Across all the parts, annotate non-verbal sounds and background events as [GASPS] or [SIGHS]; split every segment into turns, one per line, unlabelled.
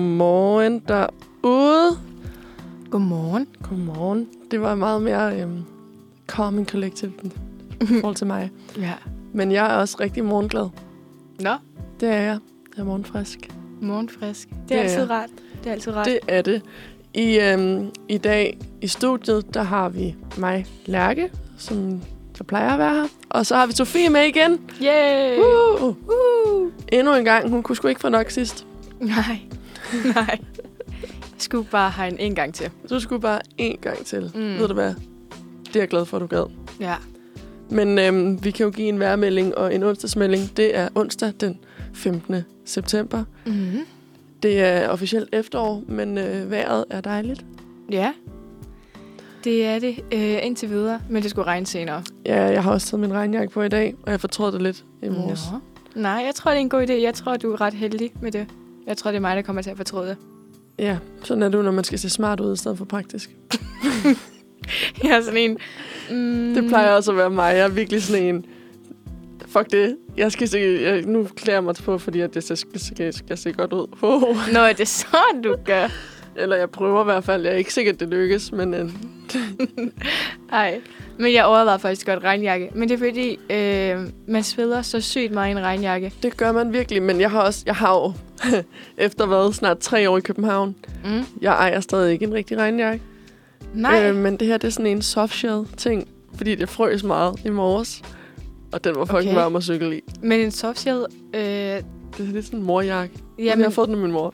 Godmorgen derude.
Godmorgen.
Godmorgen. Det var meget mere øhm, calm and collective i forhold til mig.
Ja.
Men jeg er også rigtig morgenglad.
Nå,
Det er jeg. Jeg er morgenfrisk.
morgenfrisk.
Det er
Ja, ja.
altid rart. Det er altid rart.
Det er det. I, øhm, I dag i studiet, der har vi mig, Lærke, som der plejer at være her. Og så har vi Sofie med igen.
Yay!
[LAUGHS]
Uh!
Uh.
Endnu en gang. Hun kunne sgu ikke få nok sidst.
Nej. Nej. Jeg skulle bare have en en gang til.
Du skulle bare en gang til. Mm.
Mm.
Ved du hvad? Det er jeg glad for, at du gad.
Ja.
Men øhm, vi kan jo give en vejrmelding og en onsdagsmelding. Det er onsdag den 15. september.
Mm-hmm.
Det er officielt efterår, men øh, vejret er dejligt.
Ja. Det er det øh, indtil videre, men det skulle regne senere.
Ja, jeg har også taget min regnjakke på i dag, og jeg fortrød det lidt i morges.
Nå. Nej, jeg tror, det er en god idé. Jeg tror, du er ret heldig med det. Jeg tror, det er mig, der kommer til at fortryde det.
Ja, sådan er det jo, når man skal se smart ud i stedet for praktisk. Mm.
[LAUGHS] Jeg er sådan en... Mm,
Det plejer også at være mig. Jeg er virkelig sådan en... Fuck det. Jeg skal se... Jeg, nu klæder jeg mig på, fordi at det skal, skal, skal se godt ud. Oh.
Nå, er det sådan, du gør?
Eller jeg prøver i hvert fald. Jeg er ikke sikker, at det lykkes, men... Øh,
Nej, men jeg overvejede faktisk godt regnjakke. Men det er fordi, øh, man sveder så sygt meget i en regnjakke.
Det gør man virkelig, men jeg har også, jeg har jo [LAUGHS] efter hvad, snart tre år i København.
Mm.
Jeg ejer stadig ikke en rigtig regnjakke.
Nej.
Øh, men det her, det er sådan en softshell ting, fordi det frøs meget i morges. Og den var fucking
Okay.
varm at cykle i.
Men en softshell, øh,
Det er lidt sådan en morjakke. Jamen. Jeg har
jamen,
fået den af min mor.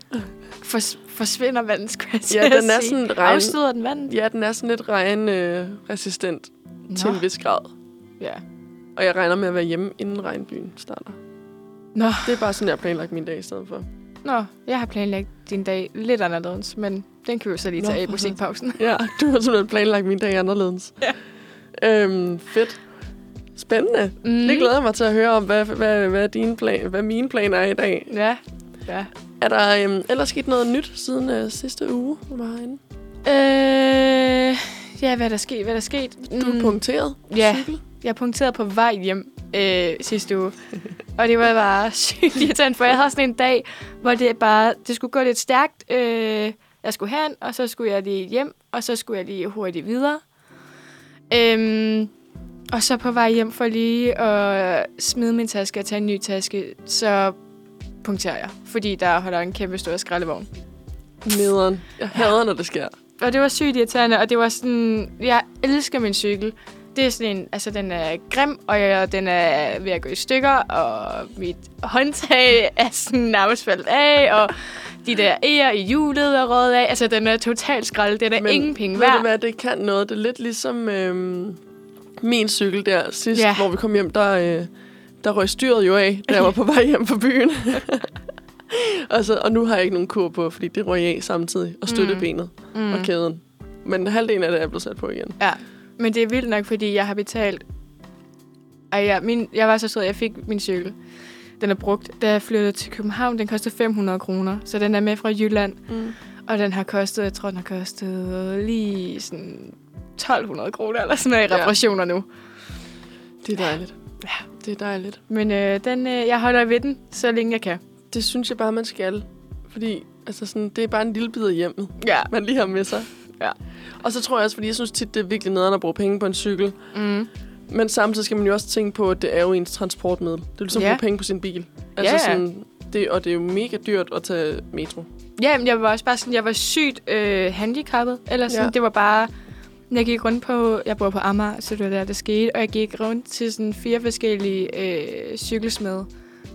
fors- forsvinder vandet, skulle jeg til
Ja,
at
den er
sige.
sådan regn...
Afstøder den vandet?
Ja, den er sådan lidt regnresistent øh,
Nå.
til en vis grad.
Ja.
Og jeg regner med at være hjemme, inden regnbyen starter.
Nå.
Det er bare sådan, jeg har planlagt min dag i stedet for.
Nå, jeg har planlagt din dag lidt anderledes, men den kan vi jo så lige
Nå,
tage af i
for helvede.
musikpausen.
Ja, [LAUGHS] du har simpelthen planlagt min dag anderledes.
Ja.
Øhm, fedt. Spændende. Mm.
Mm.
Det glæder jeg mig til at høre om, hvad, hvad, hvad, dine plan, hvad mine planer er i dag.
Ja, ja.
Er der øhm, ellers sket noget nyt siden øh, sidste uge, du var herinde?
Øh, ja, hvad er der sket? Hvad er der sket?
Du er punkteret.
Mm. Ja.
Cykel.
Jeg punkterede på vej hjem øh, sidste uge, og det var bare [LAUGHS] sygt irriterende, for jeg havde sådan en dag, hvor det bare det skulle gå lidt stærkt. Øh, jeg skulle hen, og så skulle jeg lige hjem, og så skulle jeg lige hurtigt videre. Øhm, og så på vej hjem for lige at smide min taske og tage en ny taske, så punkterer jeg, fordi der holder en kæmpe stor skraldevogn.
Nederen. Jeg hader, når det sker.
Og det var sygt irriterende, og det var sådan... Jeg elsker min cykel. Det er sådan en... Altså, den er grim, og jeg, den er ved at gå i stykker, og mit håndtag er sådan nærmest faldet af, og de der æger i hjulet er røget af. Altså, den er totalt skrald. Den er Men, ingen penge
Ved du
værd.
hvad, det kan noget. Det er lidt ligesom øhm, min cykel der sidst,
Ja.
hvor vi kom hjem, der, øh, der røg styret jo af, da jeg var på vej hjem fra byen. [LAUGHS] og, så, og nu har jeg ikke nogen kur på, fordi det røg af samtidig og støttebenet mm. og kæden. Men halvdelen af det er blevet sat på igen.
Ja, men det er vildt nok, fordi jeg har betalt... Ej, jeg, min, jeg var så sød, jeg fik min cykel. Den er brugt. Da jeg flyttede til København, den kostede 500 kroner. Så den er med fra Jylland.
Mm.
Og den har kostet, jeg tror, den har kostet lige sådan 1200 kroner eller sådan noget i
Ja.
reparationer nu.
Det er dejligt. Ja, det er dejligt.
Men øh, den, øh, jeg holder ved den, så længe jeg kan.
Det synes jeg bare, man skal. Fordi altså sådan, det er bare en lille bid af hjemmet,
Ja.
man lige har med sig.
Ja.
Og så tror jeg også, fordi jeg synes tit, det er virkelig nederen at bruge penge på en cykel.
Mm.
Men samtidig skal man jo også tænke på, at det er jo ens transportmiddel. Det er ligesom at
Ja.
bruge penge på sin bil. Altså
Ja.
sådan, det, og det er jo mega dyrt at tage metro.
Jamen, jeg var også bare sådan, jeg var sygt øh, handicappet. Eller sådan,
Ja.
ja. det var bare... Jeg gik rundt på, jeg bor på Amager, så det var der, det skete. Og jeg gik rundt til sådan fire forskellige øh, cykelsmede.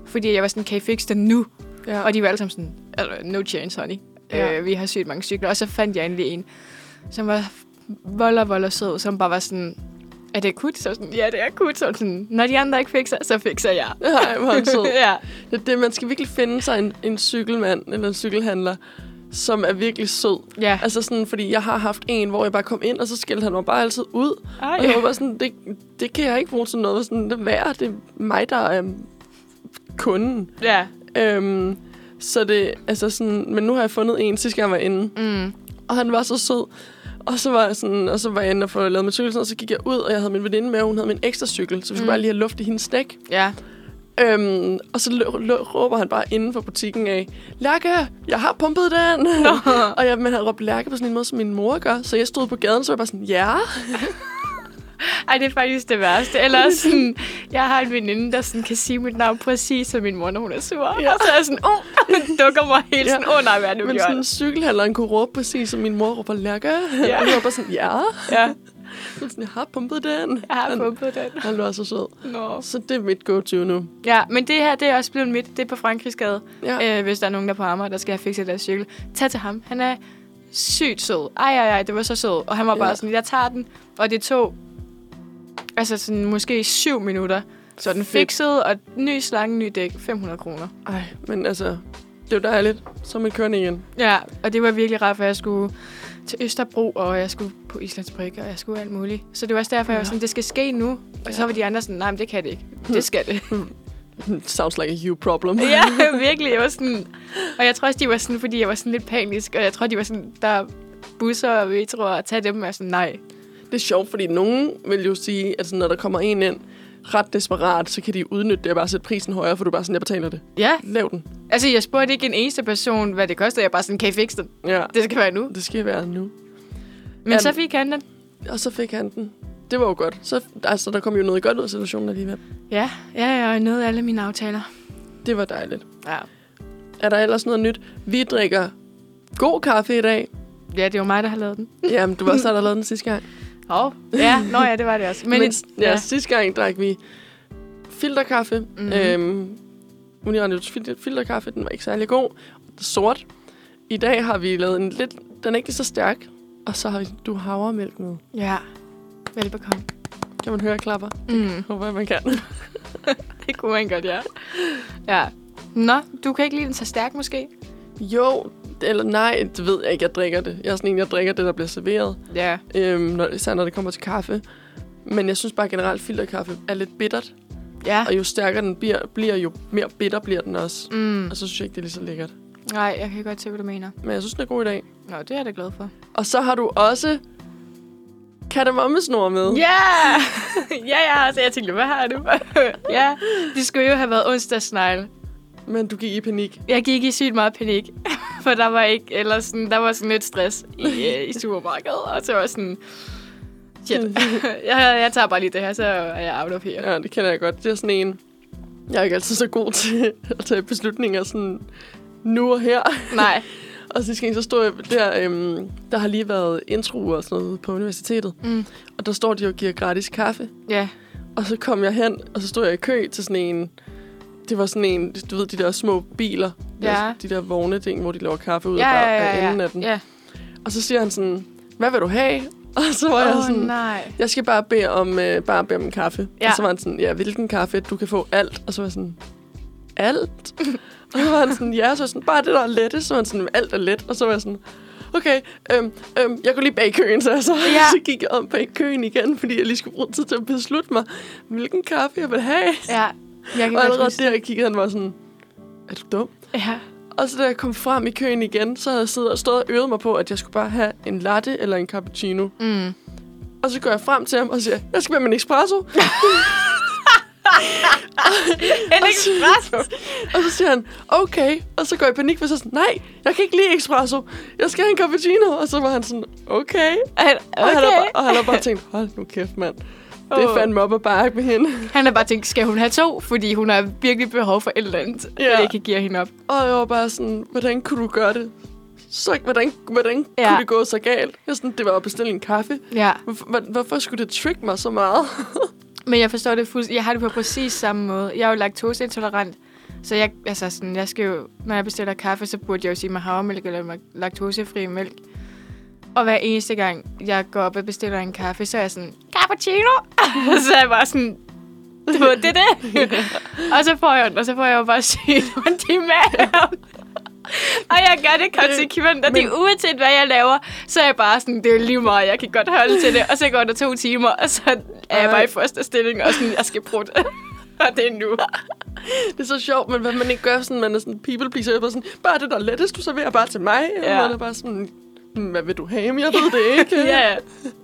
Fordi jeg var sådan, kan I fikse den nu?
[LAUGHS] Ja.
Og de var alle sammen sådan, altså, no chance, honey.
Ja.
Ja. Øh, vi har sygt mange cykler. Og så fandt jeg endelig en, som var volder, volder sød, som bare var sådan, er det akut? Så var jeg sådan, ja, det er akut. Så var hun sådan, når de andre ikke fikser, så fikser jeg.
Nej, hvor er han sød.
[LAUGHS] ja.
Det, er det, man skal virkelig finde sig en, en cykelmand eller en cykelhandler, som er virkelig sød.
ja.
Altså sådan, fordi jeg har haft en, hvor jeg bare kom ind, og så skældte han mig bare altid ud.
Ej.
Og jeg var bare sådan, det, det kan jeg ikke bruge til noget. Sådan, det er værd, det er mig, der er øhm, kunden.
Ja.
Øhm, så det, altså sådan, men nu har jeg fundet en, sidste gang jeg var inde.
Mm.
Og han var så sød. Og så var jeg, sådan, og så var jeg inde og få lavet min cykel, sådan, og så gik jeg ud, og jeg havde min veninde med, og hun havde min ekstra cykel, så vi skulle mm. bare lige have luft i hendes dæk.
Ja.
Øhm, og så lø- lø- råber han bare inden for butikken af, Lærke, jeg har pumpet den. [LAUGHS] og jeg, men han råbte Lærke på sådan en måde, som min mor gør. Så jeg stod på gaden, så var jeg bare sådan, ja.
Ej, det er faktisk det værste. Eller også sådan, jeg har en veninde, der sådan kan sige mit navn præcis, som min mor, når hun er sur. Ja. Og så er jeg sådan, oh, dukker mig helt
Ja.
sådan, åh oh, nej, hvad er det, nu
Men sådan
gjort?
en cykelhandleren kunne råbe præcis, som min mor råber, Lærke.
Ja.
Ja. [LAUGHS] og jeg var bare sådan, ja.
Ja,
Så sådan, jeg har pumpet den.
jeg har
han,
pumpet den.
Han var så sød.
Nå.
Så det er mit go-to nu.
Ja, men det her, det er også blevet mit. Det er på Frankrigsgade.
Ja.
Ja. Øh, hvis der er nogen, der er på Amager, der skal have fikset deres cykel. Tag til ham. Han er sygt sød. Ej, ej, ej, det var så sød. Og han var bare
Ja.
sådan, jeg tager den. Og det tog, altså sådan måske syv minutter. Så er den
Fedt.
fikset, og ny slange, ny dæk, 500 kroner.
Ej, men altså, det er jo dejligt. Så er man kørende igen. [LAUGHS]
Ja, og det var virkelig rart, for jeg skulle til Østerbro, og jeg skulle på Islandsbrik, og jeg skulle alt muligt. Så det var også derfor, jeg var
Ja. Hm.
sådan, det skal ske nu. Og så var de andre sådan, nej, men det kan det ikke. Det skal det.
Sounds like a you problem.
[LAUGHS] ja, virkelig. Jeg var sådan, og jeg tror også, de var sådan, fordi jeg var sådan lidt panisk, og jeg tror, de var sådan, der er busser og metroer, og tage dem, og jeg er sådan, nej.
[LAUGHS] Det er sjovt, fordi nogen vil jo sige, at sådan, når der kommer en ind ret desperat, så kan de udnytte det og bare sætte prisen højere, for du er bare sådan, jeg betaler det.
Ja,
Lav den.
altså jeg spurgte ikke en eneste person, hvad det kostede. Jeg var bare sådan, kan I fikse den?
Ja,
Det skal være nu. Øhm.
det skal være nu.
Men
Jamen.
så fik han den.
Og så fik han den. Det var jo godt. Så, altså, der kom jo noget godt ud af situationen alligevel.
Ja, ja, ja, og nåede alle mine aftaler.
Det var dejligt.
Ja.
Er der ellers noget nyt? Vi drikker god kaffe i dag.
Ja, det var mig, der har lavet den.
Jamen, du var også der, der lavede den sidste gang.
Åh, ja, nå ja, det var det også. Men,
Men, ja.
ja.
ja, sidste gang drak vi filterkaffe. Mm-hmm. Øhm, Uniradios fil- filterkaffe, den var ikke særlig god. Sort. I dag har vi lavet en lidt... Den er ikke lige så stærk. Og så har vi du havremælk med.
ja. Velbekomme.
Kan man høre, jeg klapper?
Mm.
Håber jeg, man kan.
Det kunne man godt, ja. Ja. Nå, du kan ikke lide den så stærk måske?
jo, eller nej, det ved jeg ikke. Jeg drikker det. Jeg er sådan en, jeg drikker det, der bliver serveret.
Ja.
Øhm, når, især når det kommer til kaffe. Men jeg synes bare generelt, filterkaffe er lidt bittert.
Ja.
[LAUGHS] Og jo stærkere den bliver, bliver jo mere bitter bliver den også.
Mm.
Og så synes jeg ikke, det er lige så lækkert.
Nej, jeg kan godt se, hvad du mener.
Men jeg synes, den er god i dag.
Nå, det er jeg da glad for.
Og så har du også kardemommesnor med. [LAUGHS]
Ja! ja, ja, altså jeg tænkte, hvad har du? [LAUGHS] ja, det skulle jo have været onsdagssnegle.
Men du gik i panik.
Jeg gik i sygt meget panik, for der var ikke, eller sådan, der var sådan lidt stress i, øh, i supermarkedet, og så var jeg sådan, [LAUGHS] shit, jeg, jeg tager bare lige det her, så er jeg out of
[LAUGHS]
here.
Ja, det kender jeg godt. Det er sådan en... Jeg er ikke altid så god [LAUGHS] til at tage beslutninger sådan nu og her.
Nej.
Og sidste gang, så stod jeg der... Øhm, der har lige været introer og sådan noget på universitetet.
Mm.
Og der står de og giver gratis kaffe.
Ja.
Og så kom jeg hen, og så stod jeg i kø til sådan en... Det var sådan en, du ved, de der små biler.
Ja.
De der vogne ting, hvor de laver kaffe ud
Ja,
af,
ja,
af
ja,
enden
ja.
af den.
ja.
Og så siger han sådan, hvad vil du have? [LAUGHS] Og så var oh, jeg
Åh,
sådan,
nej.
jeg skal bare bede om, øh, bare bede om en kaffe.
Ja.
Ja. Og så var han sådan, ja, hvilken kaffe? Du kan få alt. Og så var jeg sådan, [LAUGHS] alt? og så var han sådan, ja, så var jeg sådan, bare det, der er lette. Så var han sådan, alt er let. Og så var jeg sådan, okay, øhm, øhm, jeg kunne lige bag køen, så jeg så,
Ja.
ja. [LAUGHS] så gik jeg om bag køen igen, fordi jeg lige skulle bruge tid til at beslutte mig, hvilken kaffe jeg ville have.
Ja, jeg kan
Og
godt
allerede
huske.
der kiggede han var sådan, er du dum?
Ja.
Og så da jeg kom frem i køen igen, så havde jeg siddet og stået og øvet mig på, at jeg skulle bare have en latte eller en cappuccino.
Mm.
Og så går jeg frem til ham og siger, jeg skal med min
[LAUGHS]
espresso.
En espresso.
og så siger han, okay. Og så går jeg i panik, for så er jeg sådan, nej, jeg kan ikke lide espresso. Jeg skal have en cappuccino. Og så var han sådan, okay. Og, han har,
Okay.
bare- og han har bare tænkt, hold nu kæft, mand. Det
Åh.
er fandme op ad bakke med hende.
Han har bare tænkt, skal hun have to? Fordi hun har virkelig behov for et eller andet, ja.
Ja.
det kan give hende op.
Og jeg var bare sådan, hvordan kunne du gøre det? Så, hvordan, hvordan
Ja.
ja. kunne det gå så galt? Jeg sådan, det var at bestille en kaffe.
Ja.
Hvorfor, hvor- hvorfor skulle det trick mig så meget?
Men jeg forstår det fuldstændig. Jeg har det på præcis samme måde. Jeg er jo laktoseintolerant. Så jeg, altså sådan, jeg skal jo, når jeg bestiller kaffe, så burde jeg jo sige mig havremælk eller mig laktosefri mælk. Og hver eneste gang, jeg går op og bestiller en kaffe, så er jeg sådan, cappuccino! [LAUGHS] så er jeg bare sådan, det var det, det. og så får jeg den, og så får jeg jo bare sygt ondt i maven. og jeg gør det konsekvent, og det er uanset, hvad jeg laver, så er jeg bare sådan, det er lige meget, jeg kan godt holde til det. Og så går der to timer, og så er jeg bare i første stilling, og sådan, jeg skal bruge det. [LAUGHS] og det er nu.
Det er så sjovt, men hvad man ikke gør, sådan, man er sådan people pleaser, jeg er bare sådan, bare det der er lettest, du serverer bare til mig.
Ja.
Ja. Og man er bare sådan, "Hmm, hvad vil du have? Jamen, jeg ved det ikke.
[LAUGHS] Ja.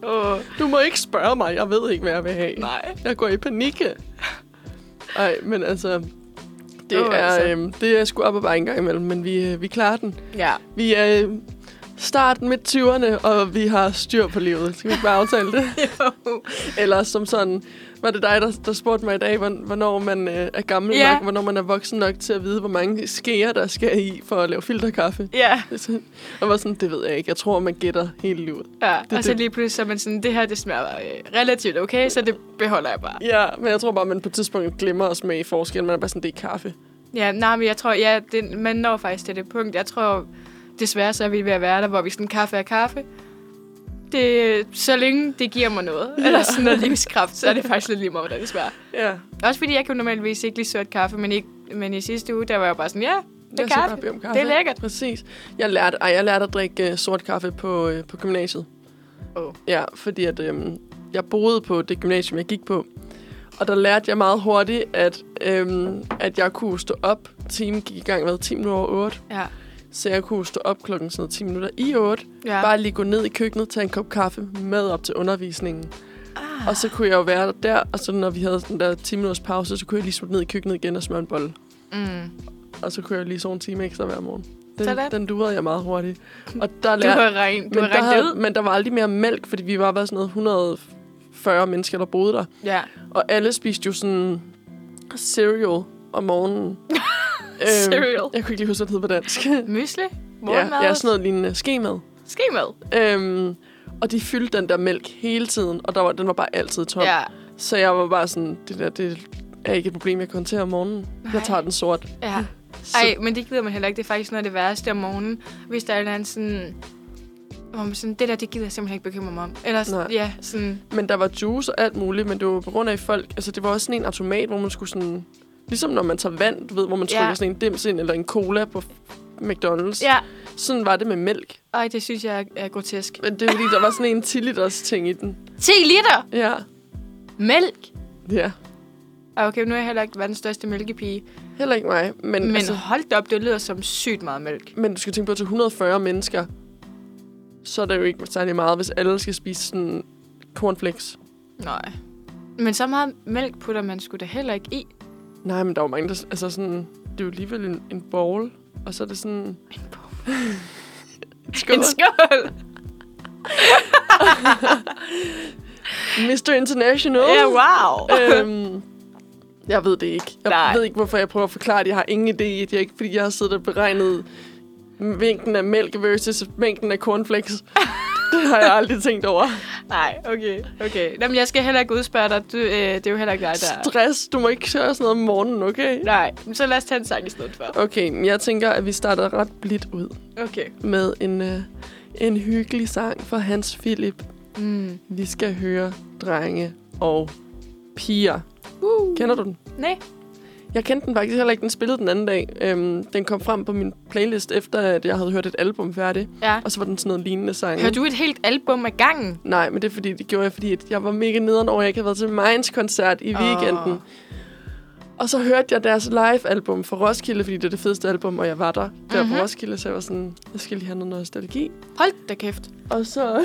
Åh,
Du må ikke spørge mig, jeg ved ikke, hvad jeg vil have.
nej.
Jeg går i panik. Ej, men altså, Det,
Åh,
oh, er,
altså.
altså. øhm, det er sgu op og bare en gang imellem, men vi, øh, vi klarer den.
Ja.
Vi er øh, start midt 20'erne, og vi har styr på livet. Skal vi ikke bare aftale det? Eller som sådan, var det dig, der, der spurgte mig i dag, hvorn- hvornår man øh, er gammel
Ja.
yeah. nok, hvornår man er voksen nok til at vide, hvor mange skeer, der skal i for at lave filterkaffe.
[LAUGHS] Ja,
Det er sådan- Og var sådan, det ved jeg ikke. Jeg tror, man gætter hele livet.
ja.
Det-
og så
det-
lige pludselig så er man sådan, det her det smager øh, relativt okay, så det beholder jeg bare.
Ja, men jeg tror bare, man på et tidspunkt glemmer os med i forskellen. Man er bare sådan, det er kaffe.
Ja, nej, men jeg tror, ja, det, man når faktisk til det punkt. Jeg tror, desværre så er vi ved at være der, hvor vi sådan, kaffe er kaffe. Det, så længe det giver mig noget, ja. eller sådan noget livskraft, så er det faktisk lidt lige meget, hvordan det smager.
Ja,
Også fordi jeg kan normalvis ikke lide sort kaffe, men, ikke, men i sidste uge, der var jeg bare sådan, ja, det er
jeg skal bare
kaffe.
bede om
Det er lækkert.
Præcis. Jeg lærte, ej, jeg lærte at drikke øh, sort kaffe på, øh, på gymnasiet.
Åh.
Ja, fordi at, øhm, jeg boede på det gymnasium, jeg gik på. Og der lærte jeg meget hurtigt, at, øhm, at jeg kunne stå op. Timen gik i gang med 10 minutter over 8.
Ja.
Så jeg kunne stå op klokken sådan noget 10 minutter i 8.
Ja.
Bare lige gå ned i køkkenet, tage en kop kaffe med op til undervisningen. Ah. Og så kunne jeg jo være der, og så når vi havde den der 10 minutters pause, så kunne jeg lige smutte ned i køkkenet igen og smøre en bolle.
Mm.
Og så kunne jeg lige sove en time ekstra hver morgen. Den,
Sådan.
den durede jeg meget hurtigt. Og der
Du
lærte,
har regnet, du
men,
har
der
regnet det ud.
men der var aldrig mere mælk, fordi vi var bare sådan noget 140 mennesker, der boede der.
Ja.
Og alle spiste jo sådan cereal om
[LAUGHS]
morgenen. Øhm,
Cereal.
Jeg kunne ikke lige huske, hvad det hed på
[LAUGHS]
dansk.
Mysli?
ja,
Morgenmad?
ja, sådan noget lignende. Skemad.
Skemad?
Øhm, og de fyldte den der mælk hele tiden, og der var, den var bare altid tom.
Ja.
Så jeg var bare sådan, det der, det er ikke et problem, jeg kan håndtere om morgenen. Nej.
Nej.
Jeg tager den sort. [LAUGHS]
ja.
Så-
Ej, men det gider man heller ikke. Det er faktisk noget af det værste om morgenen, hvis der er en eller anden sådan... Hvor man sådan, det der, det gider jeg simpelthen ikke bekymre mig om. Eller sådan,
Nej.
ja, sådan...
Men der var juice og alt muligt, men det var på grund af folk... Altså, det var også sådan en automat, hvor man skulle sådan... Ligesom når man tager vand, du ved, hvor man
Ja.
trykker sådan en dims ind, eller en cola på McDonald's.
Ja,
Sådan var det med mælk.
ej, det synes jeg er- er grotesk.
Men det er fordi, der var sådan en 10 liters ting i den.
10 liter
Ja.
mælk!
Ja.
Ej, okay, nu er jeg heller ikke verdens største mælkepige.
Heller ikke mig. Men,
Men
men, altså,
hold da op, det lyder som sygt meget mælk.
men du skal tænke på, til 140 mennesker, så er det jo ikke særlig meget, hvis alle skal spise sådan cornflakes.
Nej. Men så meget mælk putter man sgu da heller ikke i.
Nej, men der er jo mange, der... Altså sådan... Det er jo alligevel en, en bowl, og så er det sådan... En bowl? Skål.
En
[LAUGHS]
skål!
Mr. International.
Ja, wow!
øhm, [LAUGHS] jeg ved det ikke. Jeg
Nej.
Nej. ved ikke, hvorfor jeg prøver at forklare det. Jeg har ingen idé i det. Jeg ikke, fordi jeg har siddet og beregnet mængden af mælk versus mængden af
[LAUGHS]
cornflakes. det har jeg aldrig tænkt over.
Nej, okay, okay. Nå, men jeg skal heller ikke udspørge dig. Du, øh, det er jo heller ikke dig, der...
Stress. Du må ikke køre sådan noget om morgenen, okay?
Nej, men så lad os tage en sang i stedet for.
Okay, men jeg tænker, at vi starter ret blidt ud
Okay.
med en, øh, en hyggelig sang fra Hans Philip.
Mm.
Vi skal høre drenge og piger.
Uh.
Kender du den?
Nej.
Jeg kendte den faktisk heller ikke. Den spillede den anden dag. Øhm, den kom frem på min playlist, efter at jeg havde hørt et album færdigt.
Ja.
Og så var den sådan noget lignende sang.
Hører du et helt album ad gangen?
Nej, men det, er fordi, det gjorde jeg, fordi at jeg var mega nederen over, at jeg ikke havde været til Minds koncert i
Åh.
weekenden. Og så hørte jeg deres live-album fra Roskilde, fordi det er det fedeste album, og jeg var der der
Mhm.
på Roskilde, så jeg var sådan, jeg skal lige have noget nostalgi.
Hold da kæft.
Og så...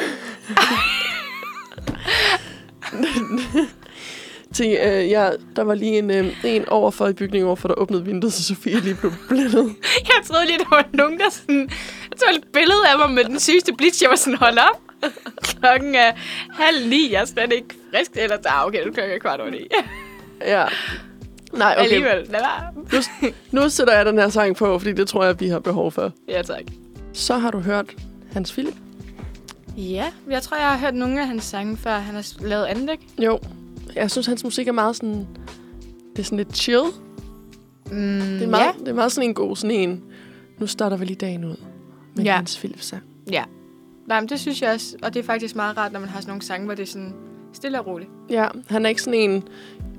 [LAUGHS] Til, øh, ja, der var lige en, øh, en overfor i bygningen overfor, der åbnede vinduet, så Sofie lige blev blændet.
[LAUGHS] Jeg troede lige, der var nogen, der sådan... Jeg tog et billede af mig med den sygeste blitz. Jeg var sådan, hold op. [LAUGHS] Klokken er halv ni. Jeg er slet ikke frisk. Eller, ah, okay, nu er klokken er kvart over ni.
Ja. Nej,
Okay.
okay.
[LAUGHS] Alligevel, lad være.
Nu, nu sætter jeg den her sang på, fordi det tror jeg, vi har behov for.
Ja, tak.
Så har du hørt Hans Philip.
Ja, jeg tror, jeg har hørt nogle af hans sange, før han har lavet andet, ikke?
Jo. Jeg synes, hans musik er meget sådan... Det er sådan lidt chill.
Mm,
Det er meget, ja. det er meget sådan en god sådan en... Nu starter vi lige dagen ud med
Ja.
ja. Hans Philip sang.
Ja. Nej, men det synes jeg også, og det er faktisk meget rart, når man har sådan nogle sange, hvor det er sådan stille og roligt.
Ja, han er ikke sådan en...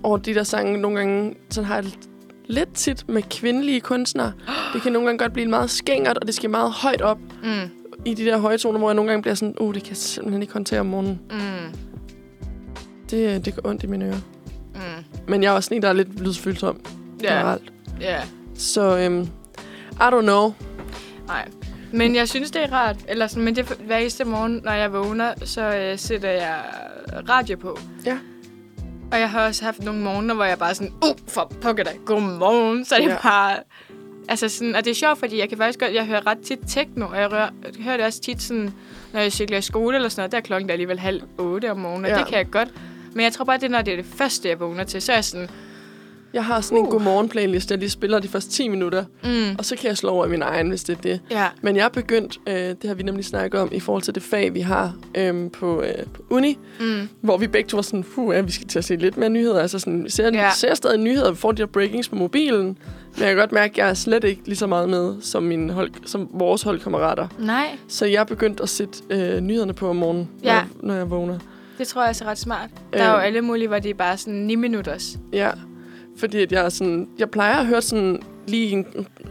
over de der sange nogle gange... Sådan har jeg det lidt tit med kvindelige kunstnere.
[GASPS]
Det kan nogle gange godt blive meget skængert, og det skal meget højt op
Mm.
i de der høje toner, hvor jeg nogle gange bliver sådan... Uh, det kan jeg simpelthen ikke håndtere om morgenen.
Mm.
Det, det går ondt i mine ører.
Mm.
Men jeg er også sådan en, der er lidt lydfølsom
Ja.
generelt.
ja.
Så øhm, I don't know.
Nej. Men jeg synes, det er rart. Eller sådan, men det er hver eneste morgen, når jeg vågner, så øh, sætter jeg radio på.
Ja.
Og jeg har også haft nogle morgener, hvor jeg bare sådan, uh, for pokker dig, godmorgen. Så er det
Ja.
ja. bare... Altså sådan, og det er sjovt, fordi jeg kan faktisk godt, jeg hører ret tit techno, og jeg, rører, jeg hører det også tit sådan, når jeg cykler i skole eller sådan noget, der er klokken da alligevel halv otte om morgenen, og
Ja.
det kan jeg godt. Men jeg tror bare, det er, når det er det første, jeg vågner til, så er jeg sådan,
Jeg har sådan en godmorgen playlist, jeg lige spiller de første 10 minutter,
Uh. mm,
og så kan jeg slå over i min egen, hvis det er det.
ja,
Men jeg er begyndt, øh, det har vi nemlig snakket om, i forhold til det fag, vi har øhm, på, øh, på uni,
mm,
hvor vi begge to var sådan, puh, ja, vi skal til at se lidt mere nyheder. Altså sådan, vi ser, ja.
Ja.
ser stadig nyheder, vi får de der breakings på mobilen, men jeg kan godt mærke, at jeg er slet ikke lige så meget med som, min hold, som vores holdkammerater.
nej,
Så jeg er begyndt at sætte øh, nyhederne på om morgenen, ja.
Ja.
når, når jeg vågner.
det tror jeg også er ret smart. Der er jo
Øh.
alle mulige, hvor det er bare sådan 9 minutters.
Ja, fordi at jeg, er sådan, jeg plejer at høre sådan lige en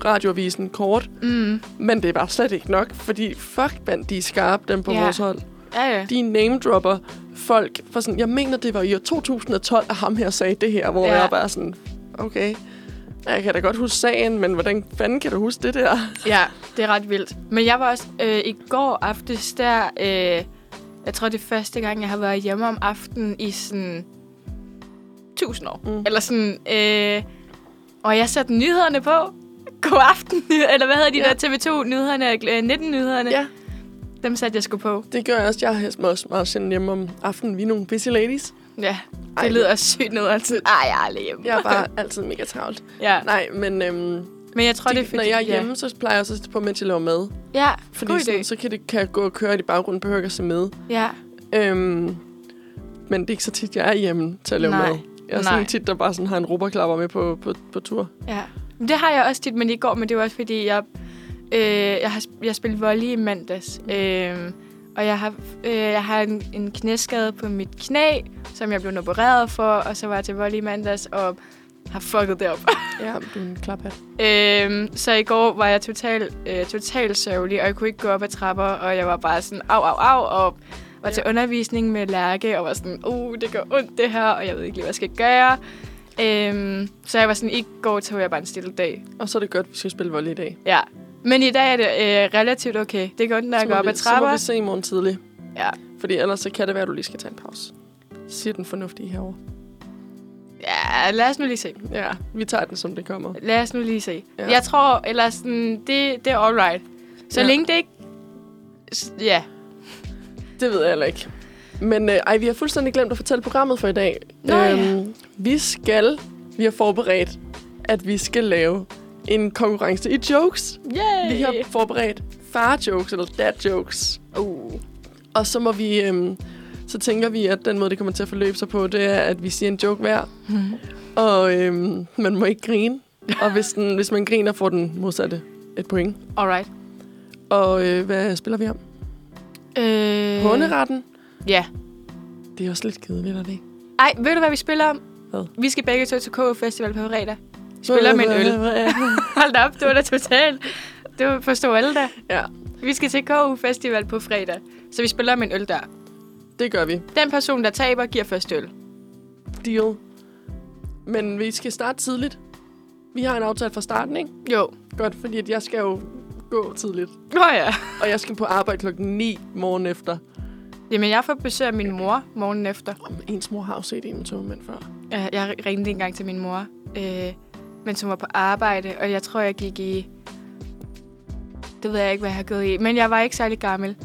radioavisen kort,
Mm,
men det er bare slet ikke nok, fordi fuck, mand, de er skarpe, dem på ja.
Ja.
vores hold.
ja, ja.
de name-dropper folk. For sådan, jeg mener, det var i år 2012, at ham her sagde det her, hvor ja.
Ja.
jeg bare sådan, okay, jeg kan da godt huske sagen, men hvordan fanden kan du huske det der?
Ja, det er ret vildt. Men jeg var også øh, i går aftes der... Øh, jeg tror, det er første gang, jeg har været hjemme om aftenen i sådan... 1000 år.
Mm.
Mm. Eller sådan... Øh, og jeg satte nyhederne på. God aften, [LAUGHS] eller hvad hedder de
Ja.
ja. der TV2-nyhederne, 19-nyhederne?
Ja.
øh, Dem satte jeg sgu på.
Det gør jeg også. Jeg har også meget sjældent hjemme om aftenen. Vi er nogle busy ladies.
Ja, det
Ej.
Ej. lyder sygt noget. Altså, Ej, jeg er aldrig hjemme.
Jeg er bare altid mega travlt.
ja.
Nej, men øhm,
Men jeg tror,
de,
det er fordi...
når jeg er
ja.
hjemme, så plejer jeg også at sætte på, mens jeg laver mad.
Ja,
Fordi
god
sådan,
idé.
så kan, det, kan jeg gå og køre i baggrunden, behøver ikke at se med.
Ja.
Øhm, men det er ikke så tit, jeg er hjemme til at lave
Nej.
mad. Jeg er
Nej.
sådan en tit, der bare sådan har en rubberklapper med på, på, på tur.
Ja, Men det har jeg også tit, men i går, men det var også fordi, jeg, øh, jeg har sp- jeg spillede volley i mandags. Øh, og jeg har, øh, jeg har en, en knæskade på mit knæ, som jeg blev opereret for, og så var jeg til volley i mandags og har fucket det op. [LAUGHS]
Ja, du er en klaphat.
øh, så i går var jeg totalt øh, total sørgelig, og jeg kunne ikke gå op ad trapper, og jeg var bare sådan au, au, au, og var til undervisning med Lærke, og var sådan, uh, det gør ondt det her, og jeg ved ikke lige, hvad jeg skal gøre. Øhm, så jeg var sådan, i går tog jeg bare en stille dag.
Og så er det godt, at vi skal spille volley i dag.
Ja. Men i dag er det øh, relativt okay. Det går ondt, når jeg går op ad
Så må
trapper.
vi se i morgen tidlig.
Ja.
Fordi ellers så kan det være, at du lige skal tage en pause. Siger den fornuftige herovre.
Ja, lad os nu lige se.
Ja, vi tager den, som det kommer.
Lad os nu lige se.
Ja.
Ja. Jeg tror, eller sådan, det, det er all right. Så
Ja.
ja. længe det ikke... s- Ja.
Det ved jeg heller ikke. Men øh, ej, vi har fuldstændig glemt at fortælle programmet for i dag. Øhm,
Nå, ja.
Vi skal, vi har forberedt, at vi skal lave en konkurrence i jokes.
Yay!
Vi har forberedt far-jokes eller dad-jokes.
Uh.
Og så må vi... Øhm, så tænker vi, at den måde, det kommer til at forløbe sig på, det er, at vi siger en joke
[LAUGHS]
hver. Og øhm, man må ikke grine. Og hvis, den, hvis man griner, får den modsatte et point.
All right.
Og øh, hvad spiller vi om?
Øh...
Øh. Hunderetten.
Ja.
Det er også lidt kedeligt, er det ikke?
Ej, ved du, hvad vi spiller om?
Hvad?
Vi skal begge to til KU Festival på fredag. Spiller med en
[LAUGHS]
øl. Hold da op, det var da totalt. Det var- forstod alle da.
ja,
Vi skal til KU Festival på fredag. Så vi spiller om en øl der.
det gør vi.
Den person, der taber, giver først øl.
Deal. Men vi skal starte tidligt. Vi har en aftale fra starten, ikke?
Jo.
Godt, fordi at jeg skal jo gå tidligt.
Nå ja.
Og jeg skal på arbejde klokken 9 morgen efter.
Jamen, jeg får besøg af min mor morgen efter.
Ens mor har jo set en med togmænd før.
Øh, Jeg ringede engang til min mor, øh, mens hun var på arbejde, og jeg tror, jeg gik i... Det ved jeg ikke, hvad jeg har gået i, men jeg var ikke særlig gammel.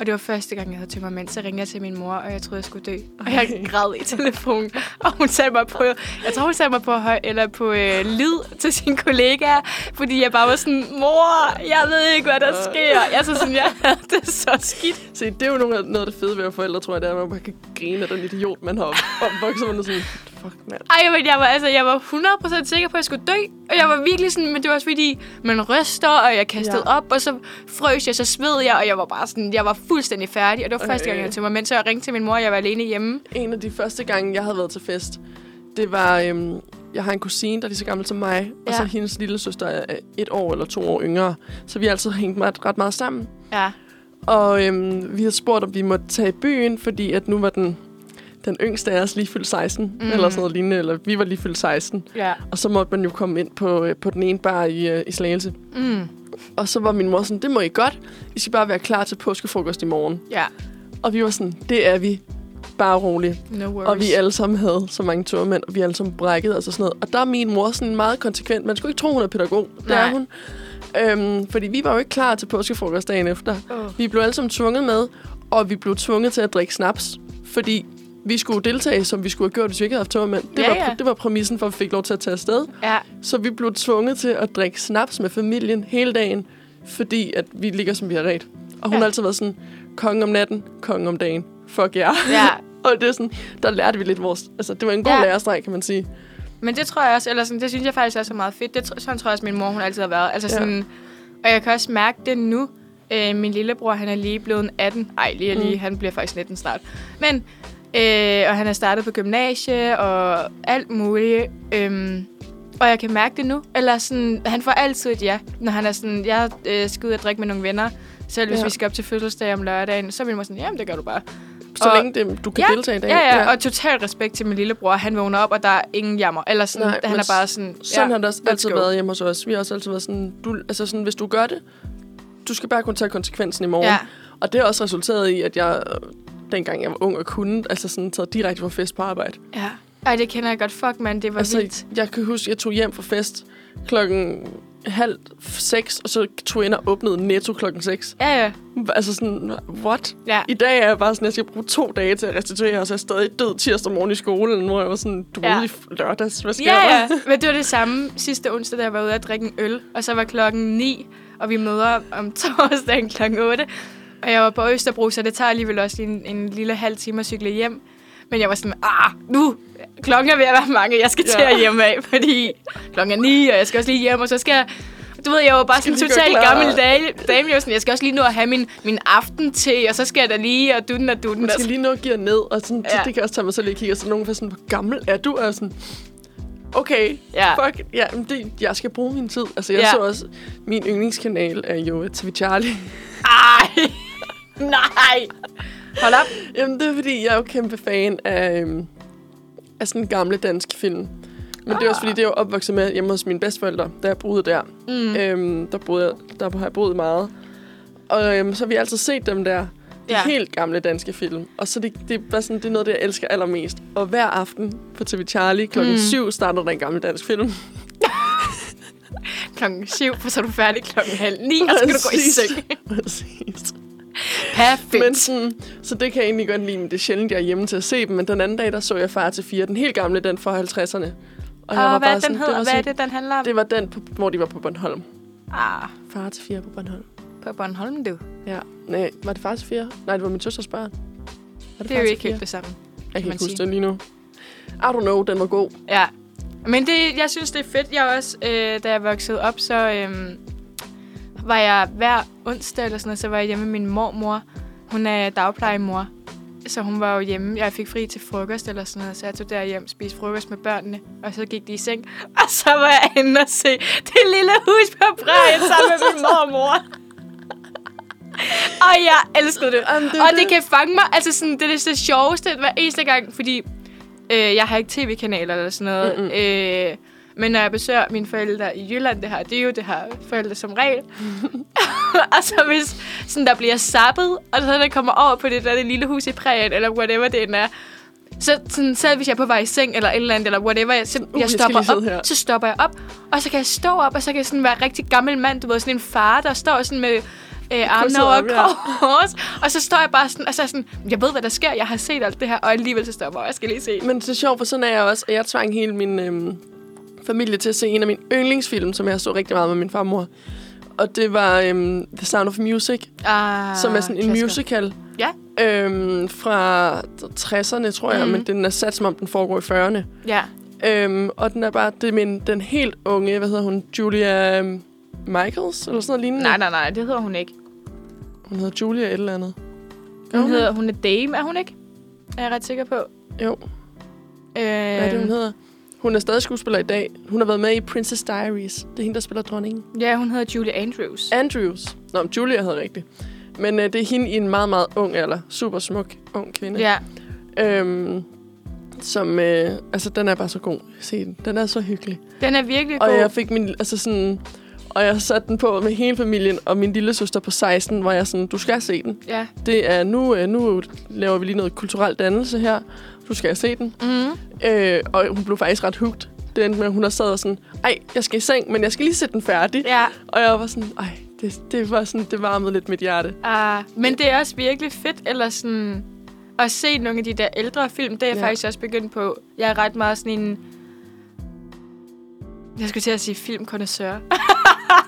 Og det var første gang, jeg havde tømmermænd, så ringede jeg til min mor, og jeg troede, jeg skulle dø. Og jeg græd i telefonen, [LAUGHS] og hun satte mig på... Jeg tror, hun satte mig på, høj, eller på øh, lid til sine kollegaer, fordi jeg bare var sådan, mor, jeg ved ikke, hvad der sker. Jeg så sådan, jeg havde det så skidt.
Se, det er jo noget af, noget af det fede ved at være forældre, tror jeg, det er, at man bare kan grine af den idiot, man har op- opvokset, og man er sådan, fuck mand.
Ej, men jeg var, altså, jeg var 100% sikker på, at jeg skulle dø. Og jeg var virkelig sådan, men det var også fordi, man ryster, og jeg kastede
Ja.
ja. op, og så frøs jeg, så smed jeg, og jeg var bare sådan, jeg var fuldstændig færdig. Og det var første
Øh.
gang, jeg tog mig, mens jeg ringte til min mor, og jeg var alene hjemme.
En af de første gange, jeg havde været til fest, det var, øhm, jeg har en kusine, der er lige så gammel som mig, ja. og så
Ja.
hendes lille søster er et år eller to år yngre, så vi har altid hængt meget, ret meget sammen.
Ja.
Og øhm, vi havde spurgt, om vi måtte tage i byen, fordi at nu var den, den yngste af os lige fyldt 16, mm. eller sådan noget lignende, eller vi var lige fyldt 16.
Ja.
Og så måtte man jo komme ind på, øh, på den ene bar i, øh, i Slagelse.
Mm.
Og så var min mor sådan, det må I godt. I skal bare være klar til påskefrokost i morgen.
Ja.
Og vi var sådan, det er vi bare rolig.
No worries.
Og vi alle sammen havde så mange tørmænd, og vi alle sammen brækkede os altså og sådan noget. Og der er min mor sådan meget konsekvent. Man skulle ikke tro, hun er pædagog. Det
Nej.
er hun. Øhm, fordi vi var jo ikke klar til påskefrokost dagen efter.
Åh.
Vi blev alle sammen tvunget med, og vi blev tvunget til at drikke snaps. Fordi vi skulle deltage, som vi skulle have gjort, hvis vi ikke havde haft tørmænd. Det,
Ja,
var,
ja.
det var præmissen for, at vi fik lov til at tage afsted.
Ja,
Så vi blev tvunget til at drikke snaps med familien hele dagen, fordi at vi ligger, som vi har ret. Og hun
Ja.
har altid været sådan, konge om natten, konge om dagen. Fuck jer.
ja.
[LAUGHS] Og det er sådan, der lærte vi lidt vores... Altså, det var en god
Ja.
ja. lærerstreg, kan man sige.
Men det tror jeg også, eller sådan, det synes jeg faktisk også er meget fedt. Det, tr- sådan tror jeg også, min mor hun altid har været. Altså
Ja.
sådan, Og jeg kan også mærke det nu. Øh, min lillebror, han er lige blevet 18. Ej, lige og lige. Mm. Han bliver faktisk 19 snart. Men, øh, og han er startet på gymnasie og alt muligt. Øhm, og jeg kan mærke det nu. Eller sådan, han får altid et ja. Når han er sådan, jeg øh, skal ud og drikke med nogle venner. Selv hvis ja.
Ja.
vi skal op til fødselsdag om lørdagen, så vil min mor sådan, jamen det gør du bare.
Så
Og-
og, længe det, du kan
Ja,
deltage i dag.
Ja, ja, og total respekt til min lillebror. Han vågner op, og der er ingen jammer. Eller sådan, Nej,
Nej,
han
men
er bare sådan...
Sådan
ja,
ja, har det også
let's
altid
go.
været hjemme hos os. Vi har også altid været sådan, du, altså sådan, hvis du gør det, du skal bare kun tage konsekvensen i morgen.
Ja.
Ja. Og det har også resulteret i, at jeg, øh, dengang jeg var ung og kunne, altså sådan taget direkte fra fest på arbejde.
Ja. Ej, det kender jeg godt. Fuck, man. Det var altså, vildt.
Altså, jeg kan huske, jeg tog hjem fra fest klokken halv seks, og så tog jeg ind og åbnede netto klokken seks.
Ja, ja.
Altså sådan, what?
Ja.
I dag er jeg bare sådan, jeg skal bruge to dage til at restituere, og så er jeg stadig død tirsdag morgen i skolen. Nu er jeg jo sådan, du
Ja.
ja. i lørdags, hvad sker
Ja,
der?
ja. Men det var det samme sidste onsdag, da jeg var ude at drikke en øl. Og så var klokken 9, og vi møder om [LAUGHS] torsdagen klokken 8. Og jeg var på Østerbro, så det tager alligevel også lige en, en lille halv time at cykle hjem. Men jeg var sådan, ah, nu, klokken er ved at være mange, jeg skal til
Ja.
at hjem af, fordi klokken er 9, og jeg skal også lige hjem, og så skal jeg... Du ved, jeg var bare sådan
lige gøre
totalt
klar.
gammel dame, dame jeg, var sådan, jeg skal også lige nu at have min, min aften til, og så skal jeg da lige, og dutten og dutten.
[LAUGHS] Man
og
skal lige nå at give ned, og sådan,
Ja.
ja. det kan også tage mig selv lige at kigge, og så er nogen der sådan, hvor gammel er du? Og jeg er sådan, okay,
Ja.
fuck, ja, men det, jeg skal bruge min tid. Altså, jeg
Ja.
ja. så også, min yndlingskanal er jo øh, TV Charlie.
Ej! [LAUGHS] Nej! Hold op.
Jamen, det er fordi, jeg er jo kæmpe fan af, øhm, af sådan gamle danske film. Men det er
Ah.
også fordi, det er jo opvokset med hjemme hos mine bedsteforældre, da jeg boede der. Mm. Øhm, der, boede jeg, der har jeg boet meget. Og øhm, så har vi altid set dem der. De
Ja.
ja. helt gamle danske film. Og så det, det, er bare sådan, det er noget, det jeg elsker allermest. Og hver aften på TV Charlie klokken mm. 7 starter der en gammel dansk film.
Klokken syv, for så er du færdig klokken halv ni, og så skal du gå i
Præcis.
seng.
[LAUGHS] Præcis.
Perfekt.
Men sådan, så det kan jeg egentlig godt lide, men det er sjældent, jeg er hjemme til at se dem. Men den anden dag, der så jeg Far til 4, den helt gamle, den fra 50'erne. Og, jeg var
og Ah, hvad
bare
den
sådan,
hedder,
var
og hvad er
sådan-
det, den handler om? Det...
Det var den, på, hvor de var på Bornholm.
Ah,
Far til 4 på Bornholm.
på Bornholm, du.
Ja. Nej, var det far til 4? Nej, det var min søsters børn. Var
Det
Far
er jo
til
ikke
Fire?
helt det samme.
Jeg
man
kan ikke huske
sige.
den lige nu. I don't know, den var god.
Ja. Men det, jeg synes, det er fedt. Jeg er også, øh, da jeg voksede op, så øh, var jeg hver onsdag eller sådan noget, så var jeg hjemme med min mormor. Hun er dagplejemor. Så hun var jo hjemme. Jeg fik fri til frokost eller sådan noget, så jeg tog derhjem, spiste frokost med børnene, og så gik de i seng. [LAUGHS] Og så var jeg inde og se det lille hus på prærien sammen med
[LAUGHS]
min mormor. og jeg elskede det.
Jamen, det er
og det
det.
kan fange mig. Altså sådan, det er det, det sjoveste hver eneste gang, fordi øh, jeg har ikke tv-kanaler eller sådan noget. Mm-hmm. Øh, men når jeg besøger mine forældre i Jylland, det har det er jo, det har forældre som regel. [LAUGHS] og så hvis sådan, der bliver sappet, og så der kommer over på det der det lille hus i prærien, eller whatever det end er, så sådan, selv hvis jeg er på vej i seng, eller et eller andet, eller whatever, jeg, så, uh, jeg
jeg skal
stopper
lige sidde
op,
her.
så stopper jeg op, og så kan jeg stå op, og så kan jeg sådan være en rigtig gammel mand, du ved, sådan en far, der står sådan med øh, armene
Krydset
over
op, ja.
kors, og så står jeg bare sådan, og så er jeg sådan, jeg ved, hvad der sker, jeg har set alt det her, og alligevel så stopper jeg, jeg skal lige se.
Men det er sjovt, for sådan er jeg også. Og jeg tvang hele min øhm, familie til at se en af mine yndlingsfilm, som jeg så rigtig meget med min farmor. Og det var øhm, The Sound of Music,
Ah,
som er sådan en
klassiker.
musical.
Ja.
Øhm, fra 60'erne, tror jeg,
Mhm.
mm. men den er sat som om den foregår i 40'erne.
Ja.
Øhm, og den er bare, det er min, den helt unge, hvad hedder hun, Julia øhm, Michaels, eller sådan noget lignende.
Nej, nej, nej, det hedder hun ikke.
Hun hedder Julia et eller andet.
Hun,
Gør
okay. hedder, hun er dame, er hun ikke? Er jeg ret sikker på.
Jo,
Øh,
hvad er det, hun hedder? Hun er stadig skuespiller i dag. Hun har været med i Princess Diaries. Det er hende, der spiller dronningen.
Ja, hun hedder Julie Andrews.
Andrews. Nå, men Julia havde rigtigt. Men øh, det er hende i en meget, meget ung alder. Super smuk, ung kvinde.
Ja.
Øhm, som, øh, altså, den er bare så god. Se den. Den er så hyggelig.
Den er virkelig
Og
god.
jeg fik min, altså sådan... Og jeg satte den på med hele familien, og min lille søster på 16 var jeg sådan, du skal se den.
Ja.
Det er nu, øh, nu laver vi lige noget kulturel dannelse her. Du skal se den.
Mm.
Øh, og hun blev faktisk ret hugt. Det endte med, at hun har sad og sådan, ej, jeg skal i seng, men jeg skal lige sætte den færdig.
ja.
Og jeg var sådan, ej, det, det var sådan, det varmede lidt mit hjerte.
Uh, men det er også virkelig fedt, eller sådan, at se nogle af de der ældre film. Det er jeg
Ja.
ja. faktisk også begyndt på. Jeg er ret meget sådan en... Jeg skulle til at sige
[LAUGHS]
filmkondensør.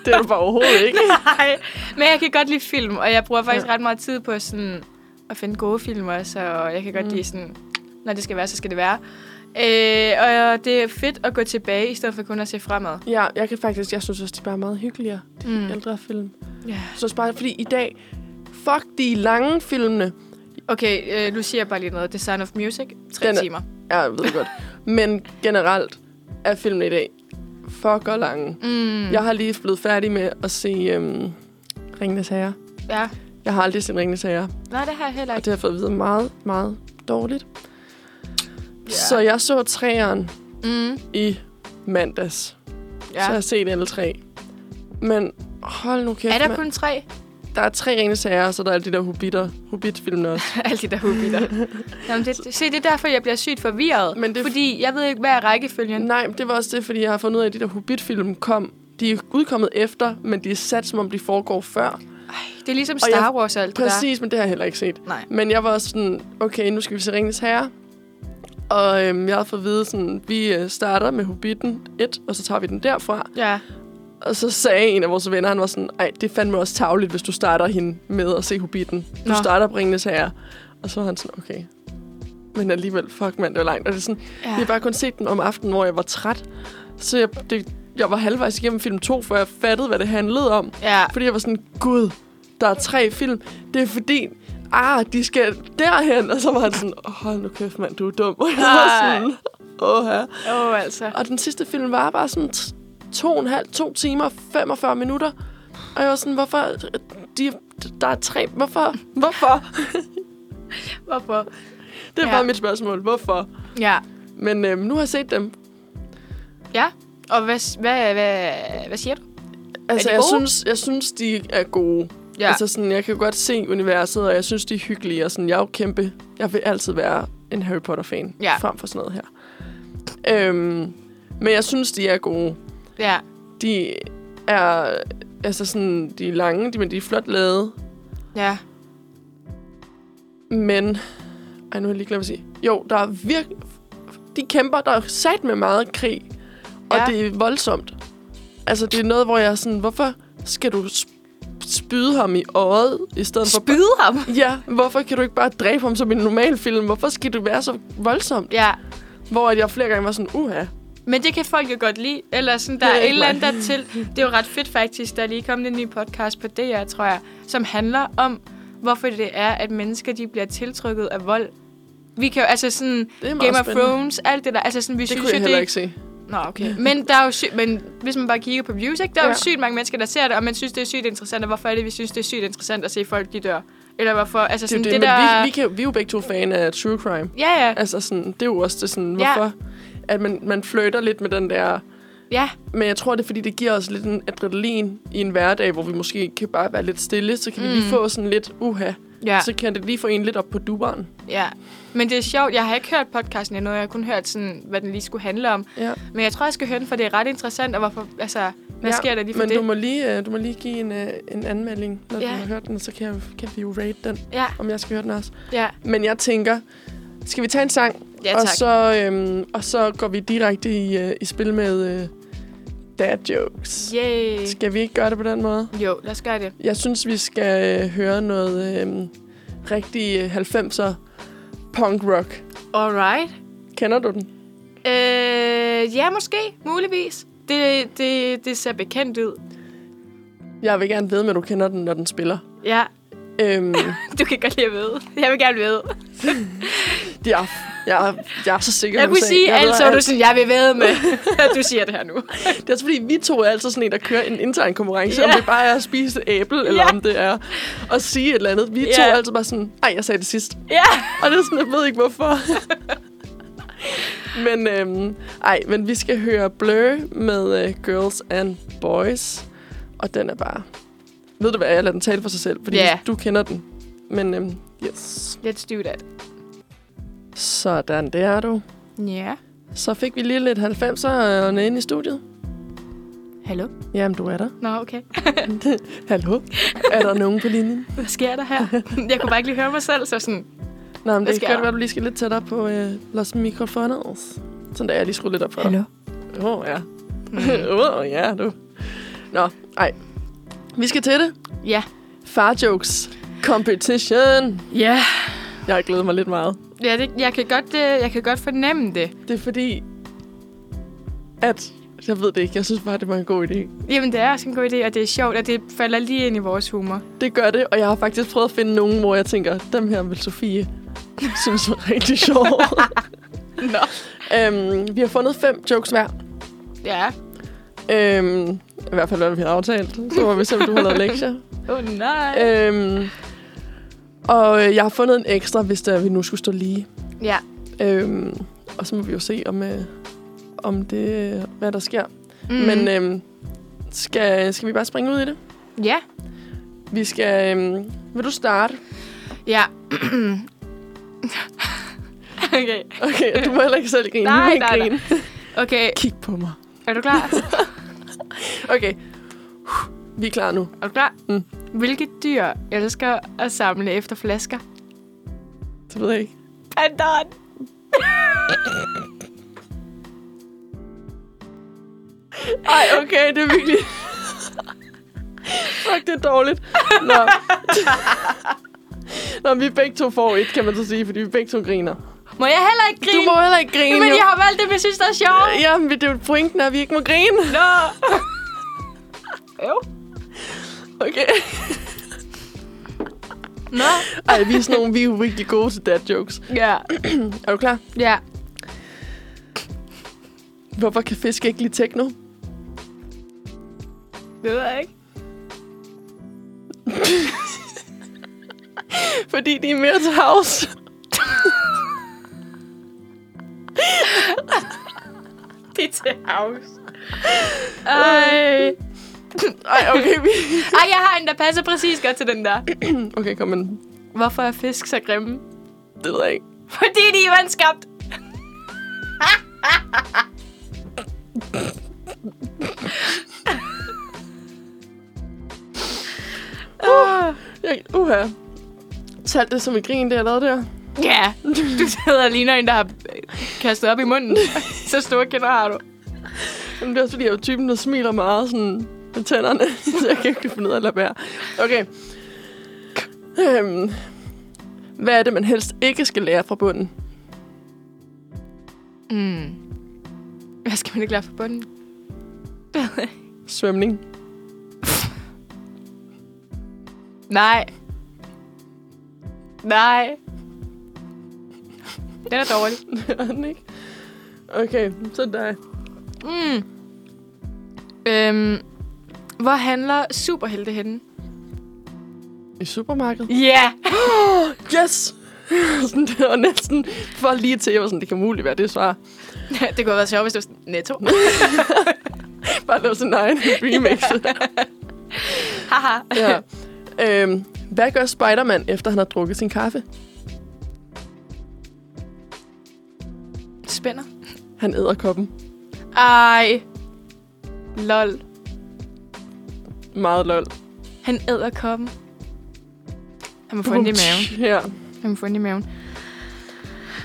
Det var du bare overhovedet
[LAUGHS]
ikke.
Nej, men jeg kan godt lide film, og jeg bruger faktisk
Ja.
ja. ret meget tid på sådan at finde gode film også, og jeg kan godt
Mm.
mm. lide sådan, når det skal være, så skal det være. Øh, og det er fedt at gå tilbage, i stedet for kun at se fremad.
Ja, jeg kan faktisk, jeg synes også, de er bare meget hyggeligere, de
Mm.
ældre film.
Ja.
Jeg synes bare, fordi i dag, fuck de lange filmene.
Okay, øh, nu siger jeg bare lige noget. The Sound of Music, tre
Den er-
timer.
Ja, jeg ved det godt. Men generelt er filmene i dag fuck og lange.
Mm.
Jeg har lige blevet færdig med at se øhm, Ringenes Herre.
ja.
Jeg har aldrig set Ringenes Herre,
Nej, det har jeg heller
og det
ikke.
har jeg fået at vide meget, meget dårligt.
Ja.
Så jeg så træeren
Mm.
i mandags. Ja. Så har
Ja.
jeg set alle tre. Men hold nu kæft,
Er der
mand.
kun tre? [LAUGHS]
der er tre Ringenes Herre, og så er der alle de der Hobbiter, Hobbit-filmene også.
Alle de der
[LAUGHS]
hobbitter. Jamen, det, se, det er derfor, jeg bliver sygt forvirret.
Men
Men
det-
det... Fordi jeg ved ikke, hvad er rækkefølgen.
Nej, men det var også det, fordi jeg har fundet ud af, at de der Hobbit-film kom. De er udkommet efter, men de er sat, som om de foregår før.
Det er ligesom
Og jeg-
Star Wars og alt det der.
Præcis, men det har jeg heller ikke set.
Nej.
Men jeg var også sådan, okay, nu skal vi se Ringens Herre. Og øhm, jeg havde fået at vide, sådan, vi øh, starter med Hobbiten 1, og så tager vi den derfra.
Ja.
Og så sagde en af vores venner, han var sådan, ej, det er fandme også tavligt, hvis du starter hende med at se Hobbiten. Du Nå.
Nå.
starter på Ringenes Herre. Og så var han sådan, okay. Men alligevel, fuck mand, det var langt. Og det er sådan, Jeg har
ja.
bare kun set den om aftenen, hvor jeg var træt. Så jeg, det, jeg var halvvejs igennem film 2, før jeg fattede, hvad det handlede om.
Ja.
Fordi jeg var sådan, gud, der er tre film. Det er fordi, ah, de skal derhen. Og så var han sådan, "Åh, hold nu kæft, mand, du er dum. [LAUGHS] Og jeg var
Nej.
sådan, åh her.
Åh, oh, altså.
Og den sidste film var bare sådan t- to og en halv, to timer, 45 minutter. Og jeg var sådan, hvorfor, de, der er tre, hvorfor, hvorfor?
[LAUGHS] Hvorfor?
Det er ja.
Ja.
bare mit spørgsmål, hvorfor?
Ja.
Men øhm, nu har jeg set dem,
Ja. Og hvad, hvad, hvad, hvad siger du?
Altså,
de
jeg
gode?
synes, jeg synes, de er gode. Ja. Altså, sådan, jeg kan godt se universet, og jeg synes, de er hyggelige. Og sådan, jeg er jo kæmpe... Jeg vil altid være en Harry Potter-fan.
Ja.
Frem for sådan noget her. Øhm, men jeg synes, de er gode.
ja.
De er... Altså sådan, de er lange, de, men de er flot lavet.
ja.
Men... Ej, nu har jeg lige glemt at sige. Jo, der er virkelig... De kæmper, der er sat med meget krig. Og
Ja.
det er voldsomt. Altså, det er noget, hvor jeg er sådan, hvorfor skal du sp- spyde ham i øjet, i stedet for...
Spyde ham.
Ja, hvorfor kan du ikke bare dræbe ham som i en normal film? Hvorfor skal du være så voldsomt?
Ja.
Hvor at jeg flere gange var sådan, uha.
Men det kan folk jo godt lide. Eller sådan, der
Det er
er et
ikke
eller andet
mig.
der til. Det er jo ret fedt faktisk. Der er lige kommet en ny podcast på DR, tror jeg, som handler om, hvorfor det er, at mennesker de bliver tiltrykket af vold. Vi kan jo, altså sådan,
Det er meget
Game of
spændende.
Thrones, alt det der, altså sådan, vi
Det
synes
kunne jeg
jo,
heller
det,
ikke se.
Nå, okay. [LAUGHS] Men, der er jo sy- men hvis man bare kigger på views, ikke? der er
Ja.
jo sygt mange mennesker, der ser det, og man synes, det er sygt interessant. Og hvorfor er det, vi synes, det er sygt interessant at se folk, de dør? Eller hvorfor? Altså
Det er jo
sådan,
det,
det,
men
der...
vi, vi, kan, vi er jo begge to fan af true crime.
Ja, ja.
Altså sådan, det er jo også det sådan,
Ja.
hvorfor... At man, man flirter lidt med den der...
ja.
Men jeg tror, det er, fordi det giver os lidt en adrenalin i en hverdag, hvor vi måske kan bare være lidt stille. Så kan mm. vi lige
Mm.
få sådan lidt uha.
Ja,
Så kan det lige få en lidt op på duberen.
ja. Men det er sjovt, jeg har ikke hørt podcasten endnu, jeg har kun hørt, sådan, hvad den lige skulle handle om.
Ja.
Men jeg tror, jeg skal høre den, for det er ret interessant, og hvorfor, altså, hvad
ja,
ja, sker der lige for
men
det?
Du må lige, øh, du må lige give en, øh, en anmelding, når
Ja.
du har hørt den, og så kan, jeg, kan vi jo rate den,
Ja,
om jeg skal høre den også.
ja,
Men jeg tænker, skal vi tage en sang,
ja
og,
tak.
så, øhm, og så går vi direkte i, øh, i spil med øh, dad jokes.
Yay.
Skal vi ikke gøre det på den måde?
Jo, lad os gøre det.
Jeg synes, vi skal øh, høre noget øh, rigtig øh, 90'er punk rock.
Alright.
Kender du den?
Øh, ja, måske. Muligvis. Det, det, det ser bekendt ud.
Jeg vil gerne vide, at du kender den, når den spiller.
Ja, [LAUGHS]
Øhm,
Du kan godt lide at vide. Jeg vil gerne vide.
de er, jeg, er, jeg er så sikker,
Jeg
du
kunne
sagde.
sige
ved
alt, så var du
alt.
sådan, jeg vil vide med,
[LAUGHS]
at du siger det her nu.
Det er også fordi, vi to er altid sådan en, der kører en intern konkurrence, yeah.
Ja.
om det bare er at spise et æble, eller
Ja.
om det er at sige et eller andet. Vi yeah. to
Ja.
er altid bare sådan, ej, jeg sagde det sidst.
Ja.
Og det er sådan, jeg ved ikke hvorfor. [LAUGHS] men, øhm, ej, men vi skal høre Blur med øh, Girls and Boys. Og den er bare... Ved du hvad, jeg lader den tale for sig selv, fordi
Ja.
yeah. du kender den. Men øhm, yes.
Let's do that.
Sådan, det er du.
Ja.
Så fik vi lige lidt 90'erne ind i studiet.
Hallo?
Jamen, du er der.
Nå, okay.
[LAUGHS] Hallo? Er der nogen på linjen?
Hvad sker der her? jeg kunne bare ikke lige høre mig selv, så sådan...
Nej, men
Hvad
det
sker
kan godt
der?
være, du lige skal lidt tættere på øh, los mikrofonet. Sådan der, jeg lige skruede lidt op for dig. Åh, oh, ja.
Mm.
[LAUGHS] Åh, oh, ja, du. Nå, ej. Vi skal til det.
[LAUGHS] Ja.
Far jokes competition.
Ja.
Jeg glæder mig lidt meget.
Ja, det, jeg, kan godt, øh, jeg kan godt fornemme det.
Det er fordi, at... Jeg ved det ikke. Jeg synes bare, det var en god idé.
Jamen, det er også en god idé, og det er sjovt, og det falder lige ind i vores humor.
Det gør det, og jeg har faktisk prøvet at finde nogen, hvor jeg tænker, dem her vil Sofie synes var rigtig sjov.
Nå.
øhm, vi har fundet fem jokes hver.
[LAUGHS] Ja.
Øhm, I hvert fald, hvad vi havde aftalt. Så må vi se, om du har lavet lektier.
Åh, oh, nej. Øh.
Øhm, og øh, jeg har fundet en ekstra, hvis der, vi nu skulle stå lige.
Ja.
Øhm, og så må vi jo se, om, øh, om det, øh, hvad der sker. Mm. Men
øh,
øhm, skal, skal vi bare springe ud i det?
Ja.
Vi skal... Øhm, vil du starte? [LAUGHS]
Ja. [LAUGHS] okay.
Okay, du må heller ikke selv grine.
Nej,
Du må ikke
nej, nej.
grine.
Okay,
Kig på mig.
er du [LAUGHS] klar?
Okay. Vi er klar nu.
Er du klar?
Mm.
Hvilke dyr elsker at samle efter flasker?
Det ved jeg ikke.
Pandan!
[LAUGHS] Ej, okay, det er virkelig... Fuck, det er dårligt. Nå. [LAUGHS] Nå, vi begge to får et, kan man så sige, fordi vi begge to griner.
[LAUGHS] Må jeg heller ikke
Du
grine?
må heller ikke grine,
Men
jo.
jeg har valgt det, men jeg synes, det er sjovt.
Jamen, det er jo pointen, er, at vi ikke må grine.
Nå! [LAUGHS] jo.
Okay.
Nå.
Ej, vi er sådan nogle, vi er jo virkelig gode til dad jokes.
Ja.
Er du klar?
Ja.
Hvorfor kan fisk ikke lide techno?
Det ved jeg ikke.
Fordi de er mere til house.
Det er til Øh. house. Øh. Ej.
Ej, okay, vi...
Ej, jeg har en, der passer præcis godt til den der.
Okay, kom med den.
Hvorfor er fisk så grimme?
Det ved jeg ikke.
Fordi de er vandskabt.
Uh, jeg, uha. Salt det som et grin, det jeg lavede der.
Ja, du sidder og ligner en, der har øh, kastet op i munden. Så store kinder har du.
Jamen, det er også fordi, jeg er jo typen, der smiler meget sådan med tænderne, [LAUGHS] så jeg kan ikke finde ud af at lade være. Okay. Øhm, hvad er det, man helst ikke skal lære fra bunden?
Mm. Hvad skal man ikke lade for bunden? Det ved jeg ikke.
Svømning. [LAUGHS]
Nej. Nej. Den er dårlig.
Er den ikke? Okay, så dig.
Mm. Øhm, hvor handler superhelte henne?
I supermarkedet.
Ja.
Yes! [LAUGHS] sådan, det var næsten for lige til, jeg var sådan, det kan muligt være det svar.
Yeah. [LAUGHS] det kunne have været sjovt, hvis det var sådan, netto.
Bare lave sin
[LAUGHS]
egen remix.
Haha.
ja. Øhm, hvad gør Spider-Man, efter han har drukket sin kaffe?
[LAUGHS] Spænder.
Han æder koppen.
Ej. Lol.
Meget lol.
Han æder koppen. Han må få ondt i maven.
Ja.
Han må få ondt i maven.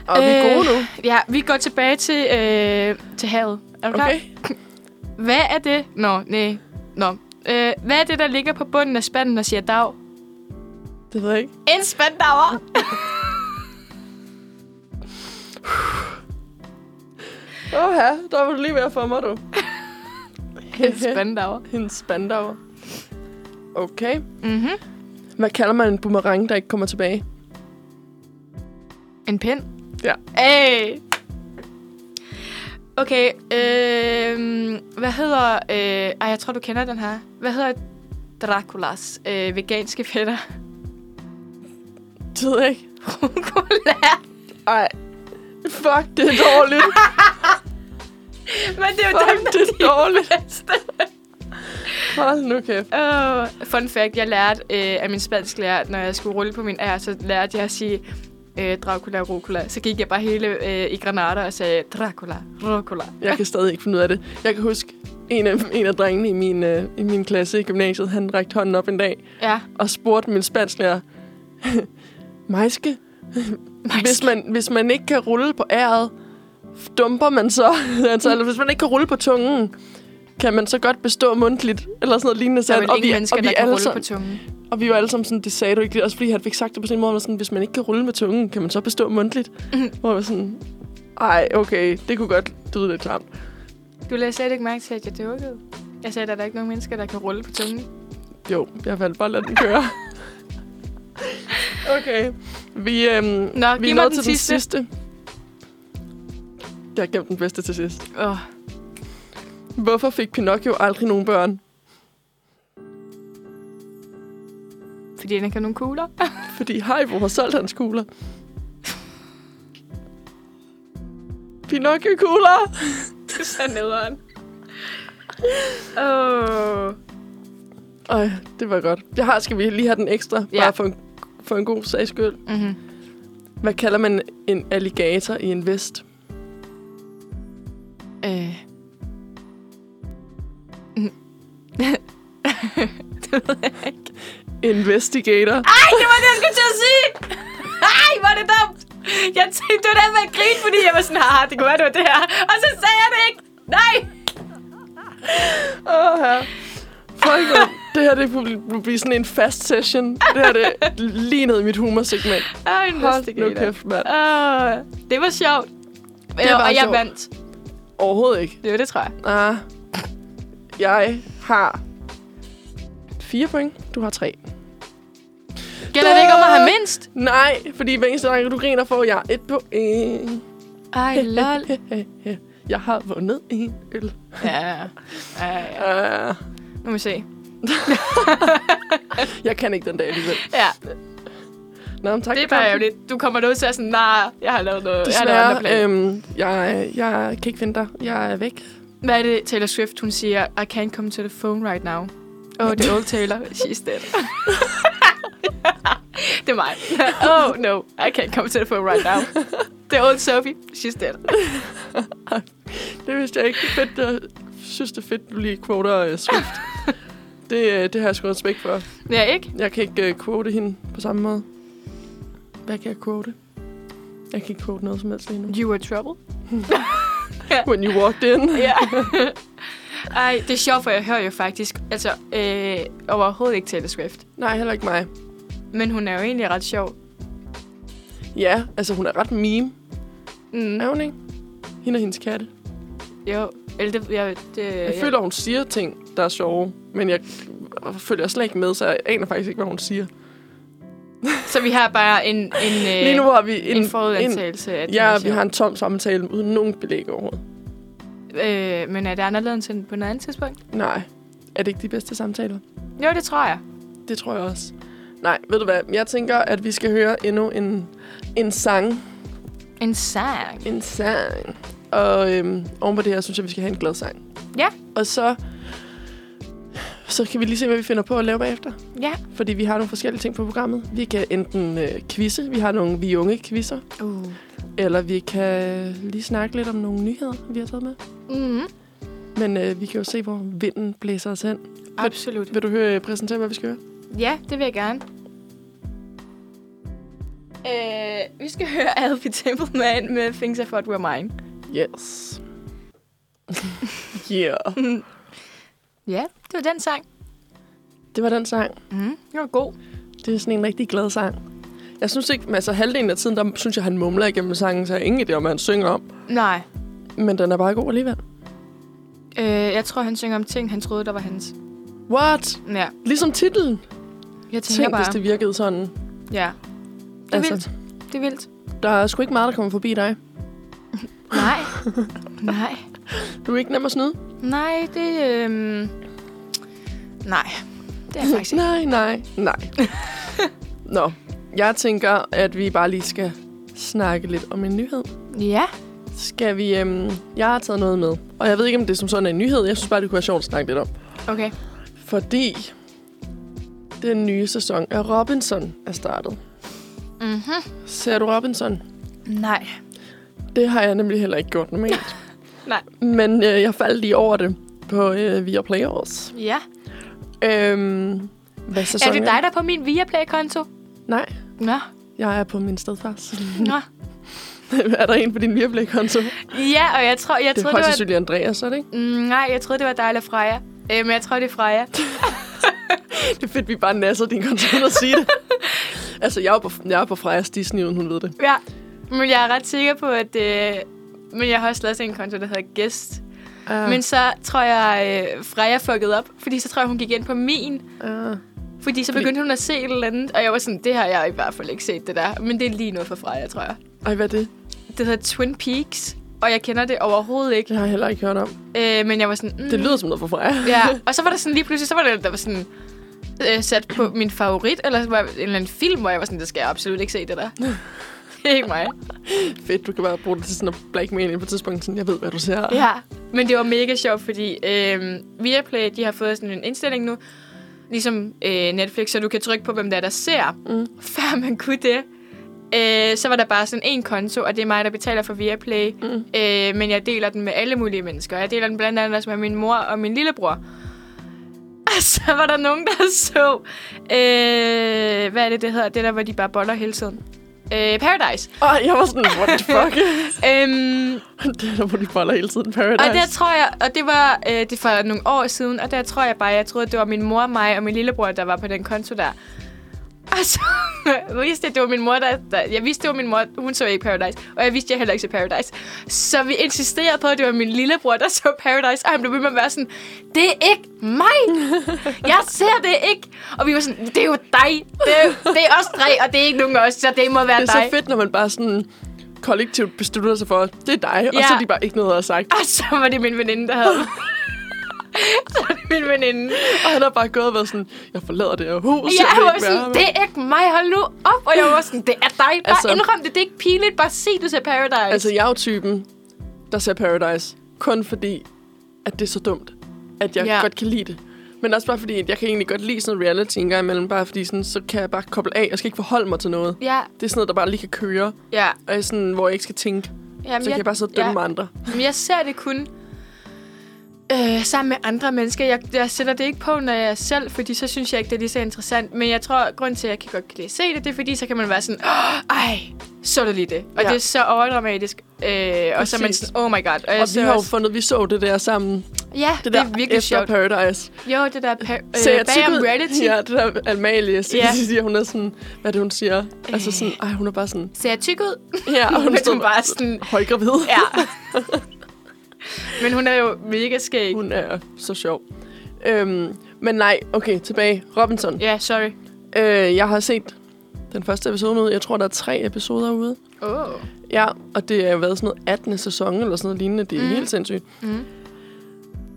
Og vi er
Øh,
gode nu.
Ja, vi går tilbage til, øh, til havet. Er du klar?
Okay.
Hvad er det? Nå, nej. Nå. Øh, hvad er det, der ligger på bunden af spanden og siger dag?
Det ved jeg ikke.
En spandauer!
Åh ja, der var du lige ved at få mig, du.
en spandauer.
[LAUGHS] en spandauer. Okay.
Mhm.
Hvad kalder man en boomerang, der ikke kommer tilbage?
En pind?
Ja.
Ej. Okay, øh, hvad hedder... Øh, ej, jeg tror, du kender den her. Hvad hedder Draculas øh, veganske fætter? [LAUGHS]
Det ved jeg ikke.
Rucola.
Ej. Fuck, det er
[LAUGHS]
dårligt.
Men det er jo
Fuck,
dem, der
det er dårligt.
bedste.
Hold nu kæft.
Oh, fun fact, jeg lærte øh, af min spansklærer, at når jeg skulle rulle på min ær, så lærte jeg at sige øh, Dracula, Rucola. Så gik jeg bare hele øh, i Granada og sagde Dracula, Rucola.
Jeg kan stadig ikke finde ud af det. Jeg kan huske, en af, en af drengene i min, øh, i min klasse i gymnasiet, han rakte hånden op en dag
Ja,
og spurgte min spansklærer, [LAUGHS] Majske, hvis man, hvis man ikke kan rulle på æret, dumper man så? [LAUGHS] altså, eller hvis man ikke kan rulle på tungen, kan man så godt bestå mundtligt? Eller sådan noget lignende.
der er
sagde
vel
han.
ingen mennesker, der kan
alle
rulle
sammen-
på tungen.
Og vi var alle sammen sådan, det sagde du ikke. Også fordi han fik sagt det på sådan en måde, hvor man sådan, hvis man ikke kan rulle med tungen, kan man så bestå
[LAUGHS]
mundtligt? Hvor jeg var sådan, ej, okay, det kunne godt lyde lidt klamt.
Du lagde slet ikke mærke til, at jeg dukkede. Jeg sagde, at der er ikke nogen mennesker, der kan rulle på tungen.
Jo, jeg valgte bare at lade den køre. okay. Vi, øhm, Nå, vi er
giv mig
nået
den
til den
sidste.
sidste. Jeg har gemt den bedste til sidst.
Oh.
Hvorfor fik Pinocchio aldrig nogen børn?
Fordi den ikke har nogen kugler. [LAUGHS]
Fordi Haibo har solgt hans kugler. Pinocchio-kugler!
det er så nederen. Åh. Oh.
Øj, det var godt. Jeg har, skal vi lige have den ekstra, ja.
Ja.
bare for en, for en god sags skyld.
Mm-hmm.
Hvad kalder man en alligator i en vest?
Øh. det ved jeg ikke.
Investigator.
Ej, det var det, jeg skulle til at sige! Ej, hvor er det dumt! Jeg tænkte, det var derfor, jeg grinede, fordi jeg var sådan, haha, det kunne være, det var det her. Og så sagde jeg det ikke. Nej!
Åh, her. Folk, hvor- det her det kunne blive sådan en fast session. Det her det er lige ned i mit humorsegment.
Åh,
Hold nu
investigator.
kæft, mand.
Åh, Ah, det var sjovt. Det
var
og jeg
sjovt.
vandt.
Overhovedet ikke.
Det var det, tror jeg.
Ah. Jeg har fire point. Du har tre.
Gælder det ikke om at have mindst?
Nej, fordi hver eneste gang, du griner, får jeg et point.
Ej, lol.
[LAUGHS] Jeg har vundet en øl.
[LAUGHS] Ja. Ej, ja.
Ah.
Nu må vi se.
Jeg kan ikke den dag alligevel.
Ja,
Nå, men tak
det er
for
bare
kampen.
ærgerligt. Du kommer nødt til at sådan, nej, jeg har lavet noget. jeg har lavet
Desværre,
andre øhm.
øhm, jeg, jeg kan ikke finde dig. Jeg er væk.
Hvad er det, Taylor Swift, hun siger, I can't come to the phone right now. Oh, the old [LAUGHS] Taylor, she's dead. det er mig. [LAUGHS] Oh, no, I can't come to the phone right now. The old Sophie, she's dead.
Det vidste jeg ikke. Det er fedt. Jeg synes, det er fedt, du lige quoter uh,
[LAUGHS]
Swift. det, øh, det har jeg sgu respekt for.
Ja, ikke?
Jeg kan ikke uh, quote hende på samme måde. Hvad kan jeg quote? Jeg kan ikke quote noget som helst lige nu.
You were trouble.
When you walked in.
Ja. [LAUGHS] Ej, det er sjovt, for jeg hører jo faktisk altså, øh, overhovedet ikke Taylor Swift.
Nej, heller ikke mig.
Men hun er jo egentlig ret sjov.
Ja, altså hun er ret meme.
Mm.
Er hun ikke? Hende og hendes katte.
Jo, eller det, jeg, det,
Jeg
jeg-
føler, hun siger ting, der er sjove. Men jeg følger slet ikke med, så jeg aner faktisk ikke, hvad hun siger.
Så vi har bare en, en, øh,
Lige nu har vi en,
en, en forudantagelse. At den
Ja,
er
vi
sjov.
har en tom samtale uden nogen belæg overhovedet.
Øh, men er det anderledes end på noget andet tidspunkt?
Nej. Er det ikke de bedste samtaler?
Jo, det tror jeg.
Det tror jeg også. Nej, ved du hvad? Jeg tænker, at vi skal høre endnu en, en sang.
En sang.
En sang. Og øhm, oven på det her, synes jeg, vi skal have en glad sang.
Ja.
Og så, så kan vi lige se, hvad vi finder på at lave bagefter.
Ja.
Fordi vi har nogle forskellige ting på programmet. Vi kan enten øh, quizze, vi har nogle vi unge quizzer,
Uh.
eller vi kan lige snakke lidt om nogle nyheder, vi har taget med.
Mm-hmm.
Men øh, vi kan jo se, hvor vinden blæser os hen.
Absolut.
Vil du høre, øh, præsentere, hvad vi skal høre?
Ja, det vil jeg gerne. Øh, vi skal [LAUGHS] høre Alfie Templeman med Things I Thought Were Mine.
Yes. [LAUGHS] yeah.
Ja, det var den sang.
Det var den sang.
Mm. Det var god.
Det er sådan en rigtig glad sang. Jeg synes ikke, altså halvdelen af tiden, der synes jeg, han mumler igennem sangen, så jeg har ingen idé om, hvad han synger om.
Nej.
Men den er bare god alligevel.
Øh, jeg tror, han synger om ting, han troede, der var hans.
What?
Ja.
Ligesom titlen.
Jeg tænker
Tænk,
bare.
hvis det virkede sådan.
Ja. Det er altså. vildt. Det er vildt.
der er sgu ikke meget, der kommer forbi dig.
[LAUGHS] Nej. Nej.
Du er ikke nem at snyde.
Nej, det... Øhm... Nej, det er jeg faktisk ikke.
Nej, nej, nej. Nå, jeg tænker, at vi bare lige skal snakke lidt om en nyhed.
[LAUGHS] Ja.
Skal vi... Øhm, jeg har taget noget med, og jeg ved ikke, om det som sådan er en nyhed. Jeg synes bare, det kunne være sjovt at snakke lidt om.
Okay.
Fordi den nye sæson af Robinson er startet.
Mm-hmm.
Ser du Robinson?
Nej.
Det har jeg nemlig heller ikke gjort normalt.
Nej.
Men øh, jeg faldt lige over det på øh, via Playoffs.
Ja.
Øhm, hvad sæson
Er det dig, der er på min Viaplay-konto?
Nej,
Nå.
jeg er på min stedfars.
Nå.
[LAUGHS] er der en på din Viaplay-konto?
Ja, og jeg tror, jeg
Det er højst
troede, det var...
sandsynligt Andreas, er det ikke?
Mm, nej, jeg troede, det var dig eller Freja. Øh, men jeg tror, det er Freja.
Det er fedt, vi bare nasser din konto uden at sige
[LAUGHS]
det. altså, jeg er på, jeg er på Frejas Disney, uden hun ved det.
Ja. Men jeg er ret sikker på, at... Øh, men jeg har også lavet sådan en konto, der hedder Gæst.
Uh,
Men så tror jeg, øh, Freja fuckede op. Fordi så tror jeg, hun gik ind på min.
uh,
Fordi så begyndte hun at se et eller andet. Og jeg var sådan, det har jeg i hvert fald ikke set det der. Men det er lige noget for Freja, tror jeg.
ej, hvad er det?
Det hedder Twin Peaks. Og jeg kender det overhovedet ikke.
Det har jeg heller ikke hørt om.
Øh, men jeg var sådan... Mm,
Det lyder som noget for Freja.
Ja, og så var der sådan lige pludselig, så var det, der var sådan øh, sat på min favorit, eller så var en eller anden film, hvor jeg var sådan, det skal jeg absolut ikke se, det
[LAUGHS]
der. det er ikke mig.
Fedt, du kan bare bruge det til sådan at blackmail på et tidspunkt. Sådan, jeg ved, hvad du ser.
Ja, men det var mega sjovt, fordi øh, Viaplay, de har fået sådan en indstilling nu, ligesom øh, Netflix, så du kan trykke på, hvem der er, der ser.
Mm.
Før man kunne det, øh, så var der bare sådan en konto, og det er mig, der betaler for Viaplay. Mm. Øh, men jeg deler den med alle mulige mennesker. Jeg deler den blandt andet også med min mor og min lillebror. [LAUGHS] Og så var der nogen, der så... Øh, hvad er det, det hedder? Det der, hvor de bare boller hele tiden. Øh, Paradise.
Og jeg var sådan, what the fuck? [LAUGHS]
Øhm,
det er der, hvor de boller hele tiden. Paradise.
og der tror jeg, og det var øh, det er for nogle år siden, og der tror jeg bare, jeg troede, at det var min mor, mig og min lillebror, der var på den konto der. Og så [LAUGHS] vidste jeg, at det var min mor, der, der... Jeg vidste, det var min mor, hun så ikke Paradise. Og jeg vidste, jeg heller ikke så Paradise. Så vi insisterede på, at det var min lillebror, der så Paradise. Og han blev ved med at være sådan, det er ikke
[LAUGHS]
mig! Jeg ser det ikke! Og vi var sådan, det er jo dig! Det er, det er os tre, og det er ikke nogen af os, så det må være
det er
dig.
så fedt, når man bare sådan kollektivt beslutter sig for, at det er dig, og
Ja.
så er de bare ikke noget at have sagt.
Og så var det min veninde, der
[LAUGHS]
havde [LAUGHS] Så var det min veninde.
Og han har bare gået og været sådan, jeg forlader det her hus.
Ja, jeg
vil
var
ikke være
sådan,
her
det
mere."
er ikke mig, hold nu op. Og jeg var sådan, det er dig. Bare altså,
Altså-
indrøm det, det er ikke pinligt. Bare se, du ser Paradise.
Altså, jeg er jo typen, der ser Paradise, kun fordi, at det er så dumt, at jeg
Ja.
ja. godt kan lide det. Men også bare fordi, at jeg kan egentlig godt lide sådan noget reality en gang imellem, bare fordi sådan, så kan jeg bare koble af, og skal ikke forholde mig til noget.
Ja,
Det er sådan noget, der bare lige kan køre,
ja.
og jeg er sådan, hvor jeg ikke skal tænke.
Jamen,
Så kan jeg bare sidde og dømme
ja.
andre.
Jamen, jeg ser det kun øh, sammen med andre mennesker. Jeg, jeg sætter det ikke på, når jeg er selv, fordi så synes jeg ikke, det er lige så interessant. Men jeg tror, at grunden til, at jeg kan godt kan lide at se det, det er fordi, så kan man være sådan, "Åh, ej, så du lige det. Og ja.
Ja.
det er så overdramatisk. Øh, og så er man
Præcis.
sådan, oh my god. jeg
Og vi
ser
har jo
også-
fundet, vi så det der sammen.
Ja, det,
Det
det
der
er virkelig
efter
sjovt.
Paradise.
Jo, det der per,
Så
øh,
jeg
bag om
tikkede-
reality.
Ja, det der Amalie siger,
Ja.
yeah. siger, hun er sådan, hvad er det, hun siger? Altså sådan, ej, hun er bare
[LAUGHS]
sådan,
Ser jeg tyk ud?
ja, og [LAUGHS] hun
Men
stod
hun bare sådan-
højgravid.
Ja. [LAUGHS] Men hun er jo mega skæg.
Hun er så sjov. Øhm, men nej, okay, tilbage. Robinson.
Ja, sorry.
Øh, jeg har set den første episode nu. Jeg tror, der er tre episoder ude.
Oh.
Ja, og det har været sådan noget 18. sæson eller sådan noget lignende. Det er
Mhm.
mm. helt sindssygt.
Mhm.
Mm.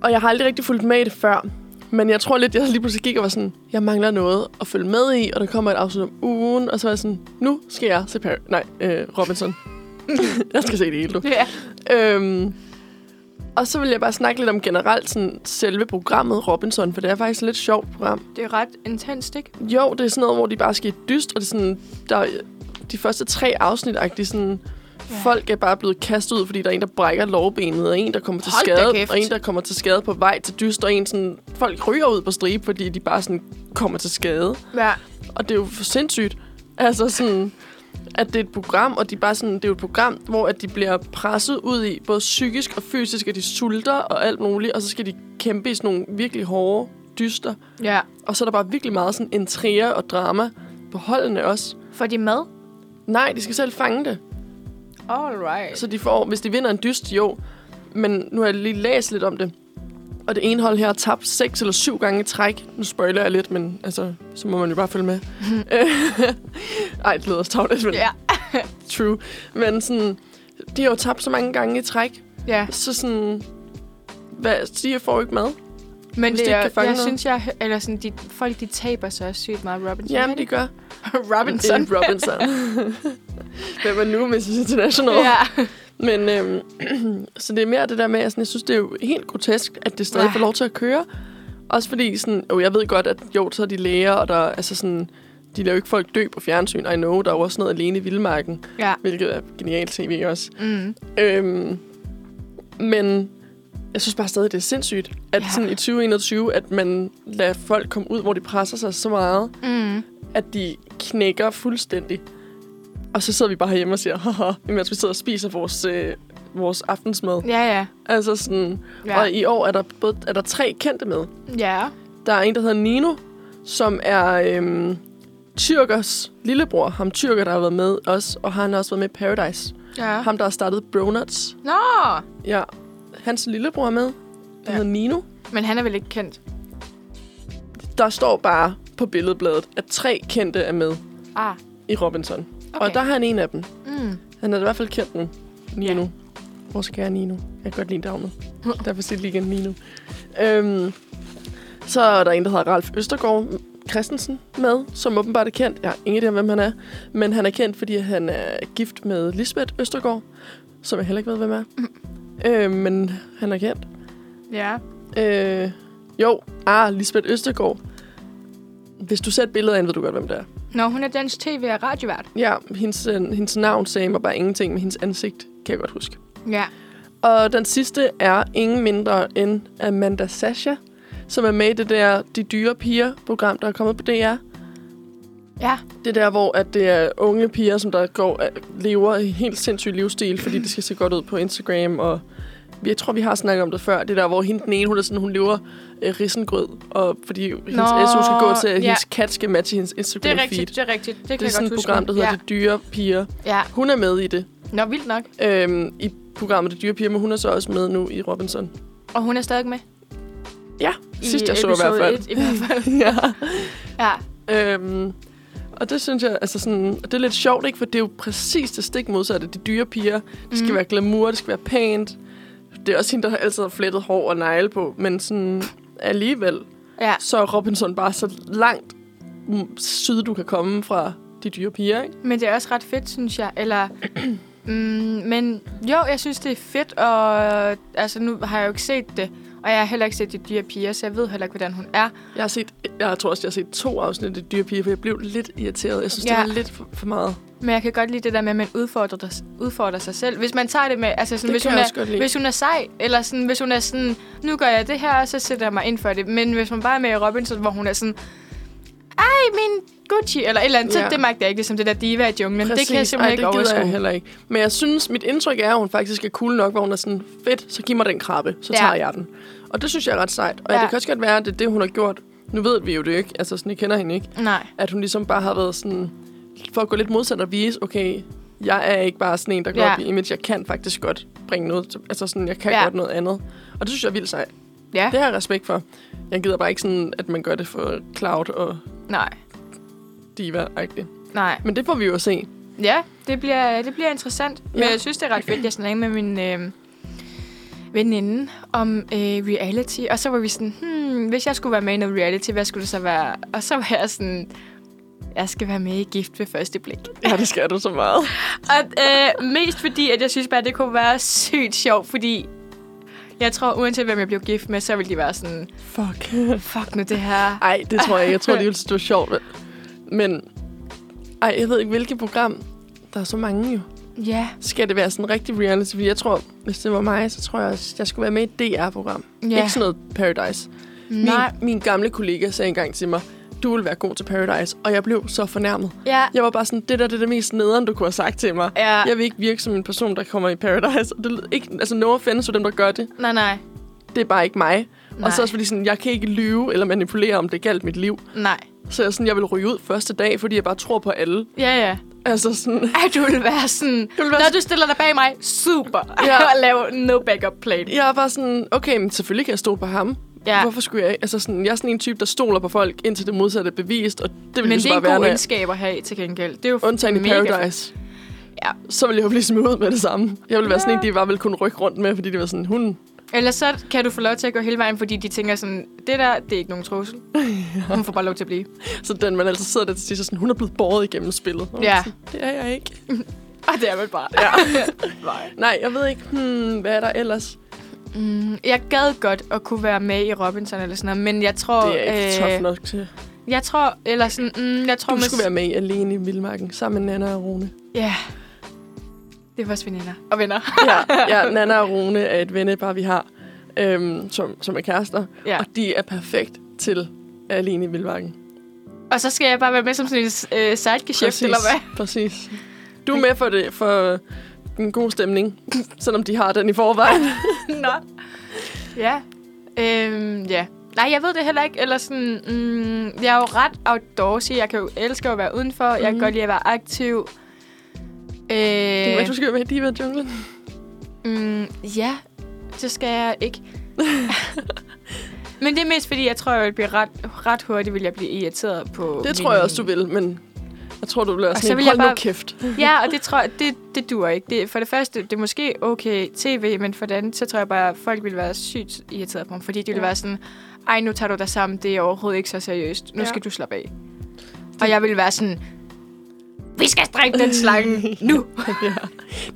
Og jeg har aldrig rigtig fulgt med i det før. Men jeg tror lidt, jeg lige pludselig gik og var sådan, jeg mangler noget at følge med i, og der kommer et afsnit om ugen, og så var jeg sådan, nu skal jeg se Par- Nej, øh, [LAUGHS] Robinson. jeg skal se det hele, du.
Ja.
Øhm, og så vil jeg bare snakke lidt om generelt sådan, selve programmet Robinson, for det er faktisk et lidt sjovt program.
Det er ret intenst, ikke?
Jo, det er sådan noget, hvor de bare skal i dyst, og det er sådan, der, er de første tre afsnit de sådan,
Ja.
ja. folk er bare blevet kastet ud, fordi der er en, der brækker lårbenet, og en, der kommer til
Hold da kæft.
skade, og en, der kommer til skade på vej til dyst, og en sådan, folk ryger ud på stribe, fordi de bare sådan kommer til skade.
Ja.
Og det er jo for sindssygt. Altså sådan, at det er et program, og de bare sådan, det er jo et program, hvor at de bliver presset ud i, både psykisk og fysisk, at de sulter og alt muligt, og så skal de kæmpe i sådan nogle virkelig hårde dyster.
Ja.
Og så er der bare virkelig meget sådan intriger og drama på holdene også.
Får de mad?
Nej, de skal selv fange det.
All right.
Så de får, hvis de vinder en dyst, jo. Men nu har jeg lige læst lidt om det. Og det ene hold her har tabt seks eller syv gange i træk. Nu spoiler jeg lidt, men altså, så må man jo bare følge
[LAUGHS]
med. Ej, det lyder også tavlet, men
Ja.
true. Men sådan, de har jo tabt så mange gange i træk.
Ja.
Så sådan, hvad, de får jo ikke mad.
Men
Hvis
det
de ikke
er,
kan fange
jeg
noget.
synes, jeg... Eller sådan, de, folk, de taber sig også sygt meget. Robinson.
Jamen, de gør.
Robinson.
Det er
[LAUGHS]
Robinson. Hvem er nu Mrs. International?
Ja.
Men [CLEARS THROAT] øhm, så det er mere det der med, at sådan, jeg synes, det er jo helt grotesk, at det stadig
Ja.
får lov til at køre. Også fordi, sådan, jo, jeg ved godt, at jo, så er de læger, og der, er- altså sådan, de lader jo ikke folk dø på fjernsyn. I know, der er jo også noget alene i Vildmarken,
Ja.
hvilket er genialt tv også.
Mm.
Øhm, men jeg synes bare stadig, det er sindssygt, at
Ja.
ja. sådan i 2021, at man lader folk komme ud, hvor de presser sig så meget,
Mm.
at de knækker fuldstændig. Og så sidder vi bare herhjemme og siger, haha, imens vi sidder og spiser vores, øh, vores aftensmad.
Ja, ja.
Altså sådan, ja.
Ja.
og i år er der, både, er der tre kendte med.
ja.
Der er en, der hedder Nino, som er øhm, Tyrkers lillebror. Ham Tyrker, der har været med os, og han har også været med i Paradise.
ja.
Ham, der har startet Bronuts.
Nå!
Ja, hans lillebror er med. Han
Ja.
ja. hedder Nino.
Men han er vel ikke kendt?
Der står bare på billedbladet, at tre kendte er med
Ah,
i Robinson.
okay.
Okay. Og der er han en af dem.
Mm.
Han er i hvert fald kendt nu. Nino. Ja. Vores kære Nino. Jeg kan godt lide navnet. Derfor siger jeg det lige igen Nino. Øhm, så er der en, der hedder Ralf Østergaard Christensen med, som åbenbart er kendt. Jeg har ingen idé om, hvem han er. Men han er kendt, fordi han er gift med Lisbeth Østergaard, som jeg heller ikke ved, hvem er. Øhm, men han er kendt.
Ja.
Øh, jo, ah, Lisbeth Østergaard. Hvis du ser et billede af hende, ved du godt, hvem det er.
Nå, hun er dansk tv- og radiovært.
Ja, hendes, øh, hendes navn sagde mig bare ingenting, men hendes ansigt kan jeg godt huske.
Ja.
Og den sidste er ingen mindre end Amanda Sasha, som er med i det der De Dyre Piger-program, der er kommet på DR.
Ja.
Det der, hvor at det er unge piger, som der går, øh, lever en helt sindssyg livsstil, fordi det skal se godt ud på Instagram. Og jeg tror, vi har snakket om det før. Det der, hvor hende den ene, hun, er sådan, hun lever øh, risengrød, og fordi hendes
Nå,
SU skal gå til, at
ja.
hendes kat skal matche hendes Instagram
Det er
feed.
rigtigt, det er rigtigt. Det, kan
Det er
jeg
sådan
godt
et
huske.
program, der hedder
ja.
ja. De Dyre Piger.
ja.
Hun er med i det,
Nå, vildt nok.
øhm, i programmet De Dyre Piger, men hun er så også med nu i Robinson.
Og hun er stadig med.
Ja,
I
sidst jeg så i hvert
episode
fald.
et, i hvert fald.
ja.
Ja.
Øhm, og det synes jeg, altså sådan, og det er lidt sjovt, ikke? For det er jo præcis det stik modsatte. De dyre piger, det skal
Mhm.
være glamour, det skal være pænt. Det er også hende, der altid har flettet hår og negle på, men sådan alligevel,
Ja.
så er Robinson bare så langt mm, syd, du kan komme fra de dyre piger, ikke?
Men det er også ret fedt, synes jeg. Eller, [CLEARS THROAT] mm, men jo, jeg synes, det er fedt, og altså, nu har jeg jo ikke set det. Og jeg har heller ikke set de dyre piger, så jeg ved heller ikke, hvordan hun er.
Jeg har set, jeg tror også, jeg har set to afsnit af de dyre piger, for jeg blev lidt irriteret. Jeg synes,
Ja.
det var lidt for, for meget.
Men jeg kan godt lide det der med, at man udfordrer, dig- udfordrer sig selv. Hvis man tager det med, altså sådan,
Det
hvis,
kan
hun
jeg
er,
også godt lide.
hvis hun er sej, eller sådan, hvis hun er sådan, nu gør jeg det her, og så sætter jeg mig ind for det. Men hvis man bare er med i Robinson, hvor hun er sådan, ej, min Gucci, eller et eller andet, ja.
Ja.
så det magter jeg ikke, ligesom det der diva i junglen. Det kan jeg simpelthen
Ej,
ikke
det gider jeg
overskue.
heller ikke. Men jeg synes, mit indtryk er, at hun faktisk er cool nok, hvor hun er sådan, fedt, så giv mig den krabbe, så
Ja.
ja. tager jeg den. Og det synes jeg er ret sejt. Og
Ja.
ja. det kan også godt være, at det er det, hun har gjort. Nu ved vi jo det ikke, altså sådan, jeg kender hende ikke.
Nej.
At hun ligesom bare har været sådan, for at gå lidt modsat og vise, okay, jeg er ikke bare sådan en, der går
Ja.
ja. op i image. Jeg kan faktisk godt bringe noget, til- altså sådan, jeg kan
Ja.
ja. godt noget andet. Og det synes jeg er vildt sejt.
Ja.
Det har jeg respekt for. Jeg gider bare ikke sådan, at man gør det for Cloud og
Nej.
diva-agtigt.
Nej.
Men det får vi jo at se.
Ja, det bliver, det bliver interessant. Ja. Men
Ja.
jeg synes, det er ret fedt. Jeg snakkede med min øh, veninde om øh, reality. Og så var vi sådan, hmm, hvis jeg skulle være med i noget reality, hvad skulle det så være? Og så var jeg sådan, jeg skal være med i Gift ved første blik.
Ja, det skal du så meget.
Og øh, mest fordi, at jeg synes bare, det kunne være sygt sjovt, fordi jeg tror, uanset hvem jeg blev gift med, så ville de være sådan,
Fuck.
fuck nu det her.
Ej, det tror jeg ikke. Jeg tror, de ville synes, det var sjovt. Men, ej, jeg ved ikke, hvilket program. Der er så mange jo.
Ja,
Skal det være sådan en rigtig reality? Fordi jeg tror, hvis det var mig, så tror jeg, også, jeg skulle være med i et DR-program.
Ja.
Ja. Ikke sådan noget Paradise. Min,
nej.
min gamle kollega sagde engang til mig, du vil være god til Paradise. Og jeg blev så fornærmet.
Ja,
Jeg var bare sådan, det der det er det mest nederen, du kunne have sagt til mig.
Ja.
Jeg vil ikke virke som en person, der kommer i Paradise. Og det, lyder ikke, altså, no offense for dem, der gør det
nej, nej,
det er bare ikke mig. Nej.
Nej.
Og så også fordi sådan, jeg kan ikke lyve eller manipulere, om det galt mit liv.
nej.
Så jeg, sådan, jeg vil ryge ud første dag, fordi jeg bare tror på alle.
Ja, ja.
Altså sådan, [LAUGHS]
at du vil være sådan, du vil
vil være
være når
sådan-
du stiller dig bag mig, super, ja.
Ja.
[LAUGHS] og lave no backup plan.
jeg var sådan, okay, men selvfølgelig kan jeg stole på ham.
Ja.
Hvorfor skulle jeg ikke? Altså sådan, jeg er sådan en type, der stoler på folk, indtil det modsatte er bevist, og det vil
Men
jo
det
så
er
bare
en
være,
god
når jeg-
egenskab at have til gengæld. Det er jo
undtagen i
mega
Paradise.
Ja.
Så ville jeg jo blive smidt ud med det samme. Jeg ville være sådan
Ja.
en, de bare ville kunne rykke rundt med, fordi det var sådan, hun...
fedt. Ellers så kan du få lov til at gå hele vejen, fordi de tænker sådan, det der, det er ikke nogen [LAUGHS] trussel. Hun får bare lov til at blive.
Så den, man altså sidder der til sidst, og sådan, hun er blevet båret igennem spillet. Og
Ja.
Sådan, det er jeg ikke.
[LAUGHS] [LAUGHS] Og det er vel bare.
Nej, jeg ved ikke, hmm, hvad er der ellers?
Mm, jeg gad godt at kunne være med i Robinson eller sådan noget, men jeg tror...
Det er ikke øh, tough nok til.
Jeg tror, eller sådan, mm, jeg tror...
Du
mås-
skulle være med i alene i Vildmarken, sammen med Nana og
[LAUGHS]
Rune.
Ja. Det er vores veninder. Og venner.
ja, ja, Nana og Rune er et vennepar, vi har, øhm, som, som er kærester.
Ja. [LAUGHS]
Og de er perfekt til alene i Vildmarken.
Og så skal jeg bare være med som sådan en øh, sidegeschæft, eller hvad?
Præcis. Du er med for, det, for en god stemning, [LAUGHS] selvom de har den i forvejen. [LAUGHS]
Nå. Ja. Øhm, ja. Nej, jeg ved det heller ikke. Eller sådan, mm, jeg er jo ret outdoorsy. Jeg kan jo elske at være udenfor. Mm. Jeg kan
Mhm.
godt lide at være aktiv.
Du,
Øh,
du skal jo med i Diva Junglen.
Mm, ja, det skal jeg
[LAUGHS]
ikke. Men det er mest fordi, jeg tror, jeg vil blive ret, ret hurtigt vil jeg blive irriteret på...
Det
min-
tror jeg også, du vil, men jeg tror, du bliver
så
sådan
vil
en,
jeg
hold nu
bare-
kæft. [LAUGHS]
Ja, og det tror jeg, det, det dur ikke. Det, for det første, det er måske okay tv, men for det andet, så tror jeg bare, at folk ville være sygt irriteret på mig, fordi de ville
Ja.
ja. være sådan, ej, nu tager du dig sammen, det er overhovedet ikke så seriøst. Nu
Ja.
ja. skal du slappe af. Og jeg ville være sådan, vi skal strække den slange
[LAUGHS]
nu.
ja.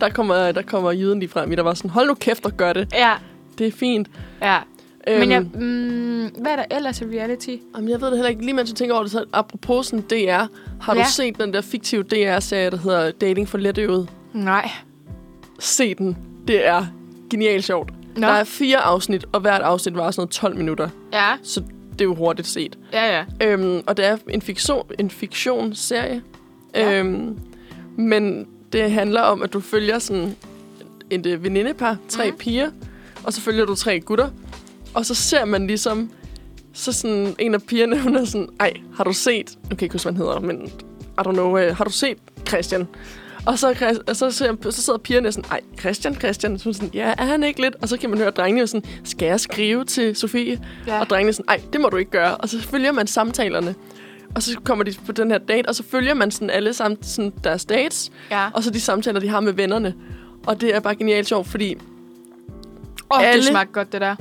Der kommer, der kommer jyden lige frem i, der var sådan, hold nu kæft og gør det.
ja,
Det er fint.
ja.
Øhm,
Men jeg, mm, hvad er der ellers af reality?
Jamen, jeg ved det heller ikke. Lige mens jeg tænker over det, så apropos sådan DR, har ja.
Ja.
du set den der fiktive DR-serie, der hedder Dating for Letøvet?
Nej.
Se den. Det er genialt sjovt.
Nå.
Der er fire afsnit, og hvert afsnit var sådan noget 12 minutter.
Ja,
Så det er jo hurtigt set.
ja, ja.
Øhm, og det er en, fiktion, en fiktionsserie.
Ja.
Øhm, men det handler om, at du følger sådan et øh, venindepar, tre mm. piger, og så følger du tre gutter. Og så ser man ligesom, så sådan en af pigerne, [LAUGHS] hun er sådan, ej, har du set, nu kan jeg ikke huske, hvad han hedder, men I don't know, øh, har du set Christian? Og så, er Chris- og så, ser, så sidder pigerne sådan, ej, Christian, Christian. Så hun sådan, ja, er han ikke lidt? Og så kan man høre drengene sådan, skal jeg skrive til Sofie?
Ja.
Og drengene sådan, ej, det må du ikke gøre. Og så følger man samtalerne. Og så kommer de på den her date, og så følger man sådan alle sammen sådan deres dates.
ja.
Og så de samtaler, de har med vennerne. Og det er bare genialt sjovt, fordi
Åh, oh,
alle-
det smagte godt, det der.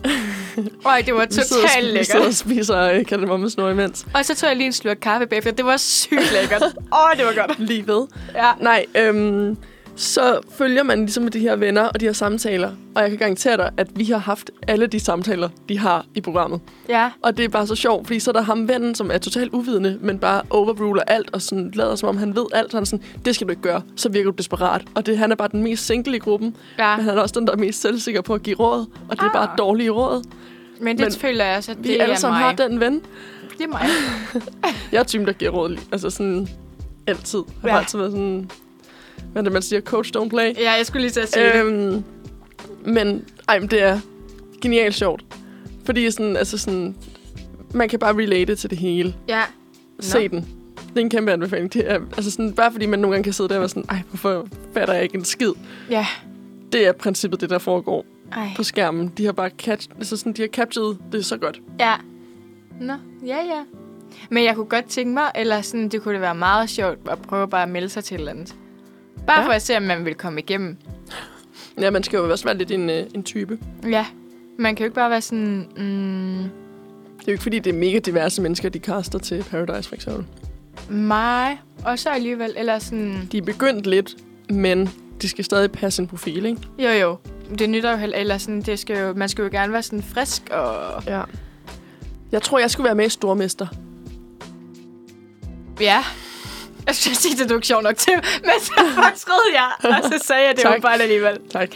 Ej, det var
[LAUGHS] vi sidder, og,
totalt
sp- vi sidder og
lækkert.
spiser øh, kardemommesnore imens.
Og så tog jeg lige en slurk kaffe bagefter. Det var sygt
[LAUGHS]
lækkert. Åh, oh, det var godt.
Lige ved.
Ja.
Nej, øhm, så følger man ligesom med de her venner og de her samtaler. Og jeg kan garantere dig, at vi har haft alle de samtaler, de har i programmet.
Ja.
Og det er bare så sjovt, fordi så er der ham vennen, som er totalt uvidende, men bare overruler alt og sådan lader som om han ved alt. Så Han er sådan, det skal du ikke gøre, så virker du desperat. Og det, han er bare den mest single i gruppen,
ja.
men han er også den, der er mest selvsikker på at give råd. Og det er bare
Ah.
dårlige råd.
Men det
Men
men føler jeg så, det
Vi det alle
er
sammen
mig.
har den ven.
Det er mig.
Jeg er typen, der giver råd. lige- Altså sådan altid. Jeg har
Ja.
altid været sådan... Hvad er det, man siger? Coach don't play.
Ja, jeg skulle lige til at sige øhm. det.
Øhm, men ej, men det er genialt sjovt. Fordi sådan, altså sådan, man kan bare relate til det hele.
Ja.
Se den. Det er en kæmpe anbefaling. Det er, altså sådan, bare fordi man nogle gange kan sidde der og være sådan, ej, hvorfor fatter jeg ikke en skid?
Ja.
Det er princippet, det der foregår
Ej.
på skærmen. De har bare catch, altså sådan, de har captured det så godt.
Ja. Nå, ja, ja. Men jeg kunne godt tænke mig, eller sådan, det kunne da være meget sjovt at prøve bare at melde sig til et eller andet. Bare
Ja.
ja. for at se, om man vil komme igennem.
Ja, man skal jo også være lidt en, øh, en type.
Ja. Man kan jo ikke bare være sådan... Mm,
Det er jo ikke, fordi det er mega diverse mennesker, de kaster til Paradise, for eksempel.
mig, og så alligevel, eller sådan...
De er begyndt lidt, men de skal stadig passe en profil, ikke?
Jo, jo. Det nytter jo heller, eller sådan, det skal jo, man skal jo gerne være sådan frisk og...
Ja. Jeg tror, jeg skulle være med i Stormester.
Ja. Jeg skulle sige, det er du ikke sjov nok til, [LAUGHS] men så fortrød jeg, og så sagde jeg det
Tak.
jo bare alligevel.
Tak.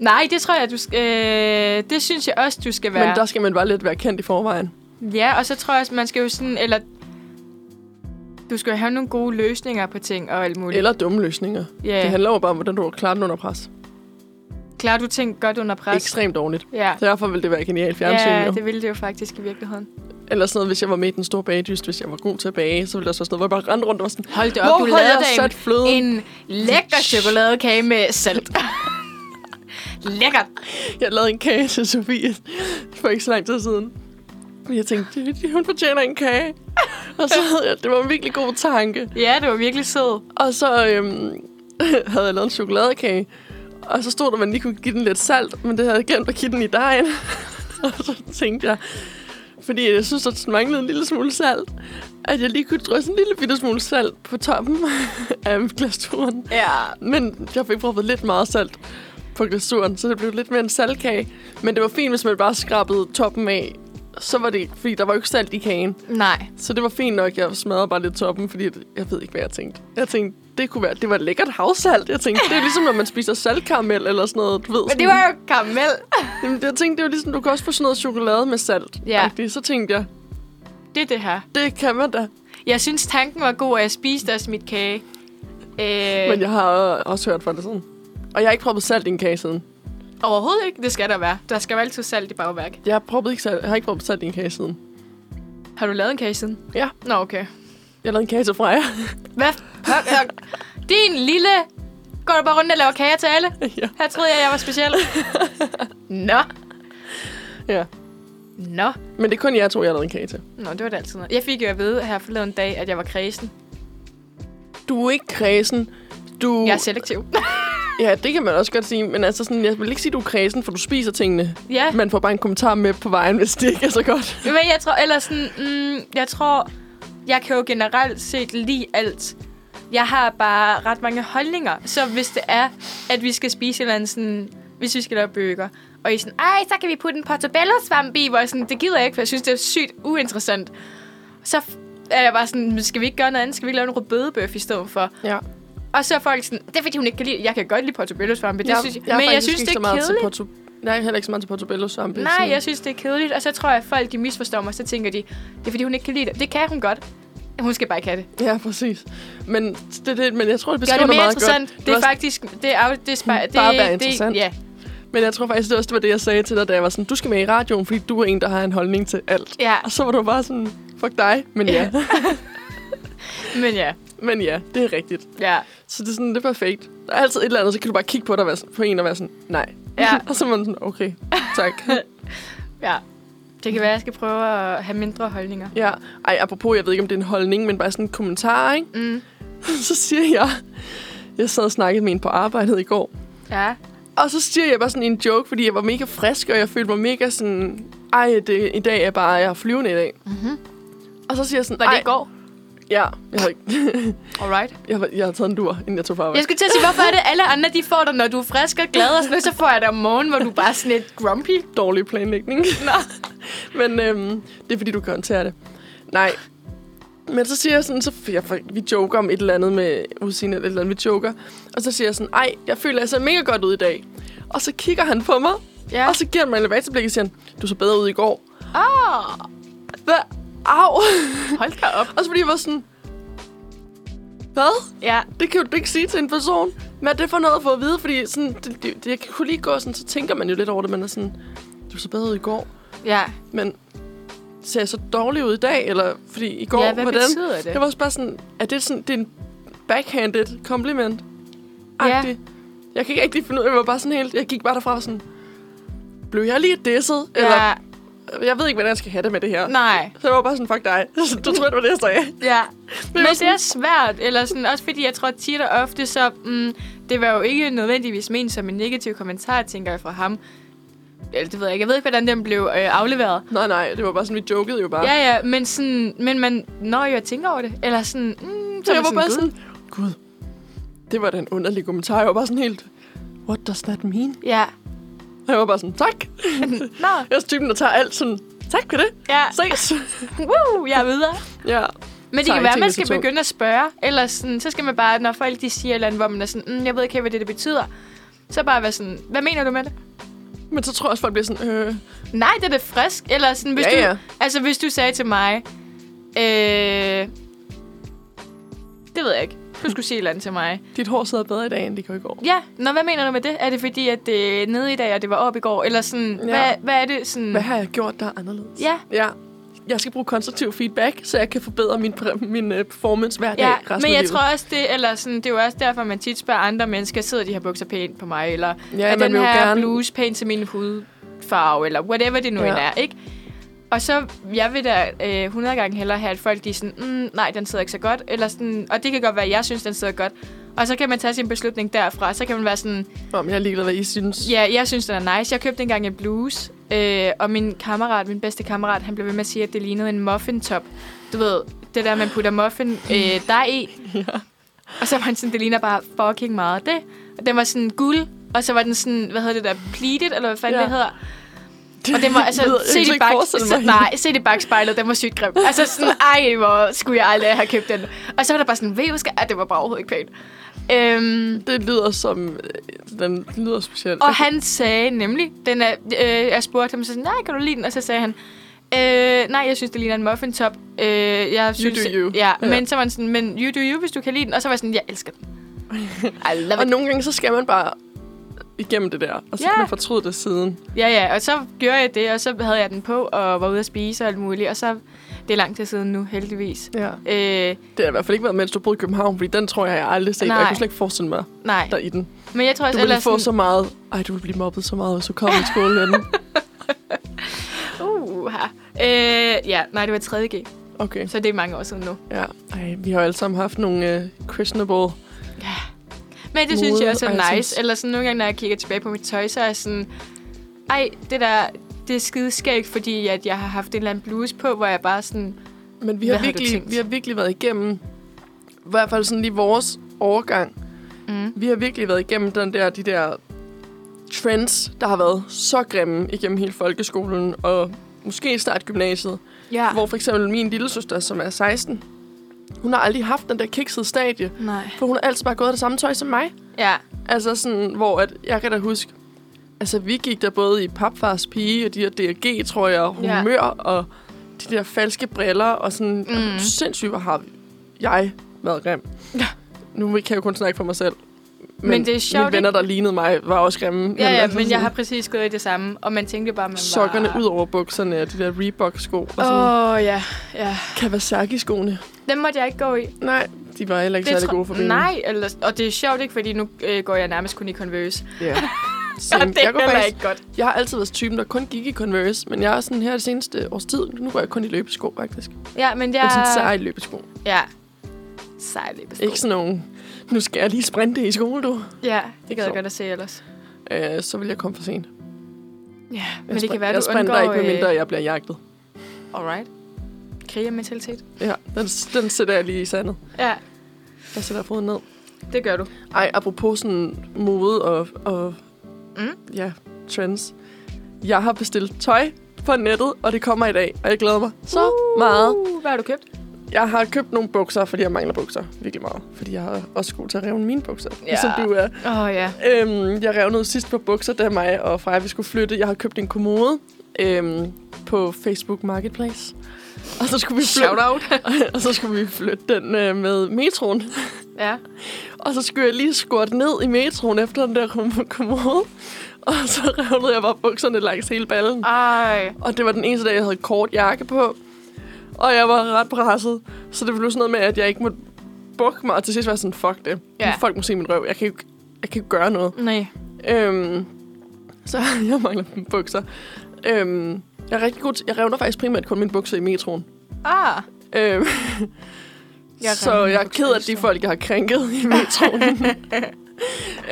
Nej, det tror jeg, du skal, øh, det synes jeg også, du skal
Men
være.
der skal man bare lidt være kendt i forvejen.
Ja, og så tror jeg også, man skal jo sådan, eller... Du skal jo have nogle gode løsninger på ting og alt muligt.
Eller dumme løsninger.
Ja.
Det handler jo bare om, hvordan du klarer den under pres.
Klarer du ting godt under pres?
Ekstremt dårligt.
Ja.
Så derfor ville det være genialt fjernsyn,
Ja,
ja,
det ville det jo faktisk i virkeligheden.
Eller sådan noget, hvis jeg var med i den store bagedyst, hvis jeg var god til at bage, så ville der også være sådan noget, hvor jeg bare rendte rundt og var sådan,
Hold det op,
hvor
du
har jeg
lavede
sat fløden? En...
En lækker chokoladekage med [LAUGHS] salt. Lækkert.
Jeg lavede en kage til Sofie [LAUGHS] for ikke så lang tid siden. Og jeg tænkte, "Det- det- hun fortjener en kage. og så havde jeg, det var en virkelig god tanke.
Ja, det var virkelig sød.
Og så øhm, [LAUGHS] havde jeg lavet en chokoladekage. Og så stod der, at man lige kunne give den lidt salt, men det havde jeg glemt at give den i dejen. [LAUGHS] og så tænkte jeg, fordi jeg synes, at den manglede en lille smule salt, at jeg lige kunne drysse en lille bitte smule salt på toppen [LAUGHS] af glasuren.
Ja.
Men jeg fik prøvet lidt meget salt. på glasuren, så det blev lidt mere en saltkage. Men det var fint, hvis man bare skrabede toppen af. Så var det, fordi der var jo ikke salt i kagen.
Nej.
Så det var fint nok, jeg smadrede bare lidt toppen, fordi at- jeg ved ikke, hvad jeg tænkte. Jeg tænkte, det kunne være, det var lækkert havsalt. Jeg tænkte, det er ligesom, når man spiser saltkaramel eller sådan noget, du ved.
Men det var jo karamel.
Jamen, jeg tænkte, det var ligesom, du kan også få sådan noget chokolade med salt.
Ja.
Agtigt. Så tænkte jeg,
Det er det her.
det kan man da.
Jeg synes, tanken var god, at jeg spiste også mit kage. Øh,
Men jeg har også hørt fra det sådan. Og jeg har ikke proppet salt i en kage siden.
Overhovedet ikke. Det skal der være. Der skal jo altid salt i bagværk.
Jeg har, proppet ikke salt, jeg har ikke proppet salt i en kage siden.
Har du lavet en kage siden?
Ja.
Nå, okay.
Jeg lavede en kage til Freja. [LAUGHS]
Hvad? Hør, hør. Din lille... Går du bare rundt og laver kager til alle?
ja.
Her troede jeg, jeg var speciel. Nå.
ja.
Nå.
Men det er kun jer to, jeg har lavet en kage til.
Nå, det var det altid noget. Jeg fik jo at vide her forleden dag, at jeg var kredsen.
Du er ikke kredsen. Du...
Jeg er selektiv. [LAUGHS]
Ja, det kan man også godt sige. Men altså, sådan, jeg vil ikke sige, du er kredsen, for du spiser tingene.
ja.
Man får bare en kommentar med på vejen, hvis det ikke er så godt.
Men jeg tror, eller sådan, mm, jeg tror, jeg kan jo generelt set lide alt. Jeg har bare ret mange holdninger. Så hvis det er, at vi skal spise en eller anden sådan, hvis vi skal lave bøger, og I er sådan, ej, så kan vi putte en portobello-svamp i, hvor jeg sådan, det gider jeg ikke, for jeg synes, det er sygt uinteressant. Så f- er jeg bare sådan, "Men skal vi ikke gøre noget andet? Skal vi ikke lave en rødbødebøf i stedet for?
Ja.
Og så er folk sådan, det er fordi, hun ikke kan lide, jeg kan godt lide portobello-svampe, det
Jeg,
synes jeg,
jeg er
men jeg
faktisk
synes,
ikke
det
så
er
meget
kedeligt.
til Porto... Nej, heller ikke så meget til Portobello svampe.
Nej,
sådan.
jeg synes, det er kedeligt. Og så tror jeg, at folk de misforstår mig, så tænker de, det er fordi, hun ikke kan lide det. Det kan hun godt. Hun skal bare ikke have det.
Ja, præcis. Men, det, er det, men jeg tror, det
Gør
beskriver
det mere
meget godt.
interessant. Godt. Det er
også-
faktisk... Det er, af- det er, spa- det,
Bare være
det-
interessant.
Ja.
Men jeg tror faktisk, det også det var det, jeg sagde til dig, da jeg var sådan, du skal med i radioen, fordi du er en, der har en holdning til alt.
ja.
Og så var du bare sådan, fuck dig, men ja.
Men ja.
[LAUGHS] men ja, det er rigtigt.
Ja.
Så det er sådan, det er perfekt. Der er altid et eller andet, så kan du bare kigge på, dig, og være sådan- på en og være sådan, nej.
Ja.
[LAUGHS] og så er man sådan, okay, [LAUGHS] tak.
ja. Det kan være, jeg skal prøve at have mindre holdninger.
ja. Ej, apropos, jeg ved ikke, om det er en holdning, men bare sådan en kommentar, ikke?
Mm.
[LAUGHS] så siger jeg, jeg sad og snakkede med en på arbejdet i går,
Ja.
Og så siger jeg bare sådan en joke, fordi jeg var mega frisk, og jeg følte mig mega sådan... Ej, det, i dag er bare... Jeg er flyvende i dag. Mm-hmm. Og så siger jeg sådan...
Mhm. Var det
"Ej,
i går?
Ja. Jeg har, ikke- [LAUGHS]
Alright.
jeg, var- jeg har taget en dur, inden jeg tog på
Jeg
arbejde.
skulle til at sige, hvorfor er det alle andre, de får dig, når du er frisk og glad og sådan noget, så får jeg dig om morgenen, hvor du bare er sådan lidt grumpy.
Dårlig planlægning. [LAUGHS] Nå. Men øhm, det er, fordi du kan håndtere det. Nej. Men så siger jeg sådan... Så jeg, vi joker om et eller andet med udseende, eller et eller andet, vi joker. Og så siger jeg sådan... Ej, jeg føler, jeg ser mega godt ud i dag. Og så kigger han på mig,
Ja.
og så giver han mig en elevatorblik og siger han, du så bedre ud i går.
Åh,
Hvad? Au! [LAUGHS]
Ah. hold da op.
Og så fordi jeg var sådan... Hvad?
Ja.
Det kan du ikke sige til en person. Hvad er det for noget at få at vide? Fordi sådan, det, det, det, jeg kunne lige gå sådan, så tænker man jo lidt over det. Man er sådan, du så bedre ud i går.
Ja.
Men ser jeg så dårlig ud i dag? Eller fordi i går,
ja, hvad
hvordan?
betyder det?
Jeg var også bare sådan, er det sådan, det er en backhanded compliment?
Ja.
-agtig. Jeg kan ikke rigtig finde ud af, jeg var bare sådan helt, jeg gik bare derfra og var sådan, blev jeg lige disset? Ja. Eller,
Ja.
jeg ved ikke, hvordan jeg skal have det med det her.
Nej.
Så jeg var bare sådan, fuck dig. [LAUGHS] Du tror, det var det, jeg sagde.
Ja, men
var
det
sådan-
er svært, eller sådan, også fordi jeg tror tit og ofte, så mm, det var jo ikke nødvendigvis ment som en negativ kommentar, tænker jeg fra ham. Eller det ved jeg ikke, jeg ved ikke, hvordan den blev øh, afleveret.
Nej, nej, det var bare sådan, vi jokede jo bare.
Ja, ja, men, sådan, men man når jo at tænke over det, eller sådan, mm,
Så
er
jeg
man
var bare
"Gud."
sådan, gud, det var da en underlig kommentar. Jeg var bare sådan helt, what does that mean?
Ja.
Og jeg var bare sådan,
[LAUGHS]
tak.
Nå,
Jeg er også typen, der tager alt sådan, tak for det.
ja,
Ses. [LAUGHS]
Woo, jeg er videre.
ja.
Men det
Tager
kan
ikke
være,
tingene
man
så
skal
tungt.
begynde at spørge, eller sådan, så skal man bare, når folk de siger et eller andet, hvor man er sådan, mm, jeg ved ikke, helt, hvad det, det betyder, så bare være sådan, hvad mener du med det?
Men så tror jeg også, folk bliver sådan, øh,
Nej, det er da frisk. Eller sådan, hvis,
Ja,
du,
ja.
Altså, hvis du sagde til mig... Øh, det ved jeg ikke. Du skulle sige et eller andet til mig.
dit hår sidder bedre i dag, end det gjorde i går.
Ja, nå, hvad mener du med det? Er det fordi, at det er nede i dag, og det var op i går? Eller sådan,
Ja.
ja. hvad, hvad er det sådan...
Hvad har jeg gjort, der er anderledes?
Ja.
ja. Jeg skal bruge konstruktiv feedback, så jeg kan forbedre min, præ- min øh, performance hver dag
Ja,
resten af
men jeg
livet.
tror også, det, eller sådan, det er jo også derfor, man tit spørger andre mennesker, sidder de her bukser pænt på mig, eller
Ja,
er
man
den
vil jo
her
gerne-
bluse pænt til min hudfarve, eller whatever det nu
Ja.
ja. end er, ikke? Og så, jeg vil da øh, 100 gange hellere have, at folk de er sådan, mm, nej, den sidder ikke så godt, eller sådan, og det kan godt være, at jeg synes, den sidder godt. Og så kan man tage sin beslutning derfra, så kan man være sådan,
Om jeg er ligeglad, hvad I synes.
ja, jeg synes, den er nice. Jeg købte engang en bluse, øh, og min kammerat, min bedste kammerat, han blev ved med at sige, at det lignede en muffintop. Du ved, det der, man putter muffin
[LAUGHS]
øh, dej i. Ja. Og så var han sådan, det ligner bare fucking meget af det. Og den var sådan guld, Og så var den sådan, hvad hedder det der, pleated, eller hvad fanden
Ja.
ja. det hedder. Og den var altså,
lyder- jeg
se
kan
det
ikke
bak,
forestille
se,
mig.
nej, se det bagspejlet, den var sygt grim. Altså
[LAUGHS]
sådan, ej, hvor skulle jeg aldrig have købt den. Og så var der bare sådan, ved du, skal, ah, det var bare overhovedet ikke pænt. Øhm,
Det lyder som... øh, Den lyder specielt.
og han sagde nemlig, den er, øh, jeg spurgte ham, så sådan, nej, kan du lide den? Og så sagde han, øh, nej, jeg synes, det ligner en muffin top. Øh, jeg synes,
do you.
Ja,
Ja.
ja, men så var han sådan, men you do you, hvis du kan lide den. Og så var jeg sådan, jeg elsker den. I love
Og nogle gange, så skal man bare igennem det der, og så kan
Ja.
man fortryde det siden.
Ja, ja, og så gjorde jeg det, og så havde jeg den på, og var ude at spise og alt muligt, og så... Det er lang tid siden nu, heldigvis.
Ja.
Øh,
Det har i hvert fald ikke været, mens du boede i København, fordi den tror jeg, jeg aldrig har set. Nej. Jeg
Nej.
kunne slet ikke forestille mig
nej,
dig i den.
men jeg tror
Du
også
ville
ellers...
få så meget... Ej, du ville blive mobbet så meget, hvis du kom i
[LAUGHS]
skole med den.
Uh, øh, ja, nej, det var 3.G,
Okay,
så det er mange år siden nu.
ja. Ej, vi har jo alle sammen haft nogle øh, questionable...
Men det synes
Mode,
jeg også
og jeg
er nice.
synes-
Eller sådan nogle gange, når jeg kigger tilbage på mit tøj, så er jeg sådan... Ej, det der, det er skide skægt, fordi at jeg har haft en eller anden bluse på, hvor jeg bare sådan...
Men vi
Hvad
har,
har du
virkelig,
tænkt?
vi har virkelig været igennem, i hvert fald sådan lige vores overgang,
Mm.
vi har virkelig været igennem den der, de der trends, der har været så grimme igennem hele folkeskolen, og måske start gymnasiet.
Ja.
Hvor for eksempel min lille søster, som er 16, hun har aldrig haft den der kiksede stadie,
Nej.
for hun har altid bare gået i det samme tøj som mig.
Ja.
Altså sådan, hvor at, jeg kan da huske, altså vi gik der både i papfars pige, og de her DRG, tror jeg, og
Ja.
humør, og de der falske briller, og sådan, mm.
Mm.
sindssygt, hvor har jeg været grim.
Ja.
Nu kan jeg jo kun snakke for mig selv. Men,
Men det er sjovt,
Mine venner, der lignede mig, var også grimme.
Ja, ja,
altså
men jeg
sådan,
har præcis gået i det samme, og man tænkte bare, man
Sokkerne
var...
ud over bukserne, og de der Reebok-sko, og sådan oh.
Åh, oh, ja, ja.
Kawasaki-skoene.
Dem måtte jeg ikke gå i.
Nej, de var heller ikke særlig
tror-
gode for benen.
Nej, eller, og det er sjovt ikke, fordi nu øh, går jeg nærmest kun i Converse.
Ja.
[LAUGHS] Så
Same.
det er
jeg, går
heller
faktisk,
ikke godt.
jeg har altid været typen, der kun gik i Converse, men jeg er sådan her det seneste års tid, nu går jeg kun i løbesko, faktisk. Ja.
Ja, men
Jeg er sådan
jeg...
sej løbesko.
Ja. Sej løbesko.
Ikke sådan nogen, nu skal jeg lige sprinte i skole, du.
Ja, det
ikke
gad jeg
så.
godt at se ellers.
Øh, så vil jeg komme for sent.
Ja,
Jeg
men det
sprin-
kan være,
jeg
du
sprinter
undgår...
ikke, medmindre jeg bliver jagtet.
Øh, alright. Krigermentalitet.
Ja, den, den sætter jeg lige i sandet.
Ja,
Jeg sætter foden ned.
det gør du.
Ej, apropos sådan mode og, og mm.
Mm.
ja, trends. Jeg har bestilt tøj på nettet, og det kommer i dag, og jeg glæder mig så uh. meget.
Hvad har du købt?
Jeg har købt nogle bukser, fordi jeg mangler bukser virkelig meget. Fordi jeg har også god til at revne mine bukser, ja.
Ja.
ligesom du er.
Åh, oh, ja.
Øhm, jeg revnede sidst på bukser, da mig og Freja vi skulle flytte. Jeg har købt en kommode øhm, på Facebook Marketplace. Og så skulle vi
Shout
flytte,
out.
[LAUGHS] og så skulle vi flytte den øh, med metroen.
ja.
Og så skulle jeg lige squat ned i metroen efter den der kom- kommode. Og så revnede jeg bare bukserne langs hele ballen.
Ej.
Og det var den eneste dag, jeg havde kort jakke på. Og jeg var ret presset. Så det blev sådan noget med, at jeg ikke måtte bukke mig. Og til sidst var jeg sådan, fuck det.
Ja.
Folk må se min røv. Jeg kan jo ikke, jeg kan jo ikke gøre noget.
Nej.
Øhm, så [LAUGHS] jeg mangler bukser. Øhm, jeg er rigtig god til, Jeg revner faktisk primært kun mine bukser i metroen.
Ah.
Øhm,
[LAUGHS] Jeg
så
revner mine
jeg er
bukser
ked af
i
de
stedet.
folk, jeg har krænket i metroen.
[LAUGHS]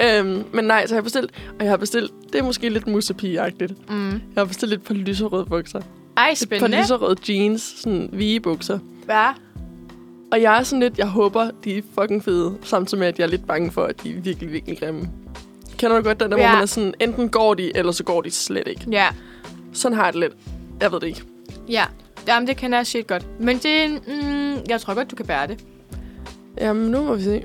øhm, men nej, så jeg har bestilt... Og jeg har bestilt... Det er måske lidt musepige-agtigt.
Mm.
Jeg har bestilt et par lyserøde bukser.
Ej,
Et par
spændende.
lyserøde jeans. Sådan vigebukser.
Hvad?
Og jeg er sådan lidt... Jeg håber, de er fucking fede. Samtidig med, at jeg er lidt bange for, at de er virkelig, virkelig grimme. Kender du godt den der, ja.
Ja.
hvor man er sådan... Enten går de, eller så går de slet ikke.
Ja.
Sådan har jeg det lidt. Jeg ved det ikke.
Ja. Jamen, det kan jeg shit godt. Men det... Mm, jeg tror godt, du kan bære det.
Jamen, nu må vi se.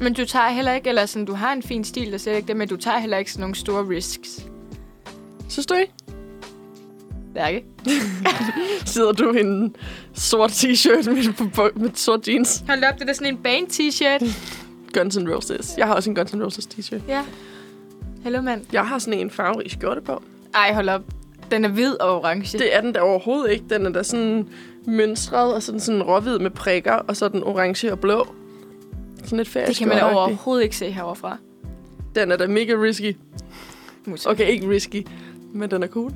Men du tager heller ikke, eller sådan, du har en fin stil, der er slet ikke det, men du tager heller ikke sådan nogle store risks.
Synes du ikke?
Der ikke?
Sidder du i en sort t-shirt med, på- med sort jeans?
Hold op, det er da sådan en band t-shirt.
Guns N' Roses. Jeg har også en Guns N' Roses t-shirt.
[LAUGHS] ja. Hello, mand.
Jeg har sådan en farverig skjorte på.
Ej, hold op. Den er hvid og orange.
Det er den der overhovedet ikke. Den er der sådan mønstret og sådan, sådan råhvid med prikker, og så den orange og blå. Sådan lidt færdig
det kan man da overhovedet ikke se heroverfra.
Den er da mega risky.
Mus.
Okay, ikke risky, men den er cool.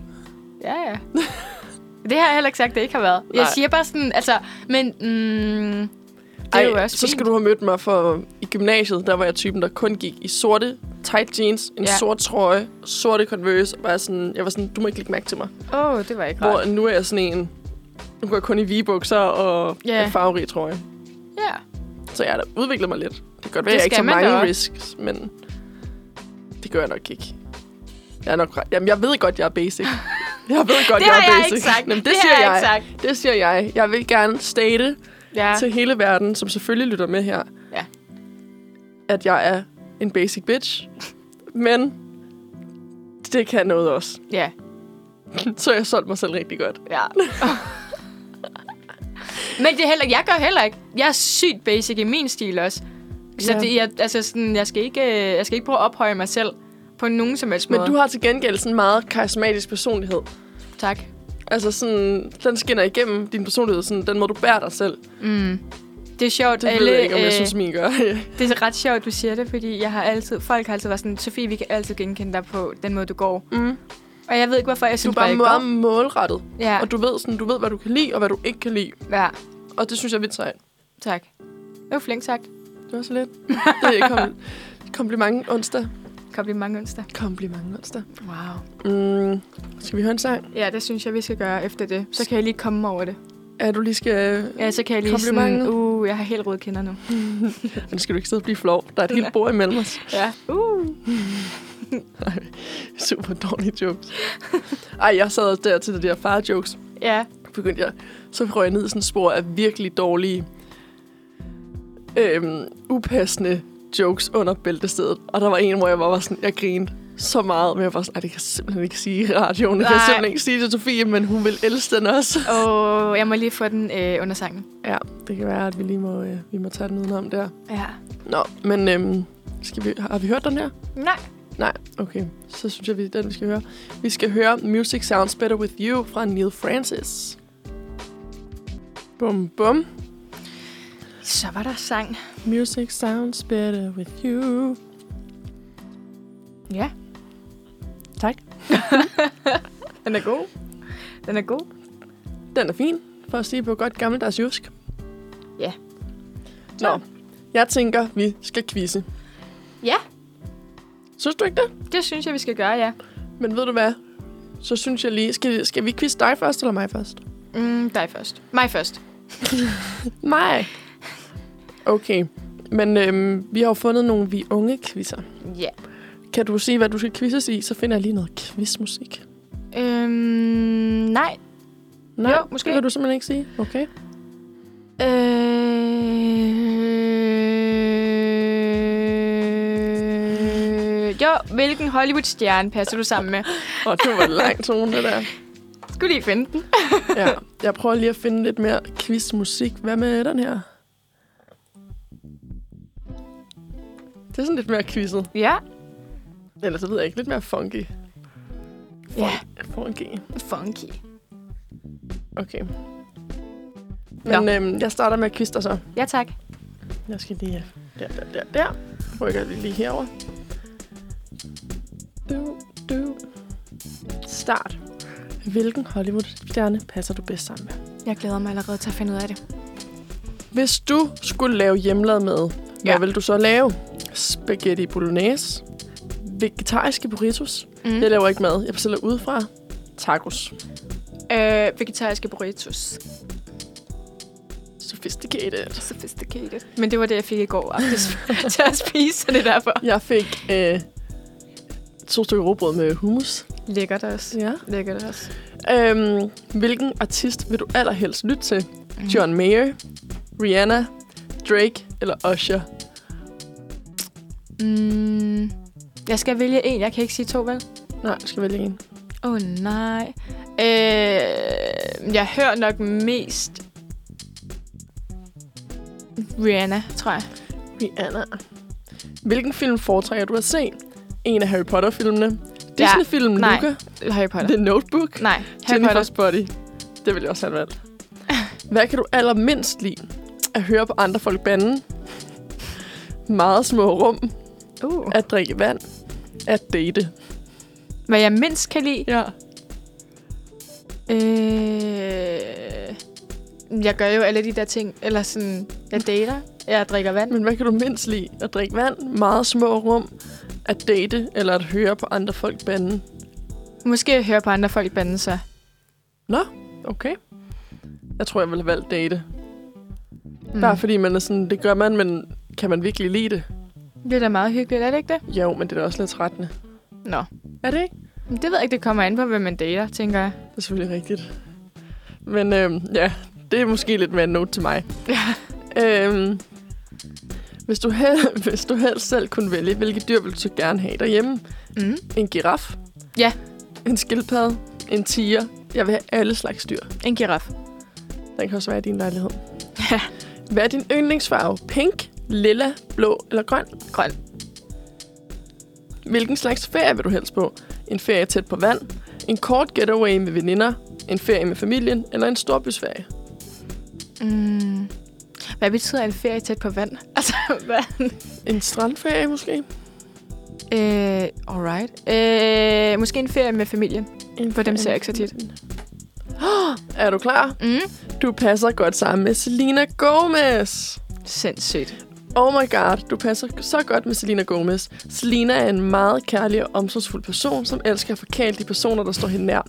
Ja, ja. det har jeg heller ikke sagt, det ikke har været. Jeg
Nej.
siger bare sådan, altså, men mm, det er jo også
så
fint.
skal du have mødt mig for i gymnasiet, der var jeg typen, der kun gik i sorte tight jeans, en ja.
Ja.
sort trøje, sorte Converse, og bare sådan, jeg var sådan, du må ikke lægge mærke til mig.
Åh, oh, det var ikke
Hvor
rart.
nu er jeg sådan en, nu går jeg kun i vigebukser og yeah.
Ja.
en farverig trøje.
Ja.
Så jeg har da udviklet mig lidt. Det kan godt være,
Det
jeg ikke
skal
tager
man da
mange
også.
risks, men det gør jeg nok ikke. Jeg er nok ret. Jamen, jeg ved godt, jeg er
[LAUGHS]
basic. Jeg ved godt,
Det
jeg
har
er
jeg
basic.
ikke sagt.
Jamen, det,
Det har
siger
jeg
jeg.
ikke
Det siger jeg. Jeg vil gerne state
Ja.
ja. til hele verden, som selvfølgelig lytter med her,
Ja.
at jeg er en basic bitch. Men det kan noget også. [LAUGHS]
Ja.
Så jeg solgte mig selv rigtig godt.
ja. [LAUGHS] Men det er heller, jeg gør heller ikke. Jeg er sygt basic i min stil også. Så
Ja.
det, jeg, altså sådan, jeg, skal ikke, øh, jeg skal ikke prøve at ophøje mig selv på nogen som helst
Men
måde.
du har til gengæld sådan en meget karismatisk personlighed.
Tak.
Altså sådan, den skinner igennem din personlighed, sådan den må du bære dig selv.
Det er sjovt. øh,
Det ved jeg ikke, om jeg synes, min gør. [LAUGHS]
Det er ret sjovt, du siger det, fordi jeg har altid, folk har altid været sådan, Sofie, vi kan altid genkende dig på den måde, du går.
Mm.
Og jeg ved ikke, hvorfor jeg
Du
synes,
er bare
jeg går.
meget målrettet.
Ja,
Og du ved, sådan, du ved, hvad du kan lide, og hvad du ikke kan lide.
ja,
Og det synes jeg er vildt sejt.
tak. Det var flink sagt.
Det var så lidt. Det er [LAUGHS] kom- kompliment onsdag.
Kompliment onsdag.
Kompliment onsdag.
Wow.
Mm. Skal vi høre en sang?
Ja, det synes jeg, vi skal gøre efter det. Så kan jeg lige komme over det.
Ja, du lige skal...
Ja, så kan jeg lige sådan,
Komplimentet.
uh, jeg har helt røde kinder nu.
Nu skal du ikke sidde og blive flov. Der er et helt bord imellem os. [LAUGHS]
Ja. Uh.
Super dårlige jokes. Ej, jeg sad også der til de der far-jokes.
Ja.
begyndte jeg, så røg jeg ned i sådan et spor af virkelig dårlige, øhm, upassende jokes under bæltestedet. Og der var en, hvor jeg bare var sådan, jeg grinede så meget, men jeg var sådan, "Ej, det kan jeg simpelthen ikke sige i radioen. Det kan jeg
Nej.
simpelthen ikke sige til Sofie, men hun vil elske den også.
Og jeg må lige få den øh, under sangen.
Ja, det kan være, at vi lige må, øh, vi må tage den udenom der.
Ja.
Nå, men øhm, skal vi, har vi hørt den her?
Nej.
Nej, okay. Så synes jeg, vi den, vi skal høre. Vi skal høre Music Sounds Better With You fra Neil Francis. Bum, bum.
Så var der sang.
Music sounds better with you.
Ja.
Tak.
Den er god. Den er god.
Den er fin, for at sige på godt gammeldags jysk.
Ja.
Nå, jeg tænker, vi skal quizze.
Ja,
Synes du ikke det?
det synes jeg, vi skal gøre, ja.
Men ved du hvad? Så synes jeg lige... Skal, skal vi quizze dig først, eller mig først?
Mm, dig først. Mig først.
Mig. Okay. Men øhm, vi har jo fundet nogle vi unge quizzer.
Ja.
Kan du sige, hvad du skal quizzes i? Så finder jeg lige noget quizmusik.
Øhm, nej.
Nej,
Jo, måske.
det kan du simpelthen ikke sige. Okay.
Øh... Jo, hvilken Hollywood-stjerne passer du sammen med?
Og det var langt tone, det der.
Skulle lige finde den.
Ja, jeg prøver lige at finde lidt mere quizmusik. Hvad med den her? Det er sådan lidt mere quizet.
Ja.
Eller så ved jeg ikke. Lidt mere funky.
Ja.
Funky.
Funky.
Okay. Men øhm, jeg starter med at quizte dig så.
Ja, tak.
Jeg skal lige øh, der, der, der, der. Rykker vi lige herover. Du, du. Start. Hvilken Hollywood-stjerne passer du bedst sammen med?
Jeg glæder mig allerede til at finde ud af det.
Hvis du skulle lave hjemlad med, ja.
Ja.
hvad vil du så lave? Spaghetti bolognese, vegetariske burritos. Mm. Jeg laver ikke mad, jeg bestiller udefra. Tacos.
Øh, vegetariske burritos.
Sophisticated.
Sophisticated. Men det var det, jeg fik i går aftes til at spise, så det er derfor.
Jeg fik øh, to stykker råbrød med hummus.
Lækkert også.
Ja.
Lækkert også.
Øhm, hvilken artist vil du allerhelst lytte til? John Mayer, Rihanna, Drake eller Usher?
Mm, jeg skal vælge en. Jeg kan ikke sige to, vel?
Nej, du skal vælge en.
Åh oh, nej. Øh, jeg hører nok mest Rihanna, tror jeg.
Rihanna. Hvilken film foretrækker du at se? En af Harry Potter-filmene. Disney-filmen
nej.
Luca.
Harry Potter.
The Notebook.
Nej, Harry Potter.
Jennifer's Body. Det vil jeg også have valgt. [LAUGHS] Hvad kan du allermindst lide? At høre på andre folk bande. Meget små rum.
Uh.
At drikke vand. At date.
Hvad jeg mindst kan lide?
Ja.
Øh, jeg gør jo alle de der ting. Eller sådan, jeg dater, jeg drikker vand.
Men hvad kan du mindst lide? At drikke vand. Meget små rum. At date. Eller at høre på andre folk bande.
Måske jeg hører på andre folk bande sig.
Okay. Jeg tror, jeg ville have valgt date.
Mm.
Mm. Bare fordi man er sådan, det gør man, men kan man virkelig lide det?
Det er da meget hyggeligt, er det ikke det?
Jo, men det er da også lidt trættende.
Nå.
Er det ikke?
Men Det ved jeg ikke, det kommer an på, hvem man dater, tænker jeg.
Det er selvfølgelig rigtigt. Men øhm, ja, det er måske lidt mere en note til mig. Ja. Øhm, hvis, du hel- [LAUGHS] hvis du helst selv kunne vælge, hvilke dyr vil du gerne have derhjemme?
Mm.
En giraf?
Ja.
En skildpadde? En tiger? Jeg vil have alle slags dyr.
En giraf.
Den kan også være i din lejlighed.
Ja.
Hvad er din yndlingsfarve? Pink, lilla, blå eller grøn?
Grøn.
Hvilken slags ferie vil du helst på? En ferie tæt på vand? En kort getaway med veninder? En ferie med familien? Eller en storbysferie?
Mm. Hvad betyder en ferie tæt på vand? [LAUGHS] Altså, hvad?
En strandferie måske?
Øh, alright. Øh, måske en ferie med familien.
En
For
ferie
dem ser jeg
med
ikke så tit.
familien. Åh, [GASPS] Er du klar?
Mm.
Du passer godt sammen med Selena Gomez.
Sindssygt.
Oh my god, du passer så godt med Selena Gomez. Selena er en meget kærlig og omsorgsfuld person, som elsker at forkæle de personer, der står hende nær.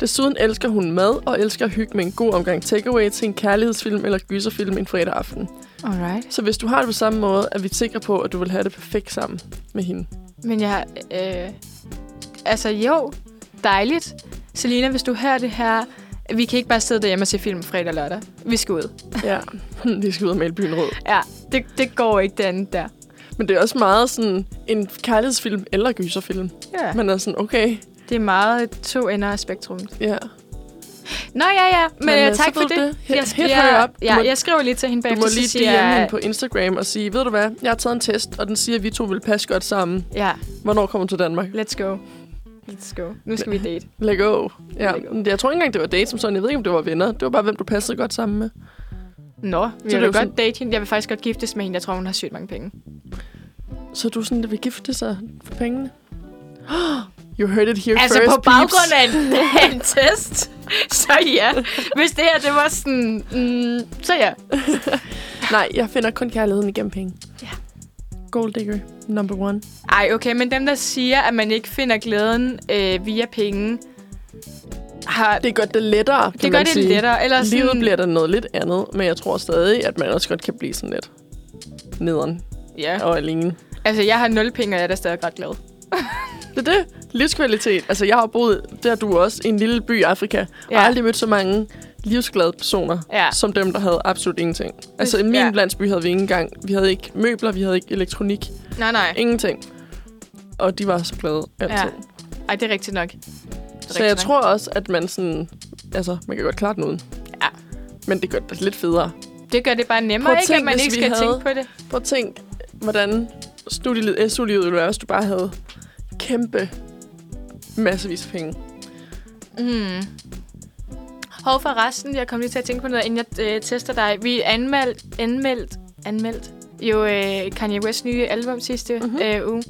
Desuden elsker hun mad og elsker at hygge med en god omgang takeaway til en kærlighedsfilm eller gyserfilm en fredag aften.
Alright.
Så hvis du har det på samme måde, er vi sikre på, at du vil have det perfekt sammen med hende.
Men jeg... Øh, altså, jo. Dejligt. Selina, hvis du hører det her... Vi kan ikke bare sidde derhjemme og se film fredag og lørdag. Vi skal ud.
Ja, vi skal ud og male byen rød.
Ja, det, det går ikke det andet der.
Men det er også meget sådan en kærlighedsfilm eller gyserfilm.
Ja.
Man er sådan, okay,
Det er meget to ender af spektrummet.
ja.
Nå ja, ja, men,
Men,
men
øh,
tak
så
for
ved
det.
du det. Hit-
Jeg,
hit
jeg,
her op. Du
Ja,
må-
jeg skriver lige til hende
Du
bagefter,
må
så
lige
siger
DM'e hende
jeg...
på Instagram og sige, ved du hvad, jeg har taget en test, og den siger, at vi to vil passe godt sammen.
Ja,
Hvornår kommer du til Danmark?
let's go. Let's go. Nu skal vi date.
Let go. Ja,
Let go.
men jeg tror ikke engang, det var date som sådan. Jeg ved ikke, om det var venner. Det var bare, hvem du passede godt sammen med.
Nå, vi
det
vil
er jo
godt
sådan-
date hende. Jeg vil faktisk godt giftes med hende. Jeg tror, hun har sygt mange penge.
Så du sådan, der vil gifte sig for pengene? [GASPS] You heard it here
Altså
first,
på baggrund
peeps.
af en, af en test, [LAUGHS] så ja. Hvis det her, det var sådan, mm, så ja.
Nej, jeg finder kun kærligheden igennem penge.
Ja.
Gold digger, number one.
Ej, okay, men dem, der siger, at man ikke finder glæden øh, via penge, har, det,
Det gør det lettere, kan
det gør
man
det
sige.
lettere. Eller sådan,
Livet bliver der noget lidt andet, men jeg tror stadig, at man også godt kan blive sådan lidt nederen
Ja,
og alene.
altså jeg har nul penge, og jeg er da stadig ret glad.
Det er det. Livskvalitet. Altså, jeg har boet, der du også, i en lille by i Afrika. Ja. Og
Ja.
aldrig mødt så mange livsglade personer,
Ja.
som dem, der havde absolut ingenting. Altså, i min
Ja.
ja. landsby havde vi ikke engang... Vi havde ikke møbler, vi havde ikke elektronik.
Nej, nej.
Ingenting. Og de var så glade altid.
Ja.
Ja.
Ej, det er rigtigt nok. Det er
Så jeg tror også, at man sådan... Altså, man kan godt klare den uden.
Ja.
Men det gør det lidt federe.
Det gør det bare nemmere,
Prøv at
ikke? At
tænk,
man
hvis
ikke
vi
skal
havde-
tænke på det.
Prøv at tænk, hvordan eh, studielivet, SU-livet ville være, hvis du bare havde kæmpe massevis af penge.
Mm. Hov for resten, jeg kom lige til at tænke på noget, inden jeg øh, tester dig. Vi anmeldt, anmeldt, anmeldt jo øh, Kanye West's nye album sidste mm-hmm.
Mhm.
øh, uge.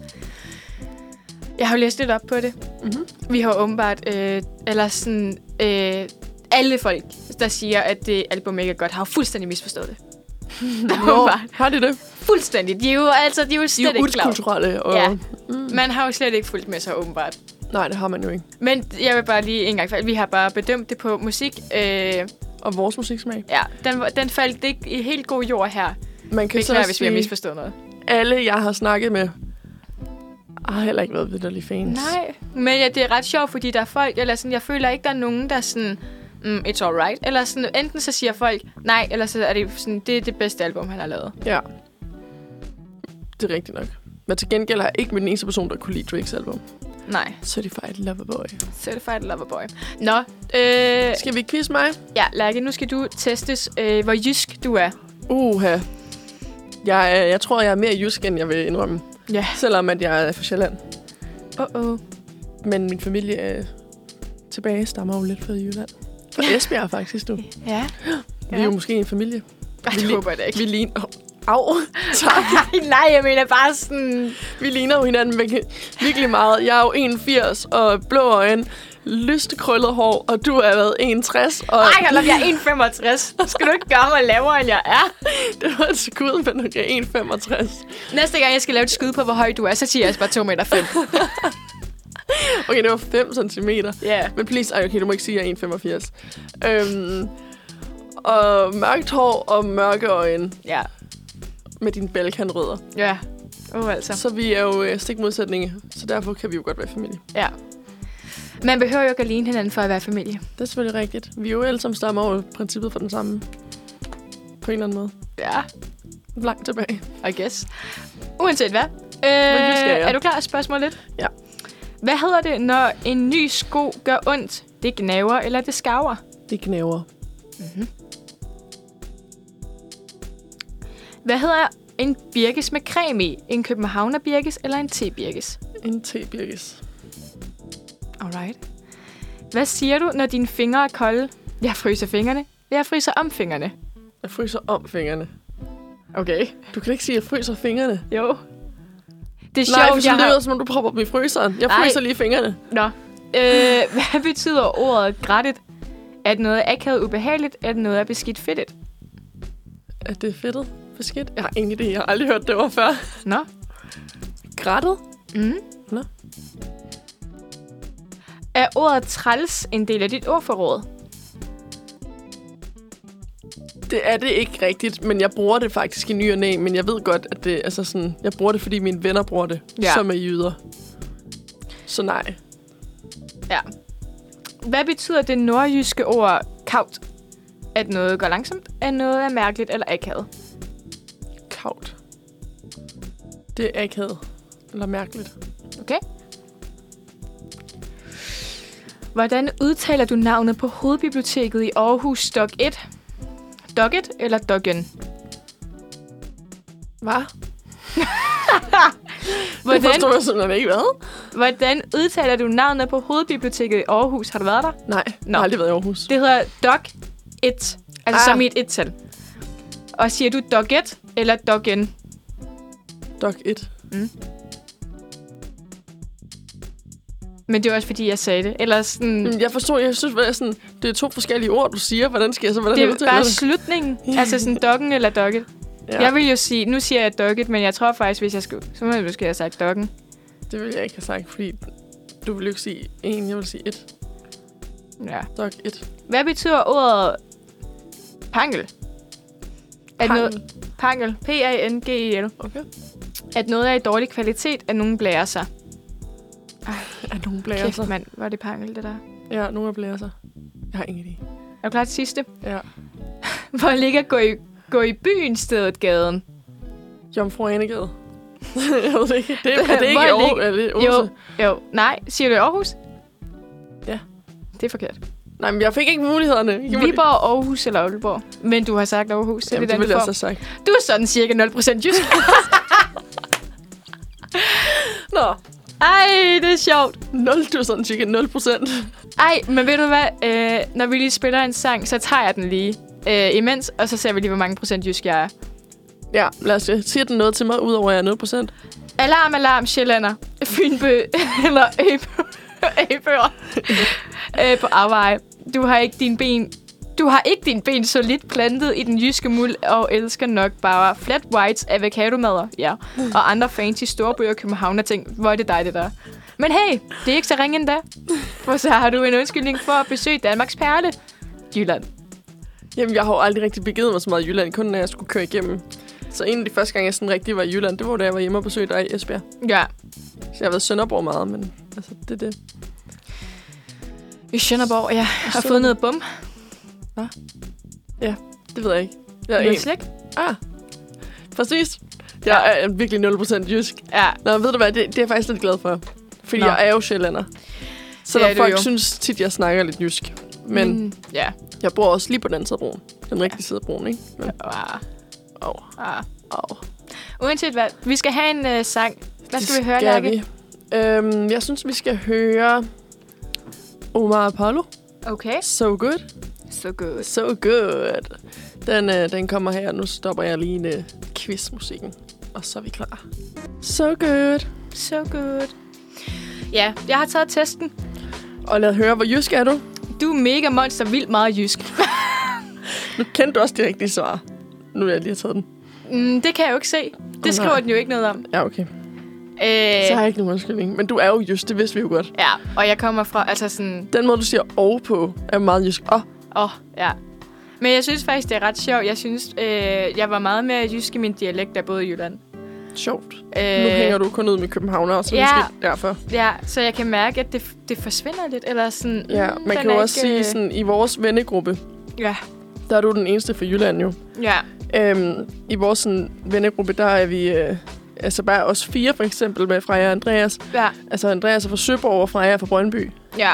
Jeg har jo læst lidt op på det.
Mhm.
Vi har åbenbart, øh, eller sådan, øh, alle folk, der siger, at det album ikke er godt, har jo fuldstændig misforstået det.
[LAUGHS] Nå,
Åbenbart.
har de det?
Fuldstændig. De er jo, altså, de er jo
De er
slet
jo
ikke klar. over-
ukulturelle. Og...
Ja.
Ja. Mm.
Man har jo slet ikke fulgt med sig, åbenbart.
Nej, det har man jo ikke.
Men jeg vil bare lige en gang for alt, vi har bare bedømt det på musik. Øh,
Og vores musiksmag.
ja, den, var- den faldt ikke i helt god jord her.
Man kan
Beklager,
så
hvis vi har
sige,
misforstået noget.
alle, jeg har snakket med, har heller ikke været vidderlige fans.
Nej. Men ja, det er ret sjovt, fordi der er folk, eller sådan, jeg føler ikke, der er nogen, der er sådan, mm, it's alright. Eller sådan, enten så siger folk nej, eller så er det sådan, det er det bedste album, han har lavet.
Ja. Det er rigtigt nok. Men til gengæld har jeg ikke mødt den eneste person, der kunne lide Drakes album.
Nej,
Certified Lover Boy.
Øh. Certified Lover Boy. Nå, øh,
Skal vi quizze mig?
ja, Lærke, nu skal du testes, øh, hvor jysk du er.
Uha. Jeg, er- jeg tror, jeg er mere jysk, end jeg vil indrømme.
Ja.
Selvom at jeg er fra Sjælland.
Åh, oh,
Men min familie øh, tilbage stammer jo lidt fra Jylland. Fra Esbjerg faktisk, du.
Ja.
[GASPS] Vi er jo måske en familie.
Ej,
Vi
det
lig-
håber jeg da ikke. [LAUGHS]
Vi ligner... Au, tak.
Ej, nej, jeg mener bare sådan...
Vi ligner jo hinanden vir- virkelig meget. Jeg er jo 81 og blå øjne, lystekrøllet hår, og du er været 61. Og
Ej, hold op, jeg er 1,65. Skal du ikke gøre mig lavere, end jeg er?
det [LAUGHS] var et skud, men okay, 1,65.
Næste gang, jeg skal lave et skud på, hvor høj du er, så siger jeg altså bare 2,5 meter.
Okay, det var 5 cm.
[LAUGHS] Ja.
Men please, ej, okay, du må ikke sige, at jeg er 1,85. Øhm, og mørkt hår og mørke øjne
Ja.
med dine balkanrødder.
Ja. Åh, oh, altså.
Så vi er jo øh, stik modsætninge, så derfor kan vi jo godt være familie.
Ja. Man behøver jo ikke at ligne hinanden for at være familie.
Det er selvfølgelig rigtigt. Vi er jo alle sammen stammer over princippet for den samme. På en eller anden måde.
Ja,
Langt tilbage.
I guess. Uanset hvad.
nysgerrig,
Øh,
ja.
er du klar til spørgsmål lidt?
Ja.
Hvad hedder det, når en ny sko gør ondt? Det gnaver eller det skaver?
Det knæver.
Mhm. Hvad hedder en birkes med creme i? En københavner birkes eller en tebirkes?
En tebirkes.
Alright. Hvad siger du, når dine fingre er kolde? Jeg fryser fingrene. Jeg fryser om fingrene.
Jeg fryser om fingrene.
Okay.
Du kan ikke sige, at jeg fryser fingrene.
Jo. Det er
Nej, for
sjovt,
så
jeg
lyder
har...
det, som om du propper dem i fryseren. Jeg
Nej.
fryser lige fingrene.
Nå. Øh, [LAUGHS] hvad betyder ordet grættet? At noget er akavet ubehageligt, at noget er beskidt fedtet.
Er det fedtet? Beskidt? Jeg har ingen idé. Jeg har aldrig hørt det ord før.
Nå.
Grættet?
Mm.
Nå.
Er ordet træls en del af dit ordforråd?
Det er det ikke rigtigt, men jeg bruger det faktisk i ny og næ, men jeg ved godt, at det altså sådan, jeg bruger det, fordi mine venner bruger det,
Ja.
ja. som er jyder. Så nej.
Ja. Hvad betyder det nordjyske ord kavt? At noget går langsomt, at noget er mærkeligt eller akavet.
Kavt. Det er akavet. Eller mærkeligt.
Okay? Hvordan udtaler du navnet på hovedbiblioteket i Aarhus Dok 1? Dok 1 eller Dokken?
Hvad? Det
[LAUGHS] Hvordan,
forstår jeg simpelthen ikke, hvad?
hvordan udtaler du navnet på hovedbiblioteket i Aarhus? Har du været der?
Nej, Nå. jeg har aldrig været i Aarhus.
Det hedder Dok 1. Altså ah.
Ah.
som i et et-tal. Og siger du Dok 1 eller Dokken?
Dog 1.
Men det er også fordi, jeg sagde det. Eller sådan,
Mm, Jeg forstår, jeg synes, hvad jeg sådan, det er to forskellige ord, du siger. Hvordan skal jeg så, hvordan
det er
udtaler
bare
det?
slutningen. altså sådan dokken eller dokket. Ja.
Ja.
Jeg vil jo sige, nu siger jeg dokket, men jeg tror faktisk, hvis jeg skulle, så må jeg måske have sagt dokken.
Det vil jeg ikke have sagt, fordi du vil jo ikke sige en, jeg vil sige et.
Ja.
Dog 1.
Hvad betyder ordet pangel? At noget,
Pangel.
pangel. P-A-N-G-E-L.
Okay.
E At noget er i dårlig kvalitet, at nogen blærer sig.
Er nogen blæser?
Kæft, mand. Hvor er det pangel, det der.
Ja, nogle af blæser. Jeg har ingen idé.
Er du klar til sidste? [LAUGHS]
Ja.
Hvor ligger gå i, gå i byen stedet gaden?
Jomfru Anegade. [LAUGHS] jeg ved det ikke. Det er, er det ikke
Hvor
i
er
Aarhus?
det
Er det
Jo,
Odense?
jo. Nej, siger du i Aarhus?
Ja.
Det er forkert.
Nej, men jeg fik ikke mulighederne. Ikke mulig-
Viborg, Aarhus eller Aalborg. Men du har sagt Aarhus, så
Jamen,
det er
det
den,
ville
du
jeg
får.
også have sagt.
Du er sådan cirka 0%
[LAUGHS]
jysk.
Nå,
Ej, det er sjovt.
0, du er sådan cirka 0 procent.
Ej, men ved du hvad? Øh, når vi lige spiller en sang, så tager jeg den lige øh, imens, og så ser vi lige, hvor mange procent jysk jeg er.
Ja, lad os øh, sige den noget til mig, udover at jeg er 0 procent.
Alarm, alarm, Sjællander. Fynbø [LAUGHS] eller Øbø. Øbøer. øh, på Afveje. Du har ikke din ben du har ikke din ben solidt plantet i den jyske muld og elsker nok bare flat whites, avocadomadder, ja, og andre fancy storbyer københavner ting. Hvor er det dig, det der. Men hey, det er ikke så ringe endda. For så har du en undskyldning for at besøge Danmarks perle, Jylland.
Jamen, jeg har jo aldrig rigtig begivet mig så meget i Jylland, kun når jeg skulle køre igennem. Så en af de første gange, jeg sådan rigtig var i Jylland, det var, da jeg var hjemme og besøgte dig i Esbjerg.
Ja,
Så jeg har været i Sønderborg meget, men altså, det er det.
i Sønderborg, ja, har fået noget bum.
Det ved jeg ikke. Jeg er
Noget
en.
slik.
Ah, præcis. Jeg er virkelig 0 procent jysk.
Ja,
Nå, ved du hvad, det, det er jeg faktisk lidt glad for. Fordi
Nå.
Nå. jeg er jo sjællander. Så
Det er
der
du
folk
jo.
jo. synes tit, jeg snakker lidt jysk. Men mm.
ja.
jeg bor også lige på den anden side af broen. Den rigtige side af broen, ikke? Men,
Wow.
åh,
Ah.
åh.
Uanset hvad, vi skal have en øh, sang. Hvad skal
Det
vi høre, Lærke?
vi. Øhm, jeg synes, vi skal høre Omar Apollo.
Okay.
So good,
So good.
so good. Den, øh, den kommer her. Nu stopper jeg lige en øh, quizmusikken. Og så er vi klar. So good.
So good. Ja, jeg har taget testen.
Og lad høre, hvor jysk er du?
Du er mega monster, vildt meget jysk.
Nu kendte du også det rigtige svar. Nu er jeg lige har taget den.
Mm, det kan jeg jo ikke se.
nej.
Det skriver den jo ikke noget om.
Ja, okay.
Øh,
Så har jeg ikke nogen undskyldning. Men du er jo jysk, det vidste vi jo godt.
Ja, og jeg kommer fra, altså sådan,
Den måde, du siger og på, er meget jysk. Åh,
åh, oh, ja. Men jeg synes faktisk, det er ret sjovt. Jeg synes, øh, jeg var meget mere jysk i min dialekt, der boede i Jylland.
Sjovt.
Øh,
Nu hænger du kun ud med københavner, så ja.
ja.
måske derfor.
Ja, så jeg kan mærke, at det, det forsvinder lidt. Eller sådan,
Ja,
mm,
man
den
kan
er
jo også
ikke,
sige,
øh,
sådan, i vores vennegruppe,
Ja,
der er du den eneste fra Jylland jo.
ja.
Øhm, I vores sådan, vennegruppe, der er vi... Øh, altså bare os fire, for eksempel, med Freja og Andreas.
Ja,
Altså, Andreas er fra Søborg, og Freja er fra Brøndby.
ja.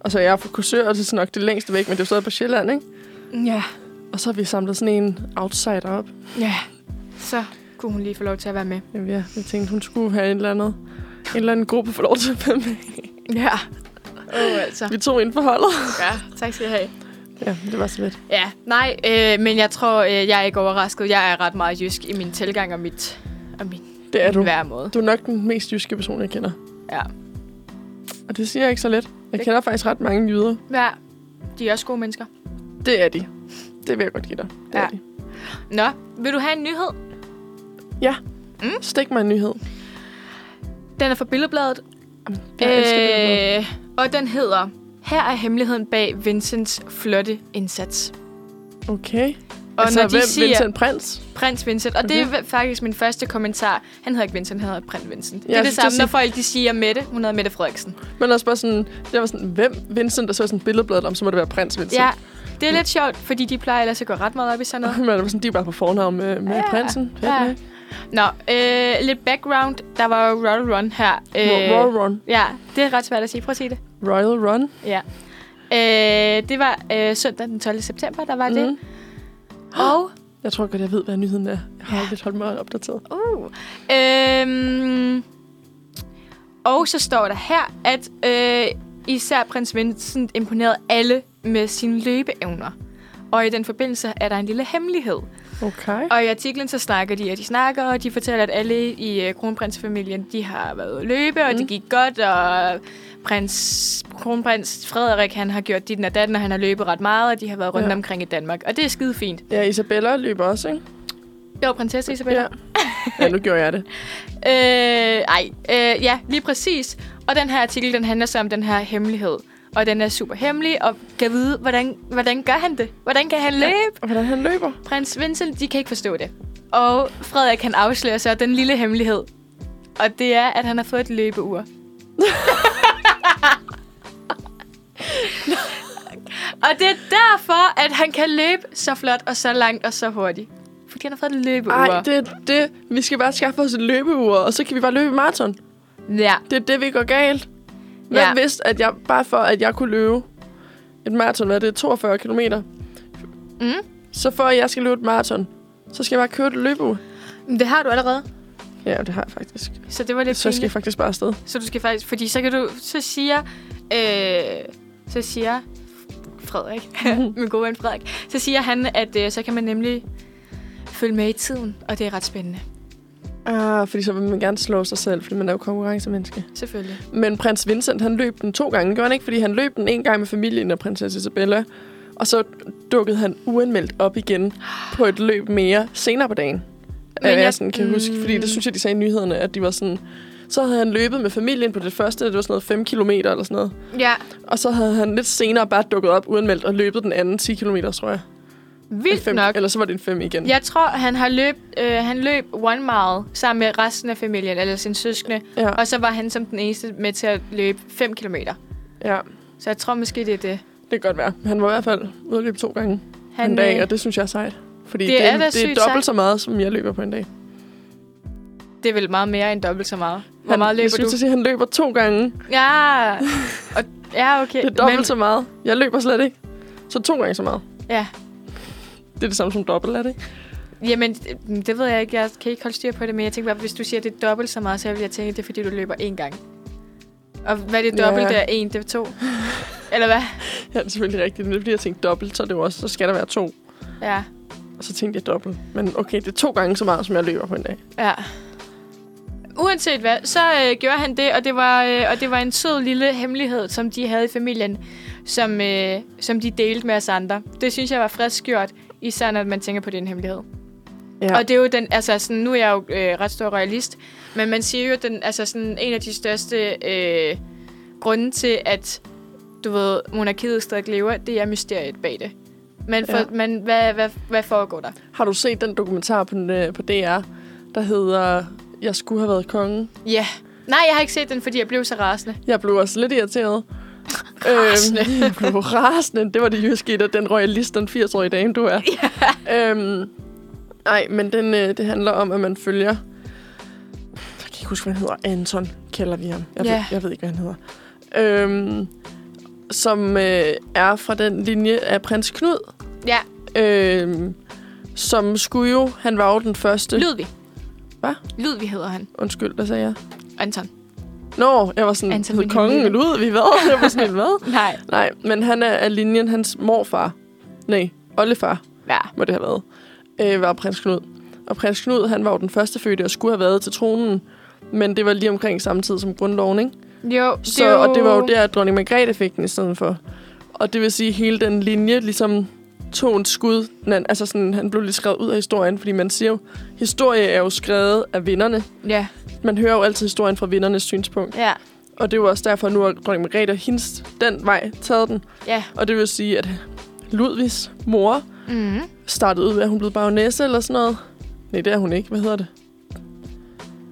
Og så er jeg fra Korsør, og det er sådan nok det længste væk, men det er jo stadig på Sjælland, ikke?
Ja,
Og så har vi samlet sådan en outsider op.
ja. Så kunne hun lige få lov til at være med.
Jamen, ja, jeg tænkte, hun skulle have en eller anden, en eller anden gruppe for lov til at være med.
Ja. Åh, [LAUGHS] oh, altså.
Vi tog ind for holdet.
Ja, tak skal I have.
Ja, det var så lidt.
Ja, nej, øh, men jeg tror, øh, jeg er ikke overrasket. Jeg er ret meget jysk i min tilgang og, mit, og min
Det er du.
hver måde.
Du er nok den mest jyske person, jeg kender.
Ja.
Og det siger jeg ikke så lidt. Jeg kender faktisk ret mange jyder.
ja. De er også gode mennesker.
Det er de. Det vil jeg godt give dig. Det
Ja.
er de.
Nå, vil du have en nyhed?
Stik mig en nyhed.
Den er fra Billedbladet.
Jeg elsker det.
Øh, og den hedder, her er hemmeligheden bag Vincents flotte indsats.
Øh, Okay.
Og
altså,
når de
hvem?
siger-
Vincent Prins?
Prins Vincent. Og okay. det er faktisk min første kommentar. Han hedder ikke Vincent, han hedder Prins Vincent. Det
Ja,
er
jeg
det
skulle til at
samme, når
sige-
folk de siger Mette. Hun hedder Mette Frederiksen.
Men også bare sådan... Jeg var sådan, hvem? Vincent, og så var sådan billedbladet om, så må det være Prins Vincent.
Ja, det er lidt sjovt, fordi de plejer ellers at gå ret meget op i sådan
[LAUGHS]
noget.
Men det var sådan, de er bare på fornavn med, med
Ja.
prinsen. Fedt,
Ja.
ja.
Nå, øh, lidt background. Der var jo Royal Run her.
Øh. Royal Run.
Ja, det er ret svært at sige. Prøv at sige det.
Royal Run.
Ja. Øh, det var øh, søndag den 12. september, der var mm. det.
Mhm.
Og
Jeg tror godt, jeg ved, hvad nyheden er. Jeg har
Ja.
aldrig holdt mig opdateret.
Uh. Øhm, og så står der her, at øh, især prins Vincent imponerede alle med sine løbeevner. Og i den forbindelse er der en lille hemmelighed.
Okay.
Og i artiklen så snakker de, og de snakker, og de fortæller, at alle i øh, kronprinsfamilien, de har været ude at løbe, og mm. det gik godt, og prins, kronprins Frederik, han har gjort dit og datten, og han har løbet ret meget, og de har været rundt
Ja.
ja. omkring i Danmark. Og det er skide fint.
Ja, Isabella løber også, ikke?
Det var prinsesse Isabella.
Ja. ja, nu gjorde jeg det.
Øh, ej, øh, ja, lige præcis. Og den her artikel, den handler så om den her hemmelighed. Og den er super hemmelig, og kan vide, hvordan, hvordan gør han det? Hvordan kan han løbe?
Og hvordan han løber.
Prins Vincent, de kan ikke forstå det. Og Frederik kan afsløre så den lille hemmelighed. Og det er, at han har fået et [LAUGHS] løbeur. og det er derfor, at han kan løbe så flot og så langt og så hurtigt. Fordi han har fået et løbeur.
Nej, det er det. Vi skal bare skaffe os et løbeur, og så kan vi bare løbe i maraton.
Ja,
Det er det, vi går galt. Hvem
Ja.
ja. vidste, at jeg bare for, at jeg kunne løbe et maraton, hvad er det, 42 kilometer?
Mm.
Så for, at jeg skal løbe et maraton, så skal jeg bare købe et løbeur.
Men det har du allerede.
Ja, det har jeg faktisk.
Så det var lidt
Så skal jeg
pinligt.
faktisk bare afsted.
Så du skal faktisk... Fordi så kan du... Så siger... Øh, så siger Frederik, [LAUGHS] min gode ven Frederik, så siger han, at øh, så kan man nemlig følge med i tiden, og det er ret spændende,
Ah, fordi så vil man gerne slå sig selv, fordi man er jo konkurrencemenneske.
selvfølgelig.
Men prins Vincent, han løb den to gange, gjorde han ikke? Fordi han løb den en gang med familien og prinsesse Isabella. Og så dukkede han uanmeldt op igen på et løb mere senere på dagen. Men jeg,
jeg- Mm.
jeg sådan kan huske, fordi det synes jeg, de sagde i nyhederne, at de var sådan... Så havde han løbet med familien på det første, det var sådan noget 5 km eller sådan noget.
Ja,
Og så havde han lidt senere bare dukket op uanmeldt og løbet den anden 10 km, tror jeg. En
vildt
fem,
nok.
Eller så var det en 5 igen.
Jeg tror, han har løb, øh, han løb one mile sammen med resten af familien, eller sin søskende,
ja.
og så var han som den eneste med til at løbe 5 kilometer.
ja.
Så jeg tror måske, det er det.
Det kan godt være. Han var i hvert fald ude at løbe to gange han,
Han,
en dag,
øh,
og det synes jeg er sejt. Fordi
det
det, det,
er
er, det
da
er
sygt
dobbelt
sejt.
så meget, som jeg løber på en dag.
det er vel meget mere end dobbelt så meget. Hvor
han,
meget
jeg
løber
skulle
du?
til at sige, han løber to gange. Det
Ja, og, ja okay.
er dobbelt
Men-
Men... så meget. Jeg løber slet ikke. Så to gange så meget.
Ja.
Det er det samme som dobbelt, er det ikke?
Jamen, det det ved jeg ikke. Jeg kan ikke holde styr på det, men jeg tænker bare, hvis du siger, at det er dobbelt så meget, så vil jeg tænke, at det er, fordi du løber én gang. Og hvad er det dobbelt
Ja.
ja. er? En, det er to. Eller hvad?
Ja, det er selvfølgelig rigtigt. Men det er fordi, jeg tænkte dobbelt, så, er det jo også, så skal der være to.
Ja.
Og så tænkte jeg dobbelt. Men okay, det er to gange så meget, som jeg løber på en dag.
ja. Uanset hvad, så øh, gjorde han det, og det, var, øh, og det var en sød lille hemmelighed, som de havde i familien, som, øh, som de delte med os andre. Det synes jeg var frisk gjort, især når man tænker på den hemmelighed.
Ja.
Ja. Og det er jo den, altså sådan, nu er jeg jo øh, ret stor royalist, men man siger jo, at den, altså sådan, en af de største øh, grunde til, at du ved, monarkiet stadig lever, det er mysteriet bag det. Men, for,
Ja.
ja. men hvad, hvad, hvad foregår der?
Har du set den dokumentar på, den, øh, på DR, der hedder jeg skulle have været konge.
Ja. Nej, jeg har ikke set den, fordi jeg blev så rasende.
Jeg blev også lidt irriteret.
[LAUGHS] Rasende.
Øhm, jeg blev rasende. Det var det jyske i dig, den royalist, den 80-årige dame, du
[LAUGHS]
er. Ja. Øhm, nej, men den, øh, det handler om, at man følger... Jeg kan ikke huske, hvad han hedder. Anton kalder vi ham. Jeg, ved,
Ja.
jeg ved ikke, hvad han hedder. Øhm, som øh, er fra den linje af prins Knud.
Ja,
Øhm, som skulle jo... Han var jo den første...
Ludvig.
Hm. Hvad?
Ludvig hedder han.
Undskyld, hvad sagde jeg?
Anton.
Nå, jeg var sådan...
Anton
Anton,
Wilhelm
kongen
Ludvig.
ud, vi hvad? Jeg var
[LAUGHS]
sådan, hvad?
Nej.
Nej, men han er af linjen, hans morfar, nej, oldefar
Ja.
må det have været, øh, var prins Knud. Og prins Knud, han var jo den første fødte og skulle have været til tronen, men det var lige omkring samme tid som grundloven, ikke?
Jo,
Så,
er
Og det var jo der, at dronning Margrethe fik den i stedet for. Og det vil sige, at hele den linje ligesom tog en skud. Men han- Altså sådan, han blev lige skrevet ud af historien, fordi man siger jo, historie er jo skrevet af vinderne.
Ja.
Man hører jo altid historien fra vindernes synspunkt.
Ja.
Og det er jo også derfor, at nu har dronning Margrethe og hendes den vej taget den.
Ja.
Og det vil sige, at Ludvigs mor
Mm.
startede ud med, at hun blev baronesse eller sådan noget. Nej, det er hun ikke. Hvad hedder det?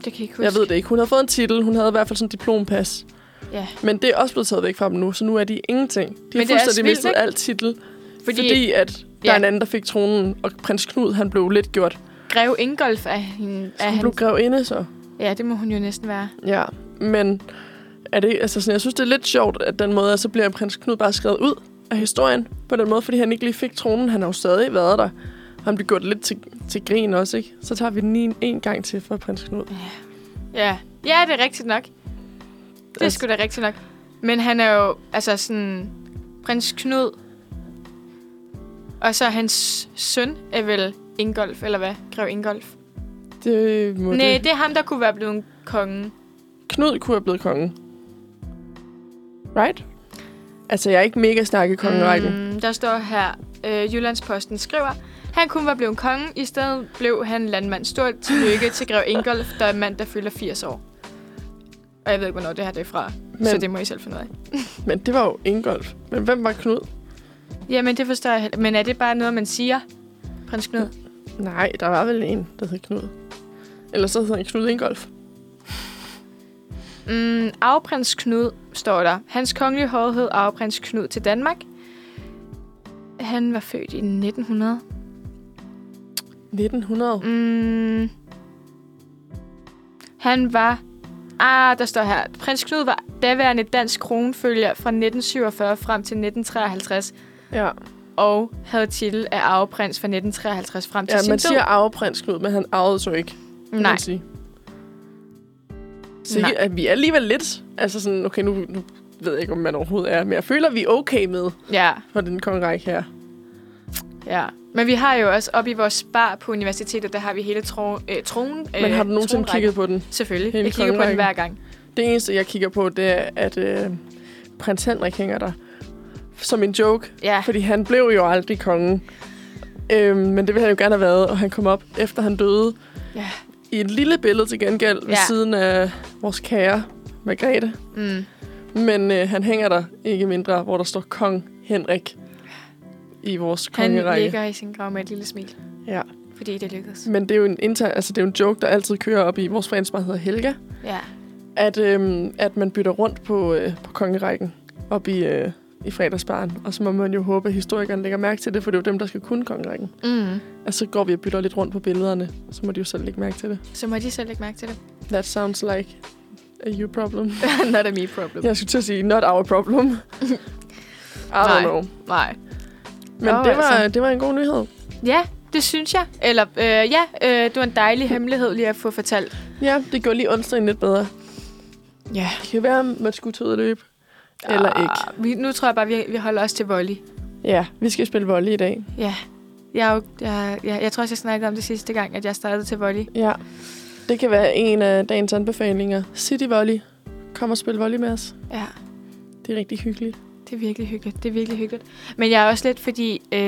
Det kan jeg ikke huske.
Jeg ved det ikke. Hun havde fået en titel. Hun havde i hvert fald sådan en diplompas.
Ja.
Men det er også blevet taget væk fra dem nu, så nu er de ingenting. De har
det er også
fuldstændig
vildt,
mistet
ikke?
alt titel,
Fordi,
fordi, fordi at der
Ja.
er en anden, der fik tronen, og prins Knud, han blev lidt gjort.
Grev Ingolf er, hende,
Så
er
han
han.
blev grevinde, så.
Ja, det må hun jo næsten være.
Ja, men er det, altså sådan, jeg synes, det er lidt sjovt, at den måde, at så bliver prins Knud bare skrevet ud af historien på den måde, fordi han ikke lige fik tronen. Han har jo stadig været der. Han blev gjort lidt til, til grin også, ikke? Så tager vi den en, en gang til for prins Knud.
Ja. Ja, det er rigtigt nok. Det er
Altså-
sgu da rigtigt nok. Men han er jo, altså sådan, prins Knud. Og så hans søn er vel Ingolf, eller hvad? Grev Ingolf.
Det må
Nej,
det.
det er ham, der kunne være blevet en konge.
Knud kunne have blevet kongen. Right? Altså, jeg er ikke mega snakke kongerækken. Mm.
Mm, der står her, øh, Jyllandsposten skriver, han kunne være blevet en konge, i stedet blev han landmand. Stort tillykke til Grev Ingolf, der er en mand, der fylder 80 år. Og jeg ved ikke, hvornår det her det er fra, Men... så
Men-
det må I selv finde ud af.
Men det var jo Ingolf. Men hvem var Knud?
Jamen, det forstår jeg heller. Men er det bare noget, man siger, prins Knud?
Nej, der var vel en, der hed Knud. Eller så hed han Knud Ingolf.
Mm, afprins Knud står der. Hans kongelige højhed afprins Knud til Danmark. Han var født i 1900.
1900.
Mm. Han var... Ah, der står her. Prins Knud var daværende dansk kronfølger fra 1947 frem til 1953,
Ja.
og havde titel af arveprins fra 1953 frem til
Ja,
sin
man
død.
siger arveprins Knud, men han arvede så ikke. kan
Nej,
Man sige. Så
Nej.
Nej. At vi er alligevel lidt... Altså sådan, okay, nu, nu ved jeg ikke, om man overhovedet er, men jeg føler, vi er okay med
ja,
for den kongerække her.
ja. Men vi har jo også oppe i vores bar på universitetet, der har vi hele tro, øh, tronen.
Men har du nogensinde
tronrækken.
kigget på den?
Selvfølgelig.
Hele
jeg kigger på den
kongerækken.
hver gang.
Det eneste, jeg kigger på, det er, at øh, prins Henrik hænger der. Som en joke.
Ja,
Fordi han blev jo aldrig konge. Øhm, men det ville han jo gerne have været, og han kom op, efter han døde.
Ja.
I et lille billede til gengæld, ved
Ja.
siden af vores kære Margrethe.
mm.
Men øh, han hænger der ikke mindre, hvor der står kong Henrik i vores
han
kongerække.
ligger i sin grav med et lille smil,
Ja. Mm.
fordi det lykkedes.
Men det er jo en inter, altså det er jo en joke, der altid kører op i vores friends, der hedder Helga,
Ja.
at, øhm, at man bytter rundt på, øh, på kongerækken op i, øh, i fredagsbaren. Og så må man jo håbe, at historikerne lægger mærke til det, for det er jo dem, der skal kunne kongerækken.
Mm.
Og så går vi og bytter lidt rundt på billederne, så må de jo selv lægge mærke til det.
Så må de selv lægge mærke
[LAUGHS]
til det.
That sounds like a you problem.
Not a me problem.
Jeg skulle til at sige, not our
[LAUGHS]
problem. I
Nej.
don't know.
Nej.
Men
Jo,
oh, det, var,
altså.
altså. det var en god nyhed.
Ja, det synes jeg. Eller, øh, ja, øh, det var en dejlig hemmelighed lige at få fortalt.
Ja, det gjorde lige onsdagen lidt bedre.
Ja.
Det kan være, man skulle tage ud og løbe. Eller ikke.
Ah, Vi, nu tror jeg bare, vi, vi holder os til volley.
Ja, vi skal spille volley i dag.
Ja. Jeg, er jo, jeg, jeg, jeg tror også, jeg snakkede om det sidste gang, at jeg startede til volley.
Ja. Det kan være en af dagens anbefalinger. City Volley. Kom og spil volley med os.
Ja,
Det er rigtig hyggeligt.
det er virkelig hyggeligt. Det er virkelig hyggeligt. Men jeg er også lidt, fordi øh,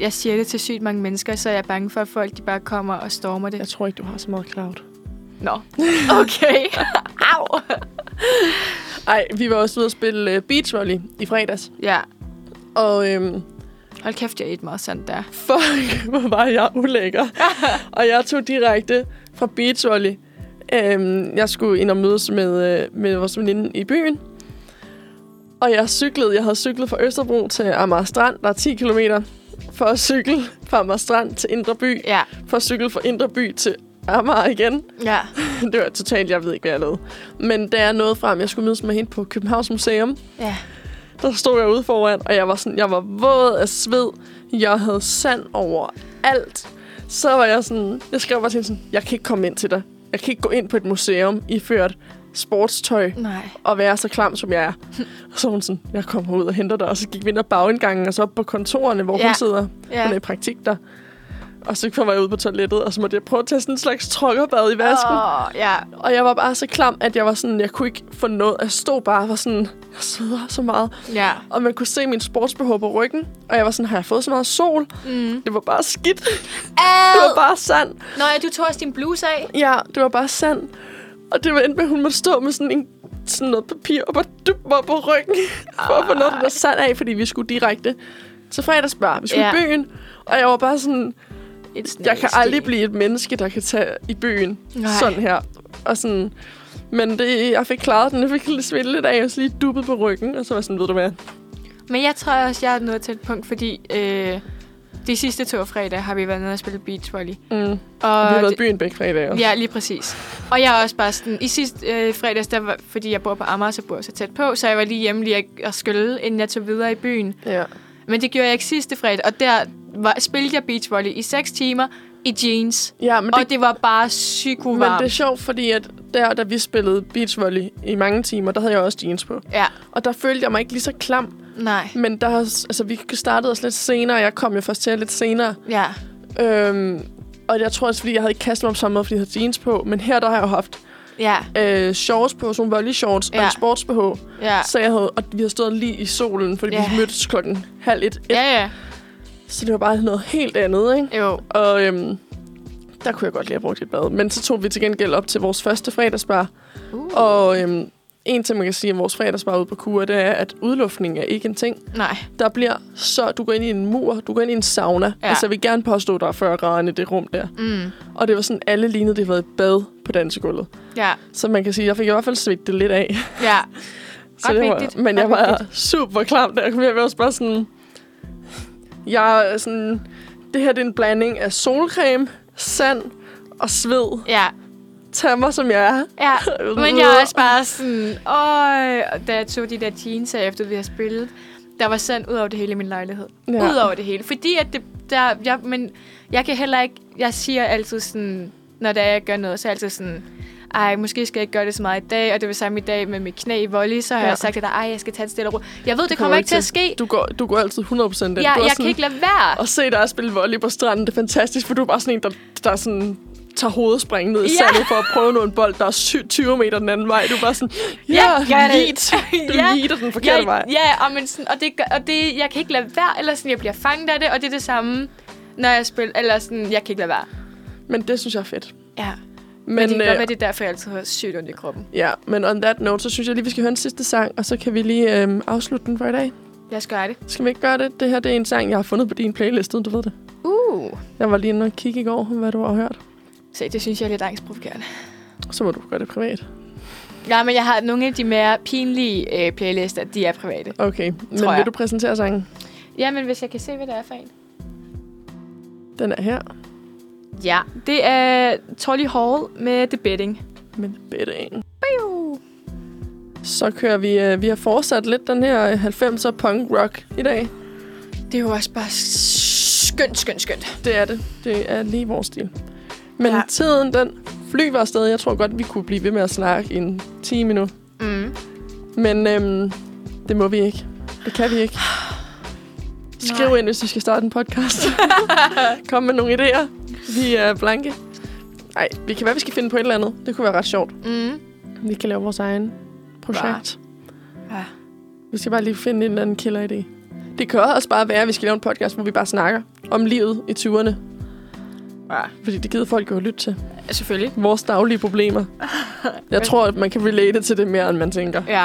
jeg siger det til sygt mange mennesker, så jeg er bange for, at folk de bare kommer og stormer det.
Jeg tror ikke, du har så meget cloud.
Nå. Okay. [LAUGHS] Au.
Nej, vi var også ude at spille øh, beach volley i fredags.
Ja.
Og øhm,
Hold kæft, jeg er et meget sandt der.
[LAUGHS] fuck, hvor var jeg ulækker. og jeg tog direkte fra beach volley Øhm, jeg skulle ind og mødes med, øh, med vores veninde i byen. Og jeg cyklede, jeg havde cyklet fra Østerbro til Amager Strand, der er 10 km, for at cykle fra Amager Strand til Indre By,
Ja,
for at cykle fra Indre By til Amager igen. [LAUGHS]
ja.
det var totalt, jeg ved ikke, hvad jeg lavede. Men da jeg nåede frem, jeg skulle mødes med hende på Københavns Museum,
Ja.
der stod jeg ude foran, og jeg var, sådan, jeg var våd af sved. Jeg havde sand over alt. Så var jeg sådan, jeg skrev bare til hende sådan, jeg kan ikke komme ind til dig. Jeg kan ikke gå ind på et museum iført sportstøj
Nej.
og være så klam, som
[LAUGHS]
jeg er. Og så var hun sådan, jeg kommer ud og henter dig. Og så gik vi ind ad bagindgangen, og så op på kontorerne, hvor ja.
Ja.
hun sidder.
Ja.
Hun er i praktik der. Og så kom jeg ud på toilettet, og så måtte jeg prøve at tage sådan en slags trokkerbad i vasken.
Åh, ja.
Og jeg var bare så klam, at jeg var sådan, jeg kunne ikke få noget. Jeg stod bare og var sådan, jeg sveder så meget.
Ja.
Og man kunne se min sportsbehov på ryggen. Og jeg var sådan, har jeg fået så meget sol?
Mm.
Det var bare skidt. [LAUGHS] Det var
Ad!
bare sand.
Nå ja, du tog også din bluse af.
Ja, det var bare sand. Og det var endte med, at hun måtte stå med sådan, en, sådan noget papir og bare dyppe mig på ryggen. [LAUGHS] For at få noget af det der sand af, fordi vi skulle direkte til fredagsbar. Vi skulle
Ja.
i byen. Og jeg var bare sådan,
It's
jeg kan aldrig blive et menneske, der kan tage i byen
Nej.
Nej. sådan her. Og sådan, men det, jeg fik klaret den. Jeg fik lidt smidt lidt af, og så lige duppet på ryggen. Og så var jeg sådan, ved du hvad?
Men jeg tror også, jeg er nået til et punkt, fordi øh, de sidste to fredag har vi været nede og spille beachvolley.
Mm.
Og
vi har været i
det-
byen begge fredag også.
Ja, lige præcis. Og jeg er også bare sådan, i sidste øh, fredags, der var, fordi jeg bor på Amager, så bor jeg så tæt på, så jeg var lige hjemme lige at- at skylle, inden jeg tog videre i byen.
Ja.
Men det gjorde jeg ikke sidste fredag, og der var, spillede jeg beachvolley i 6 timer i jeans.
ja men,
Det, og
det,
det var bare psyko
men det er sjovt, fordi at der, da vi spillede beachvolley i mange timer, der havde jeg også jeans på.
Ja,
Og der følte jeg mig ikke lige så klam.
nej.
Men der, har s- altså, vi startede os lidt senere, og jeg kom jo først til lidt senere.
Ja,
Øhm, og jeg tror også, fordi jeg havde ikke kastet mig på samme måde, fordi jeg havde jeans på. Men her, der har jeg jo haft
ja,
øh, shorts på, sådan nogle volley shorts ja.
Ja.
og en sports BH.
ja.
Så jeg havde, og vi havde stået lige i solen, fordi
Ja.
vi mødtes klokken halv et, et.
Ja, ja.
Så det var bare noget helt andet, ikke?
Jo.
Og øhm, der kunne jeg godt lige have brugt et bad. Men så tog vi til gengæld op til vores første fredagsbar.
Uh.
Og øhm, en ting, man kan sige om vores fredagsbar ude på Kura, det er, at udluftning er ikke en ting.
Nej.
Der bliver så... Du går ind i en mur, du går ind i en sauna.
Ja.
Ja. Altså, jeg vil gerne påstå, at der er 40 grader i det rum der.
Mm.
Og det var sådan, alle lignede, det havde været et bad på dansegulvet.
Ja,
Så man kan sige, at jeg fik i hvert fald svigtet lidt af. [LAUGHS]
ja.
Så
Ret
det var,
vigtigt.
Men
Ret
jeg var super klam, da jeg kom hjem. Jeg var også bare sådan... Jeg er sådan... Det her det er en blanding af solcreme, sand og sved.
Ja,
Tag mig, som jeg er.
ja. Men jeg er også bare sådan, øj, og da jeg tog de der jeans af, efter vi har spillet, der var sand ud over det hele i min lejlighed. Ja. Ud over det hele. Fordi at det, der, jeg, men jeg kan heller ikke, jeg siger altid sådan, når det er, jeg gør noget, så er jeg altid sådan, ej, måske skal jeg ikke gøre det så meget i dag, og det var samme i dag med mit knæ i volley, så har ja.
Ja.
jeg sagt til dig, ej, jeg skal tage det stille og roligt. Jeg ved, det, det kommer ikke til at ske.
Du går, du går altid 100% den.
Ja,
du er
jeg
sådan,
kan ikke lade være.
At se dig spille volley på stranden, det er fantastisk, for du er bare sådan en, der, der sådan tager hovedspring ned i
Ja.
sandet for at prøve noget en bold, der er syv- 20 meter den anden vej. Du er bare sådan, ja,
gør det."
lead. Du
Ja.
leader den forkerte
jeg,
vej.
Ja, og, men sådan, og, det, gør- og det, jeg kan ikke lade være, eller sådan, jeg bliver fanget af det, og det er det samme, når jeg spiller, eller sådan, jeg kan ikke lade være.
Men det synes jeg er fedt.
Ja,
Men,
men, det kan
øh,
godt være, det er derfor, jeg altid har sygt ondt i kroppen.
Ja, men on that note, så synes jeg lige, vi skal høre en sidste sang, og så kan vi lige øhm, afslutte den for i dag.
Jeg skal gøre det.
Skal vi ikke gøre det? Det her det er en sang, jeg har fundet på din playlist, uden du ved det.
Uh.
Jeg var lige inde og kigge i går, hvad du har hørt.
Se, det synes jeg er lidt angstprovokerende.
Så må du gøre det privat.
Ja, men jeg har nogle af de mere pinlige øh, playlister, de er private.
Okay, men
Tror jeg.
vil du præsentere sangen?
Ja, men hvis jeg kan se, hvad det er for en.
Den er her.
Ja, det er Tolly Hall med The Betting.
Men betting.
Biu.
Så kører vi. Øh, vi har fortsat lidt den her øh, 90'er punk rock i dag.
Det er jo også bare skønt, skønt, skønt.
Det er det. Det er lige vores stil. Men
Ja.
ja. tiden, den flyver afsted. Jeg tror godt, vi kunne blive ved med at snakke i en time nu.
Mm.
Men øhm, det må vi ikke. Det kan vi
[SIGHS]
ikke. Skriv
Nej.
ind, hvis vi skal starte en
[LAUGHS]
podcast. Kom med nogle idéer. Vi er blanke. Nej, vi kan være, vi skal finde på et eller andet. Det kunne være ret sjovt.
Mm.
Vi kan lave vores egen projekt.
Ja.
Vi skal bare lige finde en eller anden killer idé. Det kan også bare være, at vi skal lave en podcast, hvor vi bare snakker om livet i 20'erne.
Ja.
Fordi det gider folk jo at lytte til.
Selvfølgelig.
Vores daglige
[LAUGHS]
problemer. Jeg tror, at man kan relate til det mere, end man tænker.
Ja.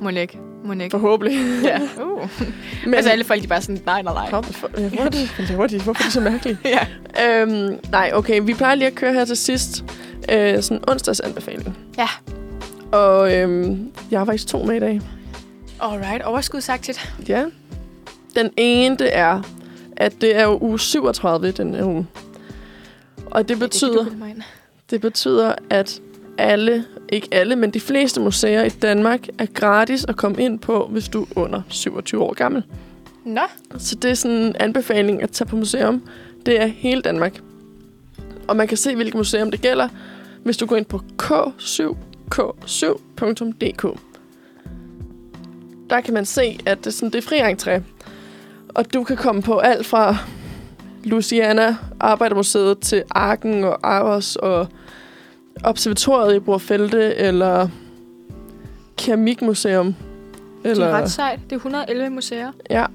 Må ikke. Må ikke. [LAUGHS]
Forhåbentlig.
Ja. Uh.
Men,
Altså alle folk, de er bare sådan, nej, nej, nej.
Kom, for, ja, hvor er
[LAUGHS]
det? Hvad laver de? Hvorfor er de så mærkelige?
Ja.
Øhm, nej, okay. Vi plejer lige at køre her til sidst. Øh, sådan onsdags anbefaling.
Ja.
Og øhm, jeg har faktisk to med i dag.
Alright, overskudsagtigt.
Ja. Den ene, det er, at det er jo uge 37 i den her uge. Og det betyder, det betyder, at alle, ikke alle, men de fleste museer i Danmark er gratis at komme ind på, hvis du er under 27 år gammel.
Nå,
Så det er sådan en anbefaling at tage på museum. Det er hele Danmark. Og man kan se, hvilket museum det gælder, hvis du går ind på k7k7.dk. Der kan man se, at det er, sådan, det er fri entré. Og du kan komme på alt fra Louisiana, Arbejdermuseet til Arken og Aros og Observatoriet i Borfelte eller Keramikmuseum.
det er ret sejt. Det er 111 museer.
Ja.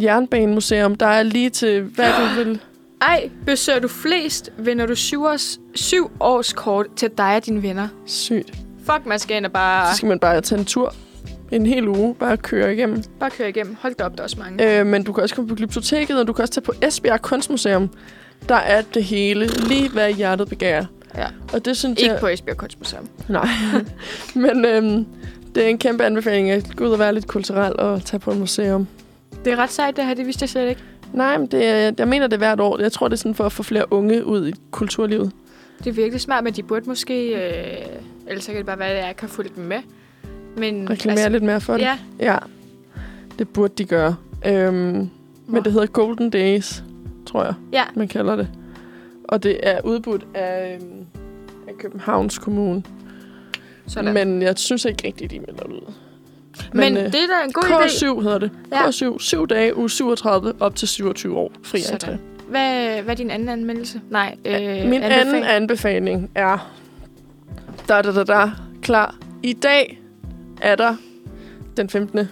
Jernbanemuseum, der er lige til, hvad du
[GASPS]
vil.
Ej, besøger du flest, vinder du syv års, syv års kort til dig og dine venner.
Sygt.
Fuck, man skal ind og bare,
Så skal man bare tage en tur. En hel uge, bare køre igennem.
bare køre igennem. Hold da op, der er også mange.
Øh, men du kan også komme på Glyptoteket, og du kan også tage på Esbjerg Kunstmuseum. Der er det hele, lige hvad hjertet begærer.
Ja.
Og det synes
Ikke
jeg...
på Esbjerg Kunstmuseum.
Nej. men øhm, det er en kæmpe anbefaling at gå ud og være lidt kulturel og tage på et museum.
Det er ret sejt, det her. Det vidste jeg slet ikke.
Nej, men det, er- jeg mener det hvert år. Jeg tror, det er sådan for at få flere unge ud i kulturlivet.
Det er virkelig smart, men de burde måske... Øh, ellers så kan det bare være, at jeg ikke har fulgt dem med. Men,
Reklamere altså, lidt mere for det.
Ja,
Ja, det burde de gøre. Øhm, men det hedder Golden Days, tror jeg,
Ja.
man kalder det. Og det er udbudt af, øhm, af Københavns Kommune.
sådan. Men,
Men jeg synes ikke rigtigt, de melder det ud.
men
øh,
det er da en god idé.
K7 hedder det.
Ja.
K7. 7 dage, uge 37, op til 27 år. Fri
Sådan.
entré.
Hvad, hvad er din anden anmeldelse? Nej, øh,
Min
anbefaling.
anden anbefaling er... Da, da, da, da, klar. I dag er der den 15.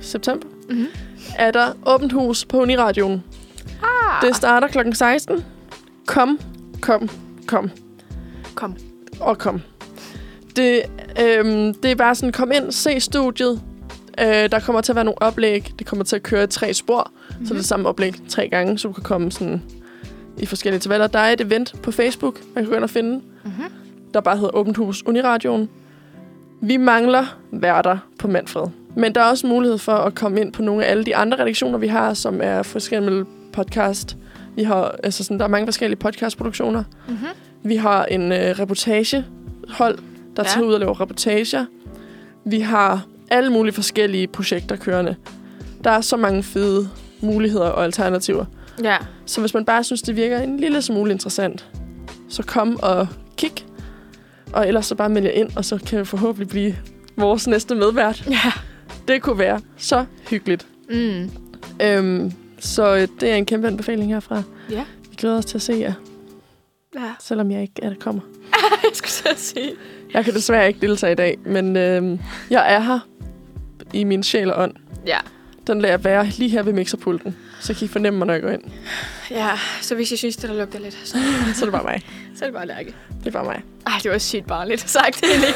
september.
Mhm.
Er der åbent hus på Uniradioen.
Ah,
Det starter kl. 16. Kom, kom, kom
kom.
og kom. Det, øhm, det er bare sådan, kom ind, se studiet. Øh, der kommer til at være nogle oplæg. Det kommer til at køre i tre spor. Mm-hmm.
Mhm.
Så det er samme oplæg tre gange, så du kan komme sådan i forskellige tabeller. Der er et event på Facebook, man kan gå ind og finde.
Mhm.
Der bare hedder Åbent Hus Uniradioen. Vi mangler værter på Manfred. Men der er også mulighed for at komme ind på nogle af alle de andre redaktioner, vi har, som er for eksempel podcast. Vi har, altså sådan, der er mange forskellige podcastproduktioner.
Mhm.
Vi har en øh, reportagehold, der
Ja.
ja. tager ud og laver reportager. Vi har alle mulige forskellige projekter kørende. Der er så mange fede muligheder og alternativer.
Ja,
Så hvis man bare synes, det virker en lille smule interessant, så kom og kig. Og ellers så bare meld jer ind, og så kan vi forhåbentlig blive vores næste medvært.
Ja.
Det kunne være så hyggeligt.
Mm.
Øhm, så øh, det er en kæmpe anbefaling herfra.
Ja.
Vi glæder os til at se jer,
[LAUGHS] ja.
selvom jeg ikke er der kommer.
Jeg skulle så sige.
Jeg kan desværre ikke deltage i dag, men øhm, jeg er her i min sjæl og ånd.
Ja.
Den lader jeg være lige her ved mixerpulten, så kan I fornemme mig, når jeg går ind.
ja, så hvis jeg synes, det der lugter lidt, så,
Så er det bare mig.
så er det bare lærke.
Det er bare mig.
Ej, det var sygt barnligt sagt, [LAUGHS] egentlig.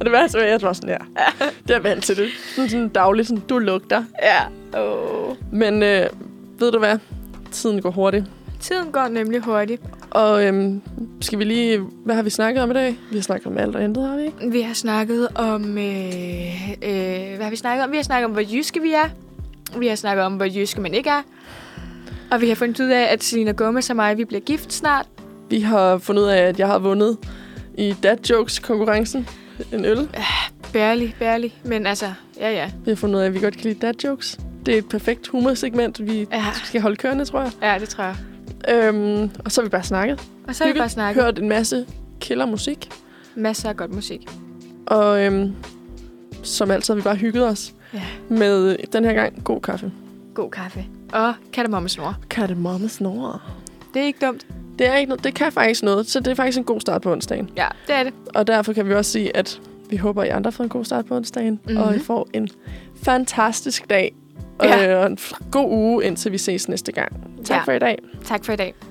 Og det værste var, at jeg var sådan der. Det er vant til det. Sådan, sådan dagligt, sådan, du lugter.
ja. Oh.
Men øh, ved du hvad? Tiden går hurtigt.
Tiden går nemlig hurtigt.
Og øhm, skal vi lige... Hvad har vi snakket om i dag? Vi har snakket om alt og intet, har vi ikke?
Vi har snakket om... Øh, øh, hvad har vi snakket om? Vi har snakket om, hvor jyske vi er. Vi har snakket om, hvor jyske man ikke er. Og vi har fundet ud af, at Selina Gomez og mig, vi bliver gift snart.
Vi har fundet ud af, at jeg har vundet i Dad Jokes-konkurrencen. En øl.
Barely, barely. Men altså, ja ja.
Vi har fundet ud af, at vi godt kan lide dad jokes. Det er et perfekt humorsegment, vi
Ja,
skal holde kørende, tror jeg.
ja det tror jeg.
Øhm, og så har vi bare snakket.
Og så har vi
Hygget.
bare snakket
Hørt en masse killer musik.
masser af godt musik.
Og øhm, som altid har vi bare hygget os
Ja.
med øh, den her gang god kaffe.
God kaffe. Og kardemommesnore.
Kardemomme snorer.
Det er ikke dumt.
Det, er ikke noget, det kan faktisk noget, så det er faktisk en god start på onsdagen.
Ja, det er det.
Og derfor kan vi også sige, at vi håber, at I andre har fået en god start på onsdagen. Mm-hmm. Og I
Mhm.
får en fantastisk dag.
Ja.
Og, øh, og en f- god uge, indtil vi ses næste gang. Tak
Ja.
for i dag.
Tak for i dag.